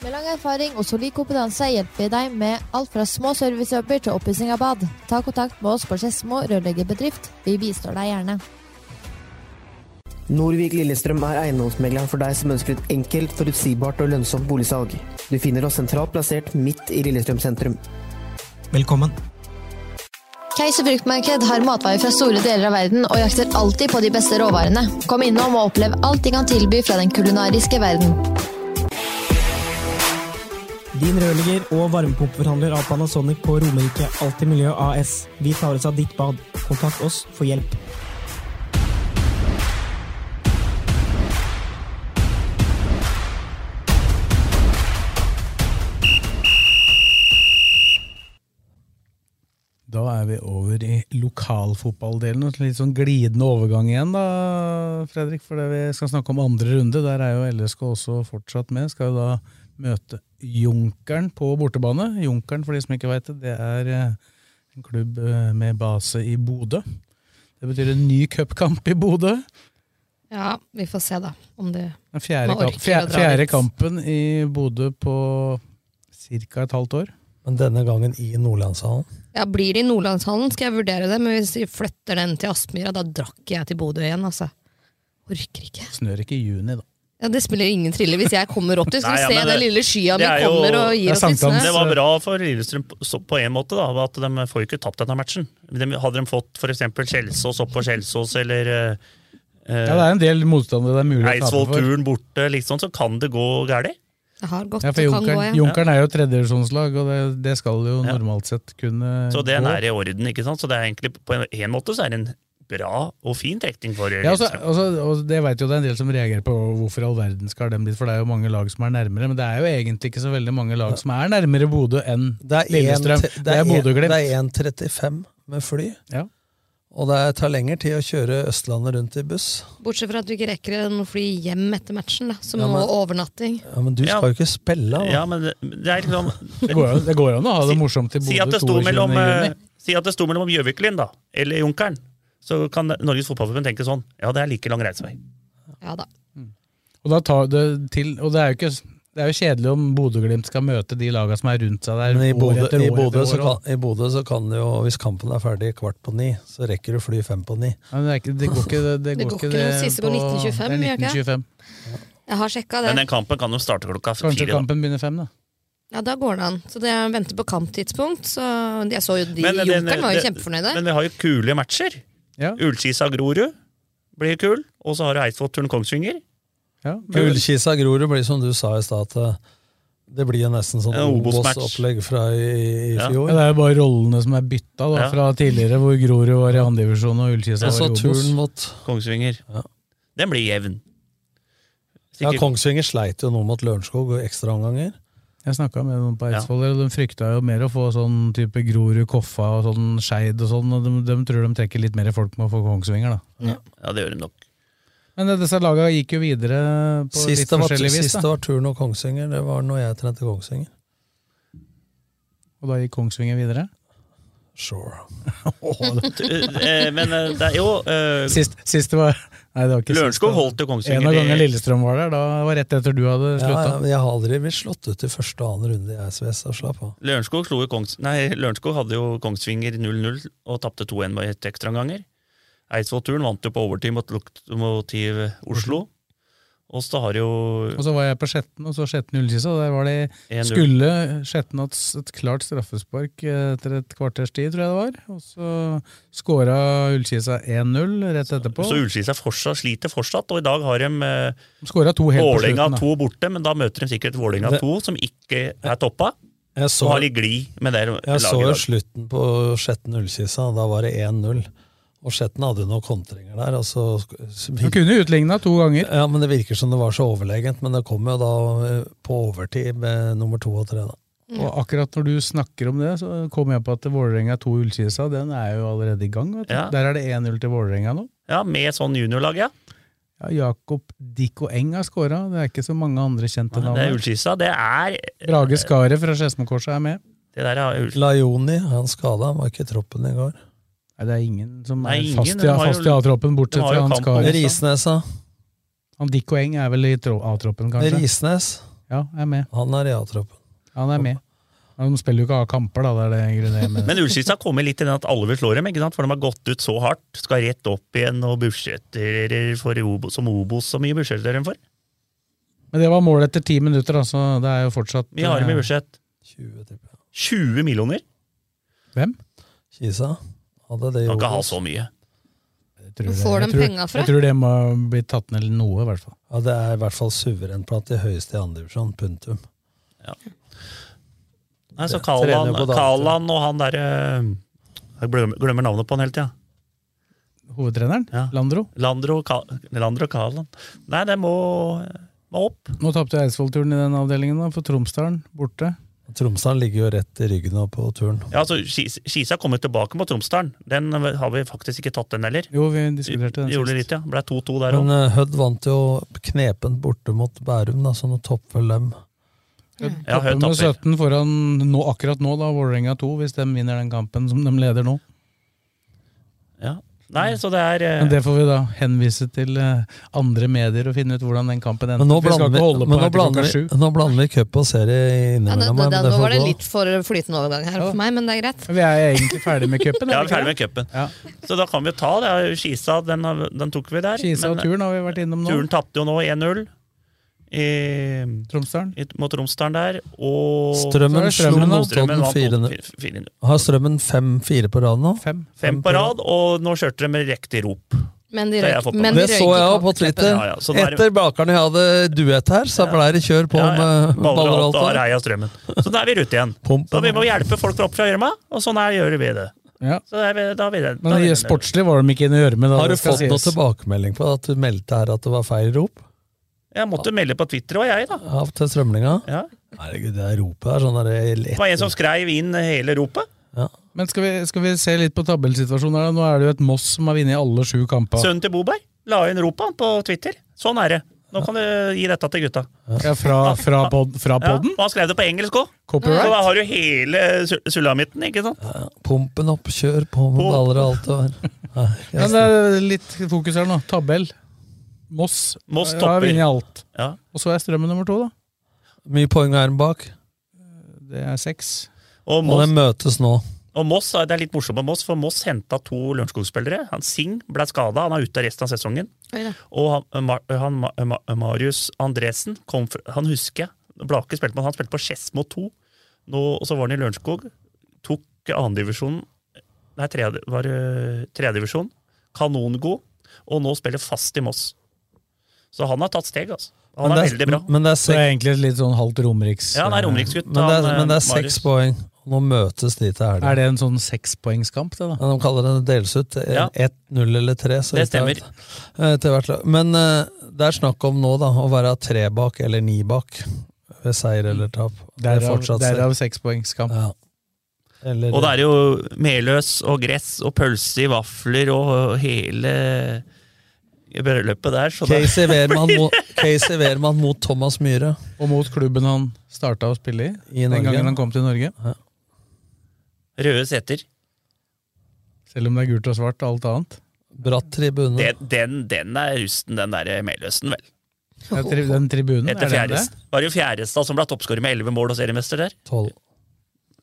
Speaker 8: Med lang erfaring og solid kompetanse hjelper vi deg med alt fra små servicejobber til oppussing av bad. Ta kontakt med oss på Skedsmo rørleggerbedrift. Vi bistår deg gjerne.
Speaker 9: Norvik Lillestrøm er eiendomsmegleren for deg som ønsker et enkelt, forutsigbart og lønnsomt boligsalg. Du finner oss sentralt plassert midt i Lillestrøm sentrum.
Speaker 1: Velkommen.
Speaker 8: Keiser fruktmarked har matvarer fra store deler av verden og jakter alltid på de beste råvarene. Kom innom og opplev alt de kan tilby fra den kulinariske verden.
Speaker 1: Din rørlegger og varmepumpeforhandler av Panasonic på Romerike Alltid Miljø AS. Vi tar oss av ditt bad. Kontakt oss for hjelp.
Speaker 3: Da er vi over i lokalfotballdelen. og Litt sånn glidende overgang igjen, da, Fredrik. For det vi skal snakke om andre runde. Der er jo LSK også fortsatt med. Skal jo da møte Junkeren på bortebane. Junkeren, for de som ikke veit det, det er eh, en klubb eh, med base i Bodø. Det betyr en ny cupkamp i Bodø.
Speaker 5: Ja, vi får se da om det
Speaker 3: Den fjerde,
Speaker 5: man
Speaker 3: kamp,
Speaker 5: orker å
Speaker 3: fjerde,
Speaker 5: dra
Speaker 3: fjerde
Speaker 5: dit.
Speaker 3: kampen i Bodø på ca. et halvt år.
Speaker 4: Men denne gangen i Nordlandshallen.
Speaker 5: Ja, Blir det i Nordlandshallen, skal jeg vurdere det, men hvis vi flytter den til Aspmyra, da drakk jeg til Bodø igjen, altså. Orker ikke.
Speaker 3: Snør ikke i juni, da.
Speaker 5: Ja, Det spiller jo ingen trille hvis jeg kommer opp dit.
Speaker 6: Nei,
Speaker 5: Skal vi
Speaker 6: ja,
Speaker 5: se
Speaker 6: men
Speaker 5: den
Speaker 6: det-
Speaker 5: lille skya mi
Speaker 6: det er jo-
Speaker 5: kommer og gir oss litt snø.
Speaker 6: Det var bra for Lillestrøm på- så- på en måte, da, at de får jo ikke tapt denne matchen. De, hadde de fått f.eks. Kjelsås opp på Kjelsås eller eh,
Speaker 3: Ja, det er en del motstandere det er mulig å tape
Speaker 6: Eidsvoll
Speaker 3: for.
Speaker 6: Turn borte, liksom, så kan det gå galt.
Speaker 5: Det har gått,
Speaker 3: Ja, for
Speaker 5: det kan gå,
Speaker 3: Junkeren,
Speaker 5: ja.
Speaker 3: Junkeren er jo et tredjedivisjonslag, og det, det skal jo
Speaker 6: Ja.
Speaker 3: normalt sett kunne
Speaker 6: Så det er
Speaker 3: gå.
Speaker 6: nær i orden. ikke sant? Så det er egentlig På en, en måte så er det en bra og fin trekning for
Speaker 3: Ja, altså,
Speaker 6: Lillestrøm.
Speaker 3: altså, og det vet jo det er en del som reagerer på hvorfor i all verden skal dem dit, for det er jo mange lag som er nærmere, men det er jo egentlig ikke så veldig mange lag som er nærmere Bodø enn
Speaker 4: Det er en-
Speaker 3: Lillestrøm.
Speaker 4: te-
Speaker 3: Det er
Speaker 4: en-
Speaker 3: Bodø-Glimt.
Speaker 4: det er 1,35 med fly.
Speaker 3: Ja.
Speaker 4: Og det tar lengre tid å kjøre Østlandet rundt i buss.
Speaker 5: Bortsett fra at du ikke rekker en fly hjem etter matchen, da, som
Speaker 4: Ja, men-
Speaker 5: må overnatting.
Speaker 4: Ja, Men du
Speaker 6: Ja.
Speaker 4: skal jo ikke spille, da.
Speaker 6: Ja, men det, det er liksom
Speaker 3: Det går jo- det går jo an å ha det morsomt i
Speaker 6: Si at
Speaker 3: Bodø
Speaker 6: det sto
Speaker 3: 22.
Speaker 6: mellom, eh,
Speaker 3: juni.
Speaker 6: si at det sto mellom Gjøviklyn da, eller Junkeren. Så kan Norges Fotballforbund tenke sånn. Ja, det er like lang reisevei.
Speaker 5: Ja da.
Speaker 3: Og, da tar det til, og det er jo ikke det er jo kjedelig om Bodø-Glimt skal møte de lagene som er rundt seg der.
Speaker 4: Men i
Speaker 3: år
Speaker 4: Bodø,
Speaker 3: etter år
Speaker 4: i,
Speaker 3: etter
Speaker 4: Bodø, så
Speaker 3: år, da.
Speaker 4: kan, I Bodø så kan det jo, hvis kampen er ferdig kvart på ni, så rekker du fly fem på ni.
Speaker 3: Ja, men det, er ikke, det går ikke det, det,
Speaker 5: Det
Speaker 3: går ikke
Speaker 5: noe
Speaker 3: det
Speaker 5: siste på 1925,
Speaker 3: det
Speaker 5: gjør
Speaker 3: er
Speaker 5: ikke det?
Speaker 3: 1925.
Speaker 5: Jeg har sjekka det.
Speaker 6: Men den kampen kan jo starte klokka
Speaker 3: Kanskje
Speaker 6: fire. da.
Speaker 3: kampen begynner fem, da.
Speaker 5: Ja, da går det an. Så det venter på kamptidspunkt. Så jeg så jo de
Speaker 6: Men, eh, den-
Speaker 5: Junkeren var jo
Speaker 6: den-
Speaker 5: kjempefornøyde.
Speaker 6: Men vi har jo kule matcher. Ullskisa-Grorud blir kul, og så har du Eidsvollturen Kongsvinger.
Speaker 4: Gullkisa Grorud blir som du sa i stad, at eh, det blir jo nesten sånn
Speaker 3: Ja, Obos-match.
Speaker 4: Obos-opplegg fra i, i fjor.
Speaker 3: Ja, det er jo bare rollene som er bytta da,
Speaker 4: Ja.
Speaker 3: fra tidligere, hvor Grorud var i andredivisjon og Ullkisa
Speaker 4: Jeg
Speaker 3: var i
Speaker 4: så
Speaker 3: Obos.
Speaker 4: turen mot
Speaker 6: Kongsvinger. Den blir jevn.
Speaker 4: Ja,
Speaker 6: Sikkert-
Speaker 4: Kongsvinger sleit jo nå mot Lørenskog og ekstraomganger.
Speaker 3: Jeg snakka med noen på Eidsvoll, og de frykta jo mer å få sånn type Grorud, Koffa og sånn Skeid og sånn, og de, de tror de trekker litt mer folk med å få Kongsvinger, da.
Speaker 6: Ja. ja, det gjør de nok.
Speaker 3: Men eh, disse laga gikk jo videre på
Speaker 4: Sist det
Speaker 3: litt
Speaker 4: var,
Speaker 3: forskjellig vis,
Speaker 4: sist det
Speaker 3: da.
Speaker 4: var turen og Kongsvinger, det var når jeg trente Kongsvinger.
Speaker 3: Og da gikk Kongsvinger videre? <laughs>
Speaker 4: Sure.
Speaker 6: Eh, Men eh, det er jo eh,
Speaker 3: Sist, sist det var Nei, det var ikke
Speaker 6: Lørenskog
Speaker 3: sist.
Speaker 6: holdt jo Kongsvinger
Speaker 3: En av
Speaker 6: i-
Speaker 3: gangene Lillestrøm var der, da var rett etter du hadde
Speaker 4: Ja,
Speaker 3: slutta.
Speaker 4: ja, men jeg har aldri blitt slått ut i første og annen runde i SVS, så slapp av.
Speaker 6: Lørenskog, slo jo Kongs nei, Lørenskog hadde jo Kongsvinger 0-0 og tapte 2-1 med ett ekstraomganger. Eidsvollturen vant jo på overtid mot Lokomotiv
Speaker 3: Mhm.
Speaker 6: Oslo. Og så har jo
Speaker 3: Og så var jeg på Skjetten, og så Skjetten-Ullkisa. Der var det
Speaker 6: 1-0.
Speaker 3: Skulle Skjetten hatt s- et klart straffespark eh, etter et kvarters tid, tror jeg det var. Og så skåra Ullkisa 1-0 rett etterpå.
Speaker 6: Så Ullskisa fortsatt, sliter fortsatt, og i dag har de eh,
Speaker 3: Skåra to helt på
Speaker 6: Vålerenga
Speaker 3: slutten. da.
Speaker 6: 2 borte, men da møter de sikkert Vålerenga
Speaker 4: Det-
Speaker 6: 2, som ikke er toppa.
Speaker 4: Jeg så-
Speaker 6: og har litt glid med det
Speaker 4: Jeg
Speaker 6: laget.
Speaker 4: så
Speaker 6: i
Speaker 4: jo
Speaker 6: dag.
Speaker 4: slutten på Skjetten Ullkisa, da var det 1-0. Og Skjetten hadde jo noen kontringer der. Og så,
Speaker 3: De kunne utligna to ganger.
Speaker 4: Ja, men Det virker som det var så overlegent, men det kom jo da eh, på overtid med nummer to og tre. da.
Speaker 3: Og akkurat når du snakker om det, så kom jeg på at Vålerenga 2 Ullkisa, den er jo allerede i gang. Vet du.
Speaker 6: Ja.
Speaker 3: Der er det 1-0 til Vålerenga nå.
Speaker 6: Ja, Med sånn juniorlag, ja.
Speaker 3: Ja, Jakob Dikko Eng har skåra. Det er ikke så mange andre kjente
Speaker 6: Det er
Speaker 3: navn.
Speaker 6: Ullskisa. Det er
Speaker 3: Brage Skaret fra Skedsmokorset er med.
Speaker 6: Det der er Ull-
Speaker 4: Laioni, han skada, var ikke i troppen i går.
Speaker 3: Nei, det er ingen som
Speaker 4: Nei,
Speaker 3: er
Speaker 4: ingen,
Speaker 3: fast
Speaker 4: de
Speaker 3: i,
Speaker 4: har jo-
Speaker 3: fast i A-troppen, bortsett
Speaker 4: de har jo
Speaker 3: fra han
Speaker 4: kamp om
Speaker 3: Skaret.
Speaker 4: Risnesa.
Speaker 3: Han Dikko Eng er vel i tro- A-troppen, kanskje?
Speaker 4: Risnes.
Speaker 3: Ja, er med.
Speaker 4: Han er i A-troppen.
Speaker 3: Han er med. Men de spiller jo ikke A-kamper, da. Det er det grunnen jeg mener.
Speaker 6: Men Ullskisa har kommet litt i den at alle vil slå dem, ikke sant? for de har gått ut så hardt. Skal rett opp igjen og budsjetter for Obo- som Obos. Så mye budsjetter de får.
Speaker 3: Men det var mål etter ti minutter, altså. Det er jo fortsatt
Speaker 6: Vi har dem i
Speaker 3: eh,
Speaker 6: budsjett.
Speaker 4: 20, tipper
Speaker 6: 20 millioner?
Speaker 3: Hvem?
Speaker 4: Kisa. Hadde det i
Speaker 6: Kan ikke ha
Speaker 4: Obos.
Speaker 6: så mye.
Speaker 5: Hvor
Speaker 3: tror det-
Speaker 5: får de
Speaker 3: jeg tror-
Speaker 5: penga fra?
Speaker 3: Jeg tror det må bli tatt ned noe, i hvert fall.
Speaker 4: Ja, Det er i hvert fall suverent blant de høyeste i andredivisjon. Punktum.
Speaker 6: Nei, så
Speaker 4: Det-
Speaker 6: Kalan,
Speaker 4: trener på dagtid.
Speaker 6: Kalan og han derre Jeg glemmer, glemmer navnet på han hele tida.
Speaker 3: Hovedtreneren? Landro?
Speaker 6: Landro, Ka, Landro Kalan. Nei, det må, må opp.
Speaker 3: Nå tapte jo Eidsvoll-turen i den avdelingen, da, for Tromsdalen borte.
Speaker 4: Tromsdalen ligger jo rett i ryggen nå på turen.
Speaker 6: Ja, altså, Skis- Skisa kom jo tilbake mot Tromsdalen. Den har vi faktisk ikke tatt, den heller.
Speaker 3: Jo, vi diskuterte den
Speaker 6: Gjorde
Speaker 3: sist.
Speaker 6: litt, ja. Ble 2-2 der
Speaker 4: Men
Speaker 6: òg.
Speaker 4: eh, Hødd vant jo knepent borte mot Bærum, da, så nå topper dem.
Speaker 6: Ja, Hødd
Speaker 3: Toppen med
Speaker 6: tapper.
Speaker 3: 17 foran nå, akkurat nå, da, Vålerenga 2, hvis de vinner den kampen som de leder nå.
Speaker 6: Ja. Nei, så det er eh,
Speaker 3: Men det får vi da henvise til eh, andre medier og finne ut hvordan den kampen endte.
Speaker 4: Men nå
Speaker 3: Vi skal
Speaker 4: blander
Speaker 3: ikke holde
Speaker 4: vi,
Speaker 3: på
Speaker 4: men nå
Speaker 3: her til
Speaker 4: blander vi,
Speaker 3: klokka sju.
Speaker 4: nå blander vi cup og serie
Speaker 5: Ja, det,
Speaker 4: innimellom.
Speaker 5: det,
Speaker 4: her, men
Speaker 5: nå
Speaker 4: får
Speaker 5: var det
Speaker 4: gå.
Speaker 5: litt for flytende overgang her for meg, men det er greit.
Speaker 3: Vi er egentlig ferdig med cupen.
Speaker 6: eh, Ja, vi er ferdig med cupen. Så da kan vi jo ta det. er jo Skisa, den, har, den tok vi der. eh,
Speaker 3: Kisa og turen har vi vært innom nå.
Speaker 6: Turen tapte jo nå 1-0. i- i- Mot Tromsdalen der. Og
Speaker 4: Strømmen slo
Speaker 6: Strømmen
Speaker 4: Notodden
Speaker 6: vant
Speaker 4: 4-0. Har Strømmen 5-4 på rad nå?
Speaker 6: Fem på rad, og nå kjørte de med riktig rop.
Speaker 5: Men de
Speaker 6: Det har jeg
Speaker 5: røyk,
Speaker 6: fått med
Speaker 5: men de
Speaker 4: Det så jeg
Speaker 5: røyk
Speaker 4: òg på Twitter.
Speaker 6: Ja, ja, så da er det-
Speaker 4: Etter bakerne jeg hadde duett her, så ble det kjør på med baller altså. og alt. der.
Speaker 6: og rei av strømmen. Så da er vi i rute igjen. Så vi må hjelpe folk opp fra gjørma, og sånn her gjør vi det.
Speaker 3: Ja.
Speaker 6: Så da er vi, da er vi, den- da
Speaker 3: Men
Speaker 6: er vi den.
Speaker 3: i sportslig var de ikke inne i øret med. da,
Speaker 4: Har du
Speaker 3: det skal
Speaker 4: fått noe
Speaker 3: sies.
Speaker 4: tilbakemelding på at du meldte her at det var feil rop?
Speaker 6: Jeg måtte melde på Twitter òg, jeg, da.
Speaker 4: Av til strømlinga?
Speaker 6: Ja.
Speaker 4: Herregud, det er ropet her. Sånn der,
Speaker 6: Det var en som skreiv inn hele ropet.
Speaker 3: Men skal vi, skal vi se litt på tabellsituasjonen her? da? Nå er det jo et Moss som har vunnet alle sju kamper.
Speaker 6: Sønnen til Boberg la inn ropet på Twitter. Sånn er det. Nå kan du gi dette til gutta.
Speaker 3: Ja, fra, fra, pod, fra
Speaker 6: Ja,
Speaker 3: podden?
Speaker 6: og han skrev det på engelsk òg. Så
Speaker 3: Copyright.
Speaker 6: da har du hele su- sulamitten, ikke sant?
Speaker 4: Pumpen opp, kjør på med baller og alt. det der.
Speaker 6: <laughs>
Speaker 4: Nei, jeg-
Speaker 3: Men det er litt fokus her nå. Tabell. Moss,
Speaker 4: Moss
Speaker 3: har
Speaker 4: topper.
Speaker 3: vunnet alt.
Speaker 6: Ja.
Speaker 3: Og så er Strømmen nummer to, da. Eh,
Speaker 4: Mye poeng er den bak,
Speaker 3: Det er seks.
Speaker 6: Og
Speaker 4: og
Speaker 6: Moss,
Speaker 4: den møtes nå.
Speaker 6: og Moss det er litt morsomt med Moss, for Moss henta to Lørenskog-spillere. Han Singh ble skada, han er ute resten av sesongen.
Speaker 5: Oi da.
Speaker 6: Og han, Mar- han, eh, Ma- Ma- Marius Andresen, kom fra, han husker jeg. Blake spilte med han, han spilte på Skedsmo 2. Nå, og så var han i Lørenskog. Tok andredivisjon Nei, tredje, var eh, tredjedivisjon. Kanongod. Og nå spiller fast i Moss. Så han har tatt steg, altså. Han er, veldig bra.
Speaker 4: Men det er
Speaker 3: Så
Speaker 4: seks,
Speaker 3: er egentlig litt sånn halvt romeriks...
Speaker 6: Ja, han er romeriksgutt,
Speaker 4: men det er,
Speaker 6: han, eh,
Speaker 4: men det er seks
Speaker 6: Marius.
Speaker 4: poeng. Nå møtes de til helga.
Speaker 3: Er det en sånn sekspoengskamp, det da?
Speaker 4: Ja, de kaller det deles ut. eh,
Speaker 3: Ja.
Speaker 4: Ett, null eller tre. Så
Speaker 3: Det
Speaker 4: vidt jeg vet. Eh, Til hvert lag. Men eh, det er snakk om nå da, å være tre bak eller ni bak ved seier eller tap. Det er
Speaker 3: Derav,
Speaker 4: fortsatt
Speaker 3: derav
Speaker 4: seier.
Speaker 3: sekspoengskamp.
Speaker 4: Ja. Eller,
Speaker 6: Og det er jo melløs og gress og pølse i vafler og hele bryllupet der. Så det-
Speaker 4: Casey Wehrmann mot, Casey Wehrmann mot Thomas Myhre.
Speaker 3: Og mot klubben han starta å spille i,
Speaker 4: I
Speaker 3: den
Speaker 4: Norge.
Speaker 3: gangen han kom til Norge.
Speaker 6: Røde seter.
Speaker 3: Selv om det er gult og svart og alt annet.
Speaker 4: Bratt tribune.
Speaker 6: Den, den, den er rusten, den der melløsen, vel.
Speaker 3: Jeg tri den tribunen, er
Speaker 6: Etter
Speaker 3: det det?
Speaker 6: Fjærestad. Var det jo Fjærestad som ble toppskårer med elleve mål og seriemester der?
Speaker 4: Tolv.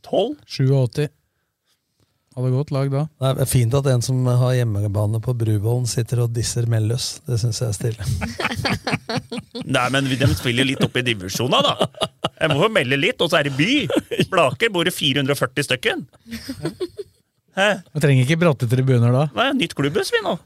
Speaker 6: Tolv?
Speaker 3: 87. Hadde godt lag da.
Speaker 4: Det er fint at en som har hjemmebane på Bruvollen, sitter og disser Melløs. Det syns jeg er stille.
Speaker 6: Nei, men de spiller litt opp i divisjonen da. Jeg må få melde litt, og så er det by. Blaker bor det 440 stykken.
Speaker 3: Vi trenger ikke bratte tribuner da.
Speaker 6: Nei, nytt klubbhus vi nå.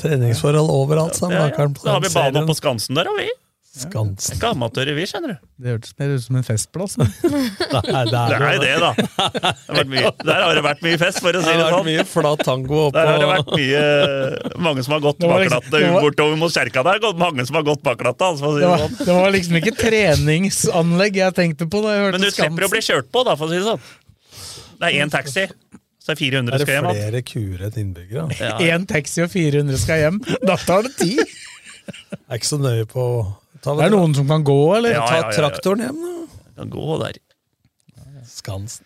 Speaker 4: Treningsforhold overalt, sa
Speaker 6: Ja, ja.
Speaker 4: Blakeren.
Speaker 6: Så har vi bane oppe på Skansen der, og vi.
Speaker 4: Skansen.
Speaker 6: Ikke amatører vi, skjønner du.
Speaker 3: Det hørtes mer ut som en festplass. da.
Speaker 4: Nei, det
Speaker 6: Det er
Speaker 4: er
Speaker 6: jo det, da. Det har vært mye. Der har det vært mye fest, for å si
Speaker 4: Det
Speaker 6: det
Speaker 4: har vært
Speaker 6: sånn.
Speaker 4: mye flat tango oppå
Speaker 6: Der har det vært mye Mange som har gått
Speaker 3: Det var liksom-
Speaker 6: baklatte
Speaker 3: det var-
Speaker 6: bortover mot kjerka der. og Mange som har gått baklatte, altså, for å si
Speaker 3: Det var,
Speaker 6: det sånn.
Speaker 3: det var liksom ikke treningsanlegg jeg tenkte på da jeg hørte
Speaker 6: Men du slipper å bli kjørt på, da, for å si det sånn. Det er én taxi, så er 400
Speaker 4: Er det
Speaker 6: skal hjem.
Speaker 4: flere kuer enn innbyggere? da?
Speaker 6: Ja.
Speaker 3: Én taxi og 400 skal hjem. Da tar det ti!
Speaker 4: Jeg er ikke så nøye på ta,
Speaker 3: Det er noen som kan gå, eller?
Speaker 4: ta traktoren hjem, da.
Speaker 6: Kan gå der.
Speaker 4: Skansen.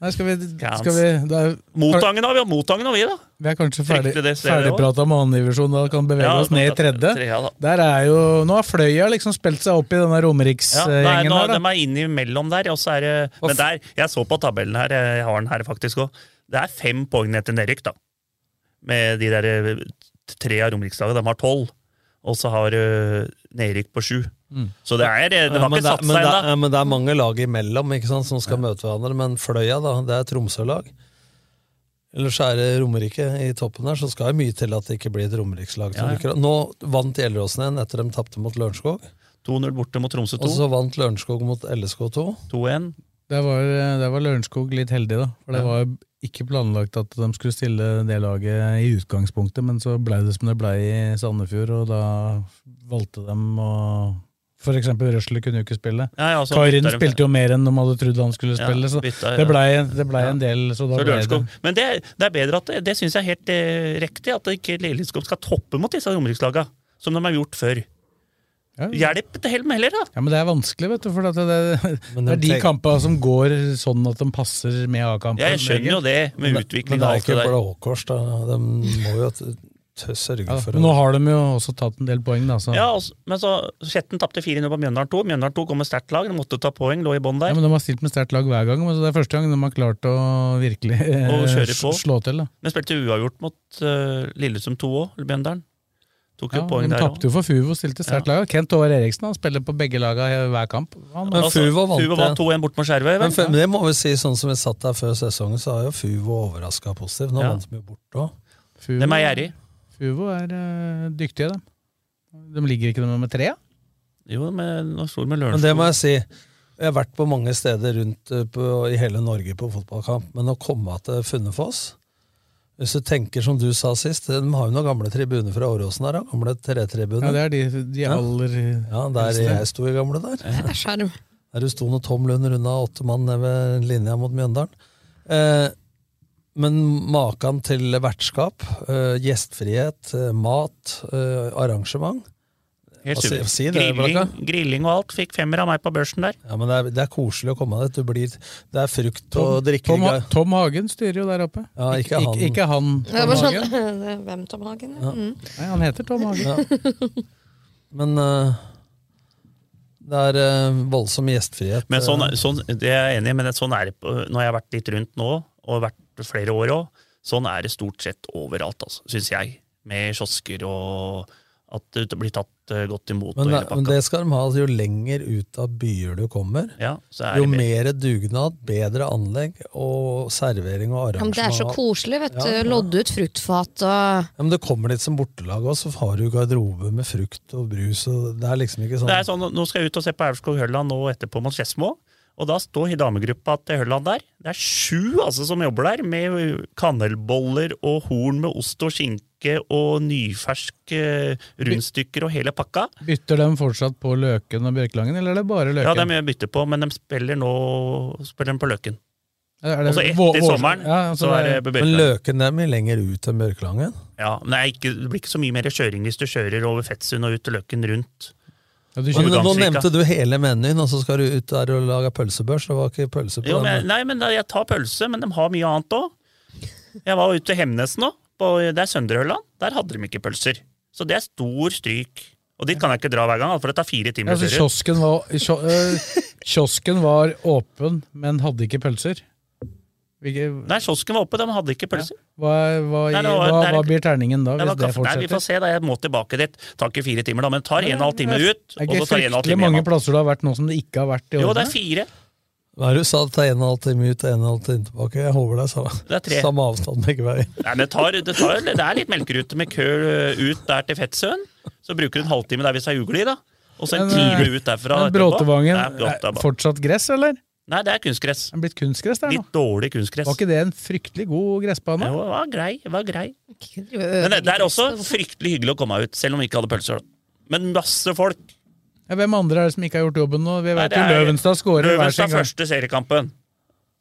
Speaker 3: Nei, skal vi, skal vi da, er-
Speaker 6: Motangen har vi, og Motangen har vi, da.
Speaker 3: Vi er kanskje ferdig,
Speaker 6: Frykte det stedet også.
Speaker 3: ferdigprata med andredivisjon og kan bevege
Speaker 6: Ja,
Speaker 3: oss ned i tredje.
Speaker 6: tredje, ja,
Speaker 3: Der er jo, Nå har Fløya liksom spilt seg opp i denne
Speaker 6: Ja, nei,
Speaker 3: Romeriksgjengen
Speaker 6: nå,
Speaker 3: her.
Speaker 6: de
Speaker 3: da.
Speaker 6: er inn imellom der, og så er det Men der, jeg så på tabellen her, jeg har den her faktisk òg. Det er fem poeng ned til nedrykk, da. Med de der eh, tre av Romerikslaget. De har tolv. Og så har eh, nedrykk på sju. Så det er eh, Det
Speaker 4: Ja,
Speaker 6: var
Speaker 4: men, det,
Speaker 6: ikke satt
Speaker 4: men,
Speaker 6: seg
Speaker 4: det,
Speaker 6: ennå.
Speaker 4: ja, men det er mange lag imellom ikke sant, som skal møte hverandre. Men Fløya, da, det er Tromsø-lag. Eller så er det Romerike i toppen her, så skal det mye til at det ikke blir et romerikslag. som
Speaker 6: Ja, ja.
Speaker 4: rykker opp. Nå vant Gjelleråsen igjen etter de tapte mot Lørenskog.
Speaker 6: 2-0 borte mot Tromsø
Speaker 4: Og
Speaker 6: 2.
Speaker 4: så vant Lørenskog mot LSK2.
Speaker 6: 2-1.
Speaker 3: Der var, eh, der var Lørenskog litt heldig, da. For det
Speaker 6: Ja.
Speaker 3: var jo ikke planlagt at de skulle stille det laget i utgangspunktet, men så blei det som det blei i Sandefjord, og da valgte de å For eksempel Røsle kunne jo ikke spille.
Speaker 6: Ja, ja, så
Speaker 3: Kairin
Speaker 6: bytta de-
Speaker 3: spilte jo mer enn de hadde trodd han skulle
Speaker 6: Ja,
Speaker 3: spille, så
Speaker 6: bytta,
Speaker 3: det
Speaker 6: ja.
Speaker 3: blei ble en del. Så da
Speaker 6: Så
Speaker 3: ble det
Speaker 6: Lørenskog. Men det, det er bedre at det, det syns jeg er helt eh, riktig, at ikke Lilleskopp skal toppe mot disse romerikslagene, som de har gjort før.
Speaker 3: Ja, ja.
Speaker 6: Hjelp til Helm heller, da!
Speaker 3: Ja, men det er vanskelig, vet du. For at det, det,
Speaker 4: Men
Speaker 3: det er
Speaker 4: de
Speaker 3: de
Speaker 4: tenk-
Speaker 3: kampene som går sånn at de passer med A-kampen.
Speaker 6: Jeg skjønner jo det, med
Speaker 4: Men
Speaker 6: utvikling
Speaker 4: det
Speaker 6: og
Speaker 4: er
Speaker 6: alt det
Speaker 4: ikke
Speaker 6: der.
Speaker 4: Blå Kors, da. De må jo t- t- sørge
Speaker 3: Ja,
Speaker 4: for
Speaker 3: men nå har de jo også tatt en del poeng, da. Så.
Speaker 6: Ja, altså, men så Skjetten tapte 4-0 på Mjøndalen 2. Mjøndalen 2 kom med sterkt lag, de måtte ta poeng, lå i bånn
Speaker 3: Ja,
Speaker 6: der.
Speaker 3: men De har stilt med sterkt lag hver gang, men så det er første gang de har klart å virkelig eh,
Speaker 6: Og kjøre på.
Speaker 3: sl- slå til. da.
Speaker 6: Men spilte uavgjort mot uh, Lillesund 2 òg, Mjøndalen. Tok jo
Speaker 3: Ja,
Speaker 6: poeng
Speaker 3: de
Speaker 6: der
Speaker 3: tapte
Speaker 6: òg.
Speaker 3: jo for Fuvo, stilte sterkt lag. Kent Håvard Eriksen han spiller på begge laga i hver kamp. Han, eh,
Speaker 4: Men Fuvo vant
Speaker 6: Fuvo
Speaker 4: det.
Speaker 6: Altså, vant 2-1 bort mot Skjervøy.
Speaker 4: Men
Speaker 6: vel?
Speaker 4: for, det må vi si, sånn som vi satt der før sesongen, så har jo Fuvo overraska positivt. Nå
Speaker 6: Ja.
Speaker 4: vant de jo bort òg.
Speaker 3: Fuvo,
Speaker 6: Dem er gjerrig.
Speaker 3: Fuvo er eh, dyktige, dem. De ligger ikke nummer tre? ja?
Speaker 6: Jo, men nå sto det med
Speaker 4: Men det må
Speaker 6: Lørenskog.
Speaker 4: jeg si. Jeg har vært på mange steder rundt eh, på, i hele Norge på fotballkamp, men å komme til Funnefoss Hvis du tenker som du sa sist, de har jo noen gamle tribuner fra Åråsen her. da, Gamle
Speaker 3: Ja,
Speaker 4: tretribuner.
Speaker 3: det er de, de
Speaker 4: Ja.
Speaker 3: aller
Speaker 4: Ja, der jeg sto i gamle der.
Speaker 5: Det er skjerm.
Speaker 4: Der du sto når Tom Lund runda åtte mann ned ved linja mot Mjøndalen. Eh, men maken til vertskap, eh, gjestfrihet, eh, mat, eh, arrangement
Speaker 6: Helt
Speaker 4: Hva
Speaker 6: super.
Speaker 4: Altså, si- si det,
Speaker 6: grilling,
Speaker 4: Blakka.
Speaker 6: grilling og alt. Fikk femmer av meg på børsen der.
Speaker 4: ja, men det, er, det er koselig å komme dit. Du blir, det er frukt
Speaker 3: Tom,
Speaker 4: og drikke.
Speaker 3: Tom, Ha- Tom Hagen styrer jo der oppe.
Speaker 4: Ja, ikke
Speaker 3: Ikke,
Speaker 4: han.
Speaker 3: ikke han
Speaker 5: Det er
Speaker 3: Tom
Speaker 5: bare
Speaker 3: Hagen.
Speaker 5: sånn <laughs> det er Hvem Tom Hagen? Ja. Mm.
Speaker 3: Nei, han heter Tom Hagen.
Speaker 4: Ja. Men eh, det er eh, voldsom gjestfrihet.
Speaker 6: Men sånn,
Speaker 4: Eh,
Speaker 6: sånn, det er jeg enig i, men sånn er det på- når jeg har vært litt rundt nå, og vært flere år òg. Sånn er det stort sett overalt, altså, syns jeg. Med kiosker og at du blir tatt eh, godt imot.
Speaker 4: Men,
Speaker 6: og
Speaker 4: det-
Speaker 6: hele
Speaker 4: men
Speaker 6: pakka.
Speaker 4: det skal de ha. altså, Jo lenger ut av byer du kommer,
Speaker 6: Ja, så er
Speaker 4: jo
Speaker 6: det mer.
Speaker 4: mer dugnad, bedre anlegg og servering og
Speaker 5: Ja, men
Speaker 4: arrangement.
Speaker 5: det er så koselig, vet du.
Speaker 4: Ja, ja.
Speaker 5: Lodde ut fruktfat
Speaker 4: Ja,
Speaker 5: og
Speaker 4: men det kommer litt som bortelag også, så har du garderobe med frukt og brus. Og det er liksom ikke sånn
Speaker 6: Det er sånn, Nå skal jeg ut og se på Aurskog Hølland og etterpå mot Skedsmo. Og da står damegruppa til Hølland der. Det er sju altså, som jobber der, med kanelboller og horn med ost og skinke og nyfersk eh, rundstykker og hele pakka.
Speaker 3: Bytter de fortsatt på Løken og Bjørkelangen, eller er det bare Løken?
Speaker 6: Ja, det er mye å bytte på, men de spiller nå spiller de på Løkken.
Speaker 3: Er det
Speaker 6: Og så
Speaker 3: vår-
Speaker 6: etter
Speaker 3: vår-
Speaker 6: Altså, sommeren
Speaker 3: Ja, altså,
Speaker 6: så er det
Speaker 4: Men
Speaker 6: Bjørkelangen.
Speaker 4: Løken er mye lenger ut enn Bjørkelangen.
Speaker 6: Ja, men det, er ikke, det blir ikke så mye mer kjøring hvis du kjører over Fettsund og ut til Løkken rundt.
Speaker 4: Ja, men nå
Speaker 6: Gangsvika.
Speaker 4: nevnte du hele menyen, og så skal du ut der og lage pølsebørs. Det var ikke pølse på
Speaker 6: Jo,
Speaker 4: den.
Speaker 6: men, nei, men da, jeg tar pølse, men de har mye annet òg. Jeg var ute i Hemnesen òg. Det er Søndrehølland. Der hadde de ikke pølser. Så det er stor stryk. Og dit kan jeg ikke dra hver gang, for det tar fire
Speaker 3: Ja,
Speaker 6: timer.
Speaker 3: altså,
Speaker 6: turer.
Speaker 3: kiosken, var, kio, eh, kiosken var åpen, men hadde ikke pølser. Hvilke,
Speaker 6: Nei, kiosken var oppe, de hadde ikke pølser.
Speaker 3: hva, hva,
Speaker 6: Nei, det var-
Speaker 3: hva,
Speaker 6: det er-
Speaker 3: hva blir terningen da,
Speaker 6: det
Speaker 3: hvis
Speaker 6: var
Speaker 3: det
Speaker 6: kaffe. Nei, vi får
Speaker 3: fortsetter?
Speaker 6: se, da. Jeg må tilbake dit. Tar ikke fire timer, da, men tar en og en halv time ut.
Speaker 3: Det er
Speaker 6: Og
Speaker 3: ikke
Speaker 6: så tar en og en halv
Speaker 3: fryktelig
Speaker 6: time
Speaker 3: mange
Speaker 6: hjemme.
Speaker 3: plasser det har vært nå som det ikke har vært i
Speaker 6: Jo, det
Speaker 3: årene.
Speaker 6: er fire.
Speaker 4: Hva er det du sa? Ta en og en halv time ut og en og en halv time tilbake. Jeg håper det er samme,
Speaker 6: Det er tre.
Speaker 4: samme avstand begge veier.
Speaker 6: Nei, men det, tar, det, tar, det er litt melkerute med kø ut der til Fettsøen. Så bruker du en halvtime der hvis det er ugler i, da. Og så en
Speaker 3: Men, eh,
Speaker 6: time ut derfra.
Speaker 3: Men
Speaker 6: etterpå.
Speaker 3: Bråtevangen, eh,
Speaker 6: Nei,
Speaker 3: er
Speaker 6: Bråtevangen.
Speaker 3: fortsatt gress, eller?
Speaker 6: Nei, det er kunstgress.
Speaker 3: Det er blitt kunstgress der nå.
Speaker 6: Litt dårlig kunstgress.
Speaker 3: Var ikke det en fryktelig god gressbane?
Speaker 6: Jo, det var grei. det var grei. Men det, det er også fryktelig hyggelig å komme ut, selv om vi ikke hadde pølser. da. Men masse folk.
Speaker 3: Ja, hvem andre er det som ikke har gjort jobben nå?
Speaker 6: Nei,
Speaker 3: Vi vet
Speaker 6: det
Speaker 3: jo
Speaker 6: er-
Speaker 3: Løvenstad skårer hver sin
Speaker 6: Løvenstad
Speaker 3: gang.
Speaker 6: første seriekampen.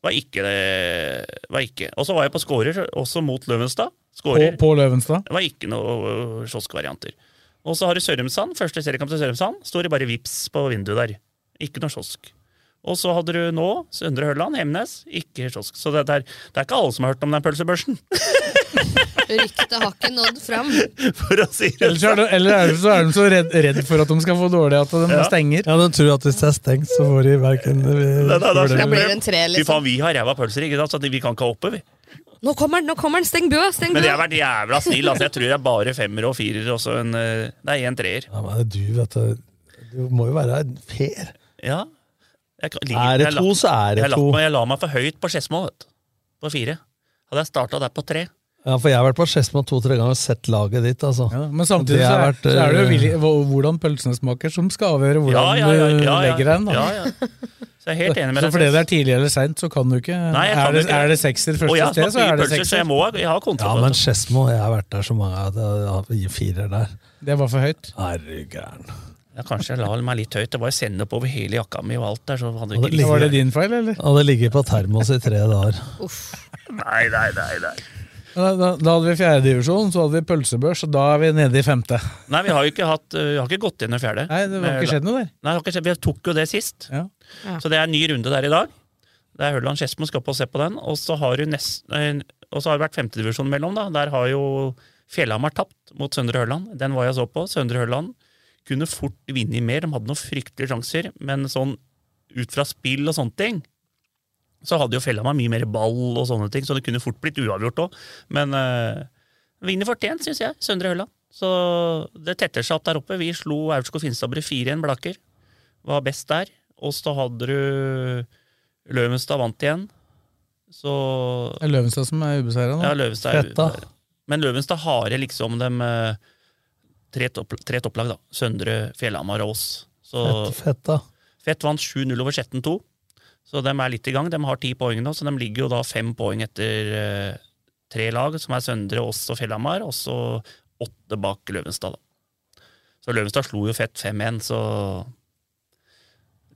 Speaker 6: Var ikke det var ikke. Og så var jeg på skårer, også mot Løvenstad.
Speaker 3: På,
Speaker 6: Skårer.
Speaker 3: på Løvenstad.
Speaker 6: Det var ikke noe øh, kioskvarianter. Og så har du Sørumsand. Første seriekamp til Sørumsand. Står det bare vips på vinduet der. Ikke noe kiosk. Og så hadde du nå Søndre Hørland, Hemnes. Ikke kiosk. Så det, er- det er ikke alle som har hørt om den pølsebørsen. <laughs>
Speaker 5: Ryktet har ikke nådd fram.
Speaker 6: For å si det sånn.
Speaker 3: Ellers er det, eller er det, så er de så redd, redd for at de skal få dårlig at de
Speaker 6: Ja.
Speaker 3: stenger.
Speaker 4: Ja, de tror at hvis det er stengt, så får de verken
Speaker 6: Nei, nei, nei,
Speaker 5: Da blir det en tre,
Speaker 6: Fy faen,
Speaker 5: liksom.
Speaker 6: vi har ræva pølser, ikke sant? Så vi kan ikke ha oppe, vi.
Speaker 5: Nå kommer den, nå kommer den! Steng bø! Steng
Speaker 6: Men
Speaker 5: bø!
Speaker 6: jeg har vært jævla snill. altså Jeg tror jeg er bare femmer og firer, og så en eh, Nei, en treer.
Speaker 4: Ja, men du, vet du. Du må jo være fair.
Speaker 6: Ja. Jeg kan-
Speaker 4: Er det
Speaker 6: jeg la-
Speaker 4: to, så er det
Speaker 6: jeg la,
Speaker 4: to.
Speaker 6: meg- Jeg la meg for høyt på Skedsmo, vet du. På fire. Hadde jeg starta der på tre
Speaker 4: Ja, for jeg har vært på Skedsmo to-tre ganger og sett laget ditt, altså.
Speaker 3: Men samtidig
Speaker 4: Det
Speaker 3: så
Speaker 4: har
Speaker 3: er,
Speaker 4: vært,
Speaker 3: så er det jo
Speaker 4: eh,
Speaker 3: vilje- hvor- hvordan pølsene smaker som skal avgjøre hvordan
Speaker 6: Ja, ja, ja, ja, ja.
Speaker 3: du legger den. da.
Speaker 6: Ja, ja. Så jeg er helt enig med deg.
Speaker 3: Så fordi det er tidlig eller seint, så kan du ikke.
Speaker 6: Nei, jeg
Speaker 3: er,
Speaker 6: kan
Speaker 3: det,
Speaker 6: ikke.
Speaker 3: er det sekser
Speaker 6: Og jeg
Speaker 3: første
Speaker 6: har
Speaker 3: sted,
Speaker 6: smakt
Speaker 3: så
Speaker 6: mye
Speaker 3: er det
Speaker 6: pølser, så jeg
Speaker 3: sekser.
Speaker 6: må jeg har kontroll
Speaker 4: Ja,
Speaker 6: på
Speaker 4: men
Speaker 6: det.
Speaker 4: Skedsmo, jeg har vært der så mange at jeg har gitt firer der.
Speaker 3: Det var for høyt.
Speaker 4: Herre gæren.
Speaker 6: Ja, kanskje jeg la meg litt høyt. Det var jo sennep over hele jakka mi og alt der. Så
Speaker 4: Og
Speaker 6: hadde ikke liksom-
Speaker 4: det ligger-
Speaker 3: Var det din feil, eller?
Speaker 4: Hadde ligget på termos i tre dager.
Speaker 6: Nei, nei, nei. nei.
Speaker 3: Da, da, da hadde vi fjerdedivisjon, så hadde vi pølsebørs, og da er vi nede i femte.
Speaker 6: Nei, vi har jo ikke hatt eh, Vi har ikke gått gjennom fjerde.
Speaker 3: Nei, det har ikke skjedd noe der.
Speaker 6: Nei, det har ikke skjedd. Vi tok jo det sist.
Speaker 3: Ja.
Speaker 6: Så det er en ny runde der i dag. Det er Hørland Skedsmo skal på og se på den. Og så har, du nest, eh, og så har det vært femtedivisjon mellom. da. Der har jo Fjellhamar tapt mot Søndre Hørland. Den var jeg så på. Søndre Hørland kunne fort vinne mer. De hadde noen fryktelige sjanser, men sånn ut fra spill og sånne ting så hadde jo Fjellhamar mye mer ball og sånne ting, så det kunne fort blitt uavgjort òg. Men eh, vinner fortjent, syns jeg, Søndre Hølland. Så det tetter seg opp der oppe. Vi slo Aurskog Finstadbru 4-1 Blaker. Var best der. Og så hadde du Løvenstad vant igjen. Så
Speaker 3: Det er Løvenstad som er ubeseira nå.
Speaker 6: Ja, Løvenstad er
Speaker 3: Fetta.
Speaker 6: ubeseira. Men Løvenstad har liksom dem eh, tre, topp, tre topplag, da. Søndre, Fjellhamar og oss. Så
Speaker 4: Fett, da.
Speaker 6: Fett vant 7-0 over Skjetten 2. Så de er litt i gang. De har ti poeng nå, så de ligger jo da fem poeng etter eh, tre lag, som er Søndre, Ås og Fjellhamar, og så åtte bak Løvenstad. da. Så Løvenstad slo jo Fett 5-1, så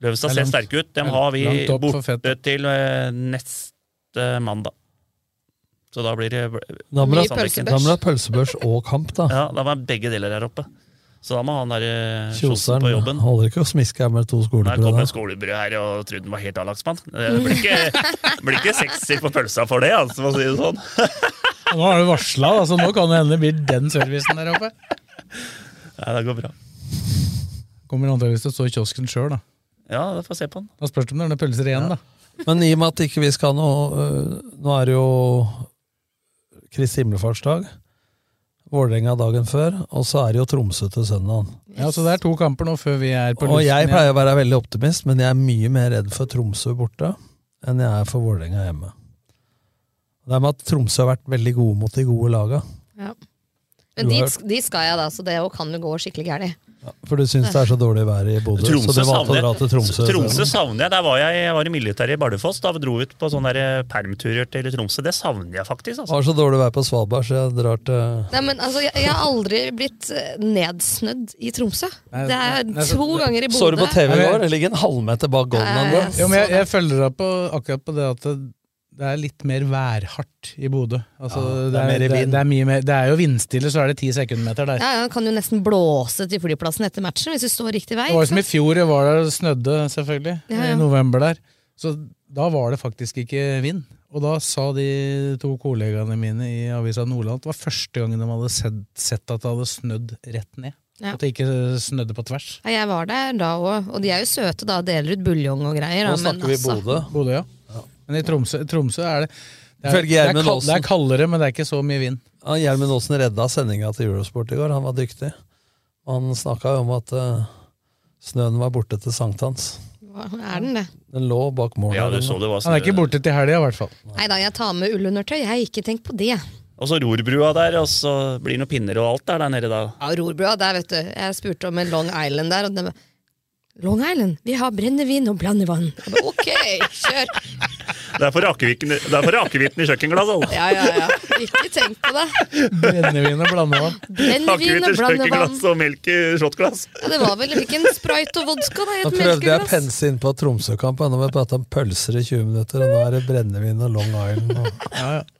Speaker 6: Løvenstad
Speaker 3: Det er
Speaker 6: ser
Speaker 3: langt-
Speaker 6: sterke ut. Dem
Speaker 3: det er
Speaker 6: har vi
Speaker 3: langt opp for Fett.
Speaker 6: borte til eh, neste mandag. Så da blir det
Speaker 4: Da må du ha
Speaker 6: Sandviken.
Speaker 4: da må du ha pølsebørs og kamp, da.
Speaker 6: Ja, da var begge deler her oppe. Så da må han der eh, Kjosen på
Speaker 4: Kjoseren
Speaker 6: jobben
Speaker 4: holder ikke å smiske her med to
Speaker 6: Nei, kom
Speaker 4: skolebrød.
Speaker 6: en
Speaker 4: der.
Speaker 6: skolebrød her og trodde den var helt A-lagsmann. Det blir ikke, blir ikke sekser på pølsa for det, altså, for å si det sånn.
Speaker 3: Nå har du varsla, så nå kan det hende det blir den servicen der oppe.
Speaker 6: Nei, det går bra.
Speaker 3: Kommer antakeligvis til å stå i kiosken sjøl, da.
Speaker 6: Ja, da får jeg se på den.
Speaker 3: Da spørs det om det er noen pølser igjen, da.
Speaker 4: Men i og med at ikke vi skal nå øh, Nå er det jo Kristi himmelfartsdag. Vålerenga dagen før, og så er det jo Tromsø til søndagen.
Speaker 3: Ja, så det er to kamper nå før vi er på
Speaker 4: Og jeg
Speaker 3: igjen.
Speaker 4: pleier å være veldig optimist, men jeg er mye mer redd for Tromsø borte enn jeg er for Vålerenga hjemme. Det er med at Tromsø har vært veldig gode mot de gode laga.
Speaker 5: Ja. Men
Speaker 4: Du har
Speaker 5: dit, sk- dit skal jeg, da, så det jo kan jo gå skikkelig gærent.
Speaker 4: For du syns det er så dårlig vær i Bodø, så
Speaker 6: Tromsø
Speaker 4: du valgte å dra
Speaker 6: savner,
Speaker 4: til Tromsø.
Speaker 6: Tromsø savner jeg. Der var jeg, jeg var i militæret i Bardufoss. Da dro vi ut på sånne der eh, permturer til Tromsø. Det savner jeg faktisk. altså.
Speaker 4: Det var så dårlig vær på Svalbard, så jeg drar til
Speaker 5: Nei, men altså, jeg, jeg har aldri blitt eh, nedsnødd i Tromsø.
Speaker 4: Nei,
Speaker 5: Det er
Speaker 4: nei,
Speaker 5: to ganger i Bodø.
Speaker 4: Så du på TV i går? Det ligger en halvmeter bak
Speaker 5: Ja,
Speaker 4: golden
Speaker 5: ja, ja.
Speaker 3: Jo, men jeg, jeg følger deg på akkurat på det at det, det er litt mer værhardt i Bodø. Altså,
Speaker 4: Ja,
Speaker 3: det, er,
Speaker 4: det er mer i
Speaker 3: det, er-
Speaker 4: vind.
Speaker 3: det, er mye mer, det er jo vindstille, så er det ti sekundmeter der.
Speaker 5: Ja, ja, kan jo nesten blåse til flyplassen etter matchen hvis du står riktig vei.
Speaker 3: Det var jo
Speaker 5: ikke
Speaker 3: som i fjor, jeg var der og snødde selvfølgelig,
Speaker 5: Ja, ja.
Speaker 3: i november der. Så da var det faktisk ikke vind. Og da sa de to kollegaene mine i Avisa Nordland at det var første gangen de hadde sett, sett at det hadde snødd rett ned.
Speaker 5: Ja.
Speaker 3: At det ikke snødde på tvers.
Speaker 5: sant? Ja, jeg var der da òg, og de er jo søte da, deler ut buljong og greier. da, men altså-
Speaker 3: Bodø, ja. Men i Tromsø, Tromsø er det det er,
Speaker 4: Ifølge
Speaker 3: det, er
Speaker 4: Gjermund
Speaker 3: kald, det
Speaker 4: Aasen.
Speaker 3: er kaldere, men det er ikke så mye vind.
Speaker 4: Ja, Gjermund Aasen redda sendinga til Eurosport i går. Han var dyktig. Han snakka jo om at eh, snøen var borte til sankthans.
Speaker 5: Hva- Er den det?
Speaker 4: Den lå bak målet.
Speaker 6: Ja, du så det var
Speaker 3: Han er ikke borte til helga, i
Speaker 4: <laughs>
Speaker 3: hvert fall.
Speaker 5: Nei da, jeg tar med ullundertøy. Jeg har ikke tenkt på det.
Speaker 6: Og så rorbrua der, og så blir det noen pinner og alt der, der nede da.
Speaker 5: Ja, Rorbrua, der vet du. Jeg spurte om en Long Island der, og de bare, Long Island, vi har brennevin og blandevann. Jeg ba, ok, kjør!
Speaker 6: Det er for rakevitten det er for rakevitten i kjøkkenglasset. <laughs> altså.
Speaker 5: Ja, ja, ja. Ikke tenk på det.
Speaker 3: Brennevin og blandevann.
Speaker 6: Akevitt
Speaker 5: Brennevin og
Speaker 6: i
Speaker 5: blandevann.
Speaker 6: kjøkkenglass og melk i shotglass.
Speaker 5: Ja, det var vel hvilken sprite og vodka da, i
Speaker 4: Da
Speaker 5: et
Speaker 4: prøvde jeg å
Speaker 5: melkeglass.
Speaker 4: pense inn på Tromsø-kampen. Nå har vi prata om pølser i 20 minutter, og nå er det brennevin og Long Island. Og...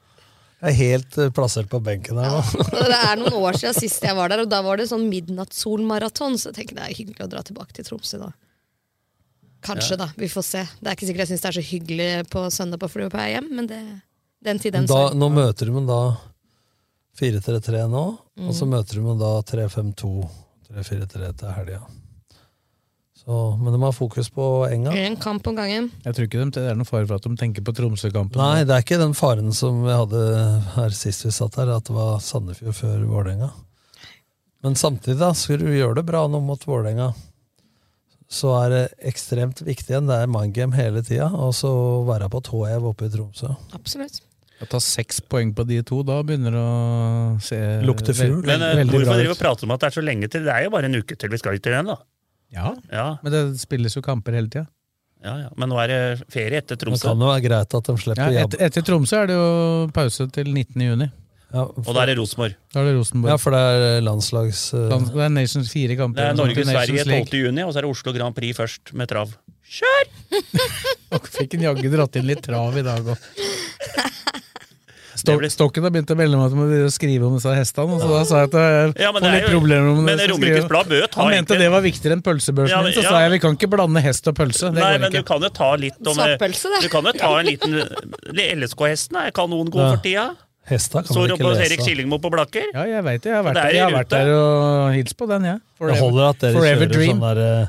Speaker 4: Jeg er helt eh, plassert på benken her nå.
Speaker 5: Og <laughs> Det er noen år siden sist jeg var der, og da var det sånn midnattssolmaraton. Så jeg tenker det er hyggelig å dra tilbake til Tromsø da. Kanskje, da. Vi får se. Det er ikke sikkert jeg syns det er så hyggelig på søndag på flyet på vei hjem, men det, den tid, den
Speaker 4: Da,
Speaker 5: sorg.
Speaker 4: nå møter de dem da 4-3-3 nå,
Speaker 5: Mm.
Speaker 4: og så møter de dem da 3-5-2, 3-4-3 til helga. Så- Men de har fokus på enga.
Speaker 5: En kamp om gangen.
Speaker 3: Jeg tror ikke de, det er noen fare for at de tenker på Tromsø-kampen.
Speaker 4: Nei, det er ikke den faren som vi hadde her sist vi satt her, at det var Sandefjord før Vålerenga. Men samtidig, da, skulle du gjøre det bra nå mot Vålerenga, så er det ekstremt viktig igjen. Det er mindgame hele tida, og så være på tå hev oppe i Tromsø.
Speaker 5: Absolutt.
Speaker 3: Å ta seks poeng på de to, da begynner det å se
Speaker 4: Lukte fugl.
Speaker 3: ve-
Speaker 6: Men eh,
Speaker 3: veldig
Speaker 6: hvorfor
Speaker 3: bra
Speaker 6: driver
Speaker 3: ut.
Speaker 6: og prater om at det er så lenge til? Det er jo bare en uke til vi skal til den, da.
Speaker 3: Ja.
Speaker 6: Ja,
Speaker 3: Men det spilles jo kamper hele tida.
Speaker 6: ja, ja. Men nå er det ferie etter
Speaker 4: Det
Speaker 6: Tromsø.
Speaker 4: kan jo være greit at de slipper
Speaker 3: Ja,
Speaker 4: ja,
Speaker 3: et, etter Tromsø er det jo pause til 19. juni.
Speaker 4: Ja,
Speaker 6: Og da er det Rosenborg.
Speaker 3: Da er det Rosenborg.
Speaker 4: Ja, for det er landslags... eh,
Speaker 3: Land- Det er Nations fire kamper.
Speaker 6: Det er
Speaker 3: Til Nations
Speaker 6: Norge-Sverige
Speaker 3: League.
Speaker 6: 12. juni, og så er det Oslo Grand Prix først, med trav.
Speaker 3: Og fikk en jaggu dratt inn litt trav i dag òg.
Speaker 6: ble-
Speaker 3: Stokken har begynt å melde meg at man begynner å skrive om disse hestene. Så da sa jeg at jeg
Speaker 6: Ja, men det
Speaker 3: får
Speaker 6: er
Speaker 3: litt
Speaker 6: jo-
Speaker 3: problemer om
Speaker 6: men
Speaker 3: det. så
Speaker 6: Romerikes
Speaker 3: skriver-
Speaker 6: Blad bør ta
Speaker 3: Han mente
Speaker 6: egentlig-
Speaker 3: det var viktigere enn pølsebørsen
Speaker 6: Ja, men-
Speaker 3: min, så
Speaker 6: ja.
Speaker 3: sa jeg vi kan ikke blande hest og pølse. Det
Speaker 6: Nei,
Speaker 3: går
Speaker 6: men
Speaker 3: ikke.
Speaker 6: du kan jo ta litt om eh,
Speaker 5: Svartpølse, da.
Speaker 6: Du kan jo ta en liten eh, LSK-hesten er kanon god
Speaker 3: Ja.
Speaker 6: for tida.
Speaker 4: Hesta kan man
Speaker 6: Står
Speaker 4: ikke
Speaker 6: oppe hos
Speaker 4: lese.
Speaker 6: Erik Skillingmo på Blakker.
Speaker 3: Ja, jeg vet det. Jeg har vært,
Speaker 6: Det er
Speaker 3: der, jeg har
Speaker 6: i rute.
Speaker 3: vært der og hilst på den, jeg.
Speaker 4: Det holder at dere
Speaker 3: Forever
Speaker 4: kjører
Speaker 3: Dream.
Speaker 4: sånn der eh,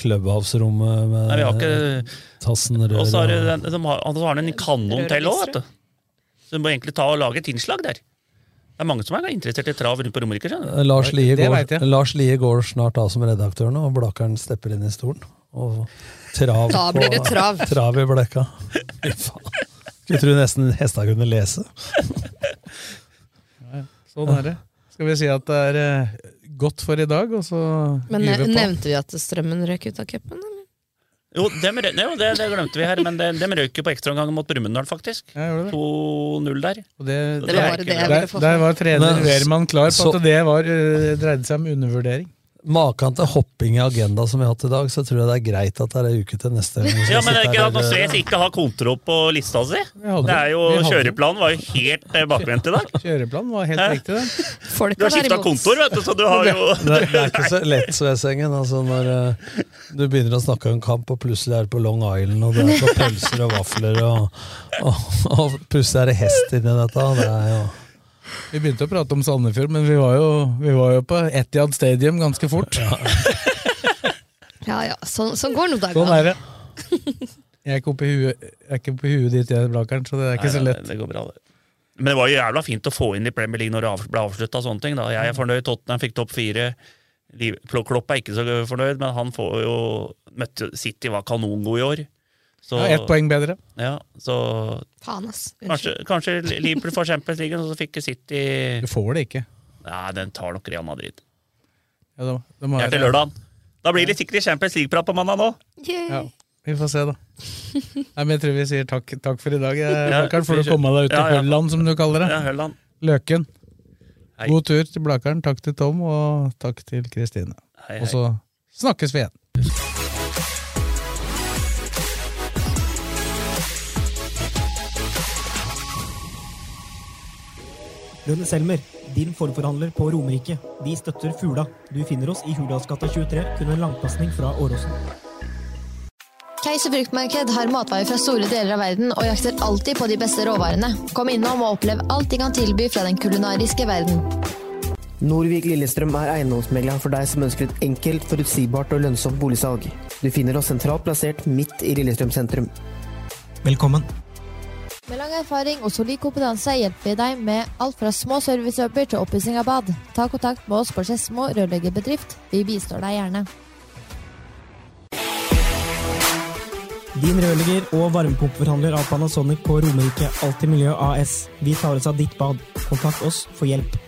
Speaker 4: Clubhouse-rommet med
Speaker 6: Nei, vi har ikke-
Speaker 4: eh, tassen rør
Speaker 6: Og så har du
Speaker 4: og-
Speaker 6: den, de har, og så har den en kanon til òg, vet du. Så du må egentlig ta og lage et innslag der. Det er mange som er interessert i trav rundt på Romerike. skjønner du.
Speaker 4: Eh, Lars Lie,
Speaker 6: Det vet
Speaker 4: går,
Speaker 6: jeg.
Speaker 4: Lars Lie går snart av som redaktør nå, og Blakkeren stepper inn i stolen. Og trav,
Speaker 5: Da blir det
Speaker 4: på-
Speaker 5: trav.
Speaker 4: i blekka. <laughs> Fy faen. Skulle tro nesten hesta kunne lese.
Speaker 3: Sånn er det. Skal vi si at det er eh, godt for i dag, og så
Speaker 5: Men
Speaker 3: gyver
Speaker 5: eh,
Speaker 3: vi på.
Speaker 5: nevnte vi at strømmen røk ut av cupen? eller?
Speaker 6: Jo, dem, rø- jo det, det glemte vi her, men de, dem røyk jo på ekstraomgangen mot Brumunddal, faktisk. 2-0 der.
Speaker 5: Det var bare det jeg ville
Speaker 3: Der,
Speaker 5: få
Speaker 3: der
Speaker 5: fram.
Speaker 3: var trener
Speaker 4: Men-
Speaker 3: Wehrmann klar på
Speaker 4: så-
Speaker 3: at det var, eh, dreide seg om undervurdering.
Speaker 4: Maken til hopping i agenda som vi har hatt i dag, så tror jeg det er greit at det er ei uke til neste gang.
Speaker 6: Ja, men det er ikke at Sves ikke har kontroll på lista si.
Speaker 3: hadde-
Speaker 6: Det er jo,
Speaker 3: vi hadde-
Speaker 6: kjøreplanen var jo helt eh, bakvendt i dag.
Speaker 3: Kjøreplanen var helt
Speaker 6: Hæ?
Speaker 3: riktig, den.
Speaker 6: Du har skifta kontor, vet du, så du har jo
Speaker 4: <laughs> Det, det er ikke så lett, Svesengen. Altså, når eh, du begynner å snakke om kamp, og plutselig er det på Long Island, og det er på pølser og vafler, og, og, og plutselig er det hest inni dette. Det er jo
Speaker 3: Vi begynte å prate om Sandefjord, men vi var jo, vi var jo på Etiad Stadium ganske fort.
Speaker 5: Ja ja, sånn så går nå dagene.
Speaker 3: Sånn er det. Jeg er ikke oppi huet, jeg er ikke oppi huet ditt, jeg, Blakeren, så det er ikke
Speaker 6: Nei,
Speaker 3: så
Speaker 6: nei,
Speaker 3: lett.
Speaker 6: Det går bra, det. Men det var jo jævla fint å få inn i Premier League når det av- ble avslutta. Sånne ting, da. Jeg er fornøyd, Tottenham fikk topp fire. Liv- Klo- Klopp er ikke så fornøyd, men han får jo møtte City var kanongod i år. Så,
Speaker 3: Ja, ett poeng bedre.
Speaker 6: Ja, så
Speaker 10: Faen, ass.
Speaker 6: Kanskje, kanskje Liverpool får Champions League, og så fikk City
Speaker 3: Du får det ikke.
Speaker 6: Nei, den tar nok Real Madrid.
Speaker 3: Ja, da, da må
Speaker 6: Det er til
Speaker 3: være-
Speaker 6: lørdagen. Da blir det sikkert Champions League-prat på mandag nå.
Speaker 3: Ja, vi får se, da. Nei, men jeg tror vi sier takk, takk for i dag.
Speaker 6: Ja,
Speaker 3: Blakkaren, får
Speaker 6: vi
Speaker 3: du
Speaker 6: kjø-
Speaker 3: komme deg ut til
Speaker 6: Ja, ja.
Speaker 3: Hølland, som du kaller det.
Speaker 6: Ja, Hølland.
Speaker 3: Løken.
Speaker 6: Hei.
Speaker 3: God tur til Blakkaren. Takk til Tom, og takk til Kristine.
Speaker 6: Hei, hei.
Speaker 3: Og så snakkes vi igjen.
Speaker 1: Rune Selmer, din forforhandler på Romerike. Vi støtter Fula. Du finner oss i Hurdalsgata 23, kun en langpasning fra Åråsen.
Speaker 5: Keiser fruktmarked har matvarer fra store deler av verden og jakter alltid på de beste råvarene. Kom innom og opplev alt de kan tilby fra den kulinariske verden.
Speaker 11: Norvik Lillestrøm er eiendomsmegleren for deg som ønsker et enkelt, forutsigbart og lønnsomt boligsalg. Du finner oss sentralt plassert midt i Lillestrøm sentrum.
Speaker 1: Velkommen.
Speaker 5: Med lang erfaring og solid kompetanse hjelper vi deg med alt fra små servicejobber til oppussing av bad. Ta kontakt med oss på Skedsmo rørleggerbedrift. Vi bistår deg gjerne.
Speaker 1: Din rørlegger og varmepumpeforhandler av Panasonic på Romerike Alltid Miljø AS. Vi tar oss av ditt bad. Kontakt oss for hjelp.